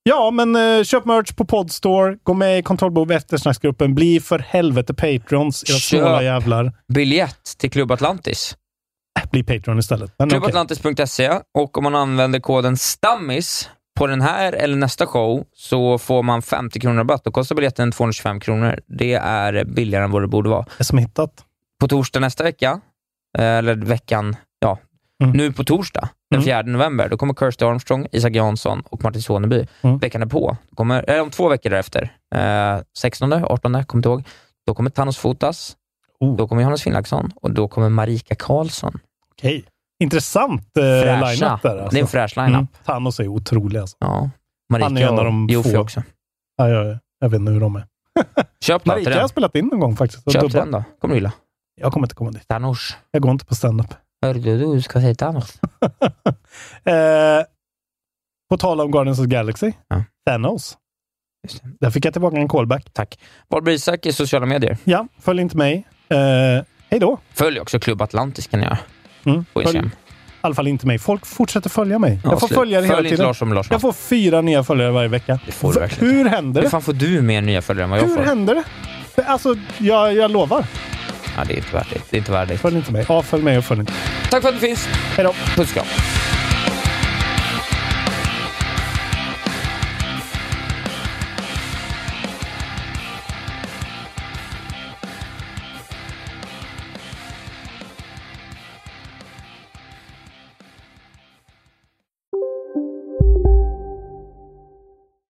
S3: ja, men eh, köp merch på Podstore. Gå med i Kontrollbehov eftersnacksgruppen. Bli för helvete Patrons, era
S2: Köp.
S3: snåla jävlar.
S2: Biljett till Club Atlantis.
S3: Äh, Bli Patreon istället. Men okej.
S2: Clubatlantis.se och om man använder koden STAMMIS på den här eller nästa show så får man 50 kronor rabatt. Då kostar biljetten 225 kronor. Det är billigare än vad det borde vara.
S3: Det är som hittat.
S2: på torsdag nästa vecka, eh, eller veckan, ja,
S3: Mm.
S2: nu på torsdag, den
S3: Mm.
S2: 4 november, då kommer Kirsty Armstrong, Isak Jansson och Martin Soneby.
S3: Mm.
S2: Veckan är på. Kommer, eller om två veckor därefter, eh, 16, 18, kommer inte ihåg, då kommer Thanos Fotas,
S3: Oh.
S2: då kommer Johannes Finnlagsson och då kommer Marika Karlsson.
S3: Okej. intressant eh,
S2: Fräscha.
S3: line-up där. Alltså.
S2: Det är en fräsch line-up.
S3: Thanos är otrolig alltså.
S2: Ja.
S3: Han är en
S2: Marika
S3: av de
S2: och Jofi
S3: få.
S2: också.
S3: Ja, jag, jag vet inte hur de är.
S2: Köp då till
S3: Marika har
S2: den.
S3: jag spelat in någon gång faktiskt. och
S2: Köp
S3: dubbat.
S2: den då. kommer du gilla.
S3: Jag kommer inte komma dit.
S2: Thanos.
S3: Jag går inte på standup.
S2: Hörde du, du ska säga Thanos.
S3: Eh, på tal om Guardians of the Galaxy. Thanos.
S2: Just
S3: Där fick jag tillbaka en callback.
S2: Tack. Barbro Isak i sociala medier.
S3: Ja, följ inte mig. Eh, hej då.
S2: Följ också Klubb Atlantis kan ni göra.
S3: Mm,
S2: På
S3: följ,
S2: Instagram.
S3: I alla fall inte mig. Folk fortsätter följa mig.
S2: Ja,
S3: jag får
S2: slut.
S3: följa det hela
S2: Följ inte
S3: tiden.
S2: Lars som Lars
S3: jag får fyra nya följare varje vecka.
S2: Det får du verkligen.
S3: Hur händer
S2: Hur
S3: det?
S2: fan får du mer nya följare än vad jag
S3: Hur
S2: får?
S3: händer det? Det- Alltså, jag, jag lovar.
S2: Ja, det är inte värt det. Det är inte värt det.
S3: Följ inte mig. Ja, följ mig och följ inte.
S2: Tack för att du finns.
S3: Hej då.
S2: Puss kram.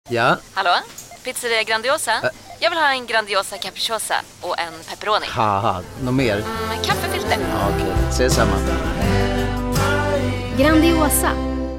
S7: Ja,
S8: Hallå? Pizzeria Grandiosa? Jag vill ha en Grandiosa capriciosa och en pepperoni.
S7: haha, något mer?
S8: Med kaffefilter.
S7: Ja, Okej, ses samma.
S9: Grandiosa,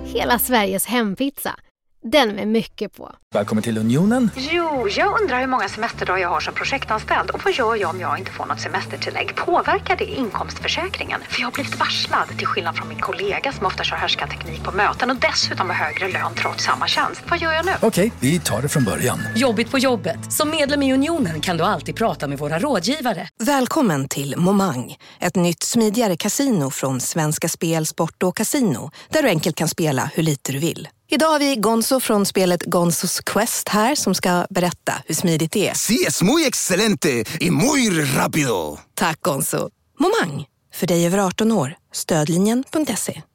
S9: hela Sveriges hempizza. Den med mycket på.
S10: Välkommen till Unionen.
S11: Jo, jag undrar hur många semesterdagar jag har som projektanställd och vad gör jag om jag inte får något semestertillägg? Påverkar det inkomstförsäkringen? För jag har blivit varslad, till skillnad från min kollega som ofta kör härskarteknik på möten och dessutom har högre lön trots samma tjänst. Vad gör jag nu?
S10: Okej, vi tar det från början.
S12: Jobbigt på jobbet. Som medlem i Unionen kan du alltid prata med våra rådgivare.
S4: Välkommen till Momang, ett nytt smidigare casino från Svenska Spel, Sport och Casino, där du enkelt kan spela hur lite du vill. Idag har vi Gonzo från spelet Gonzos Quest här som ska berätta hur smidigt det är.
S1: Sí, es muy excelente y muy rápido.
S4: Tack Gonzo! Momang, för dig över 18 år. Stödlinjen.se.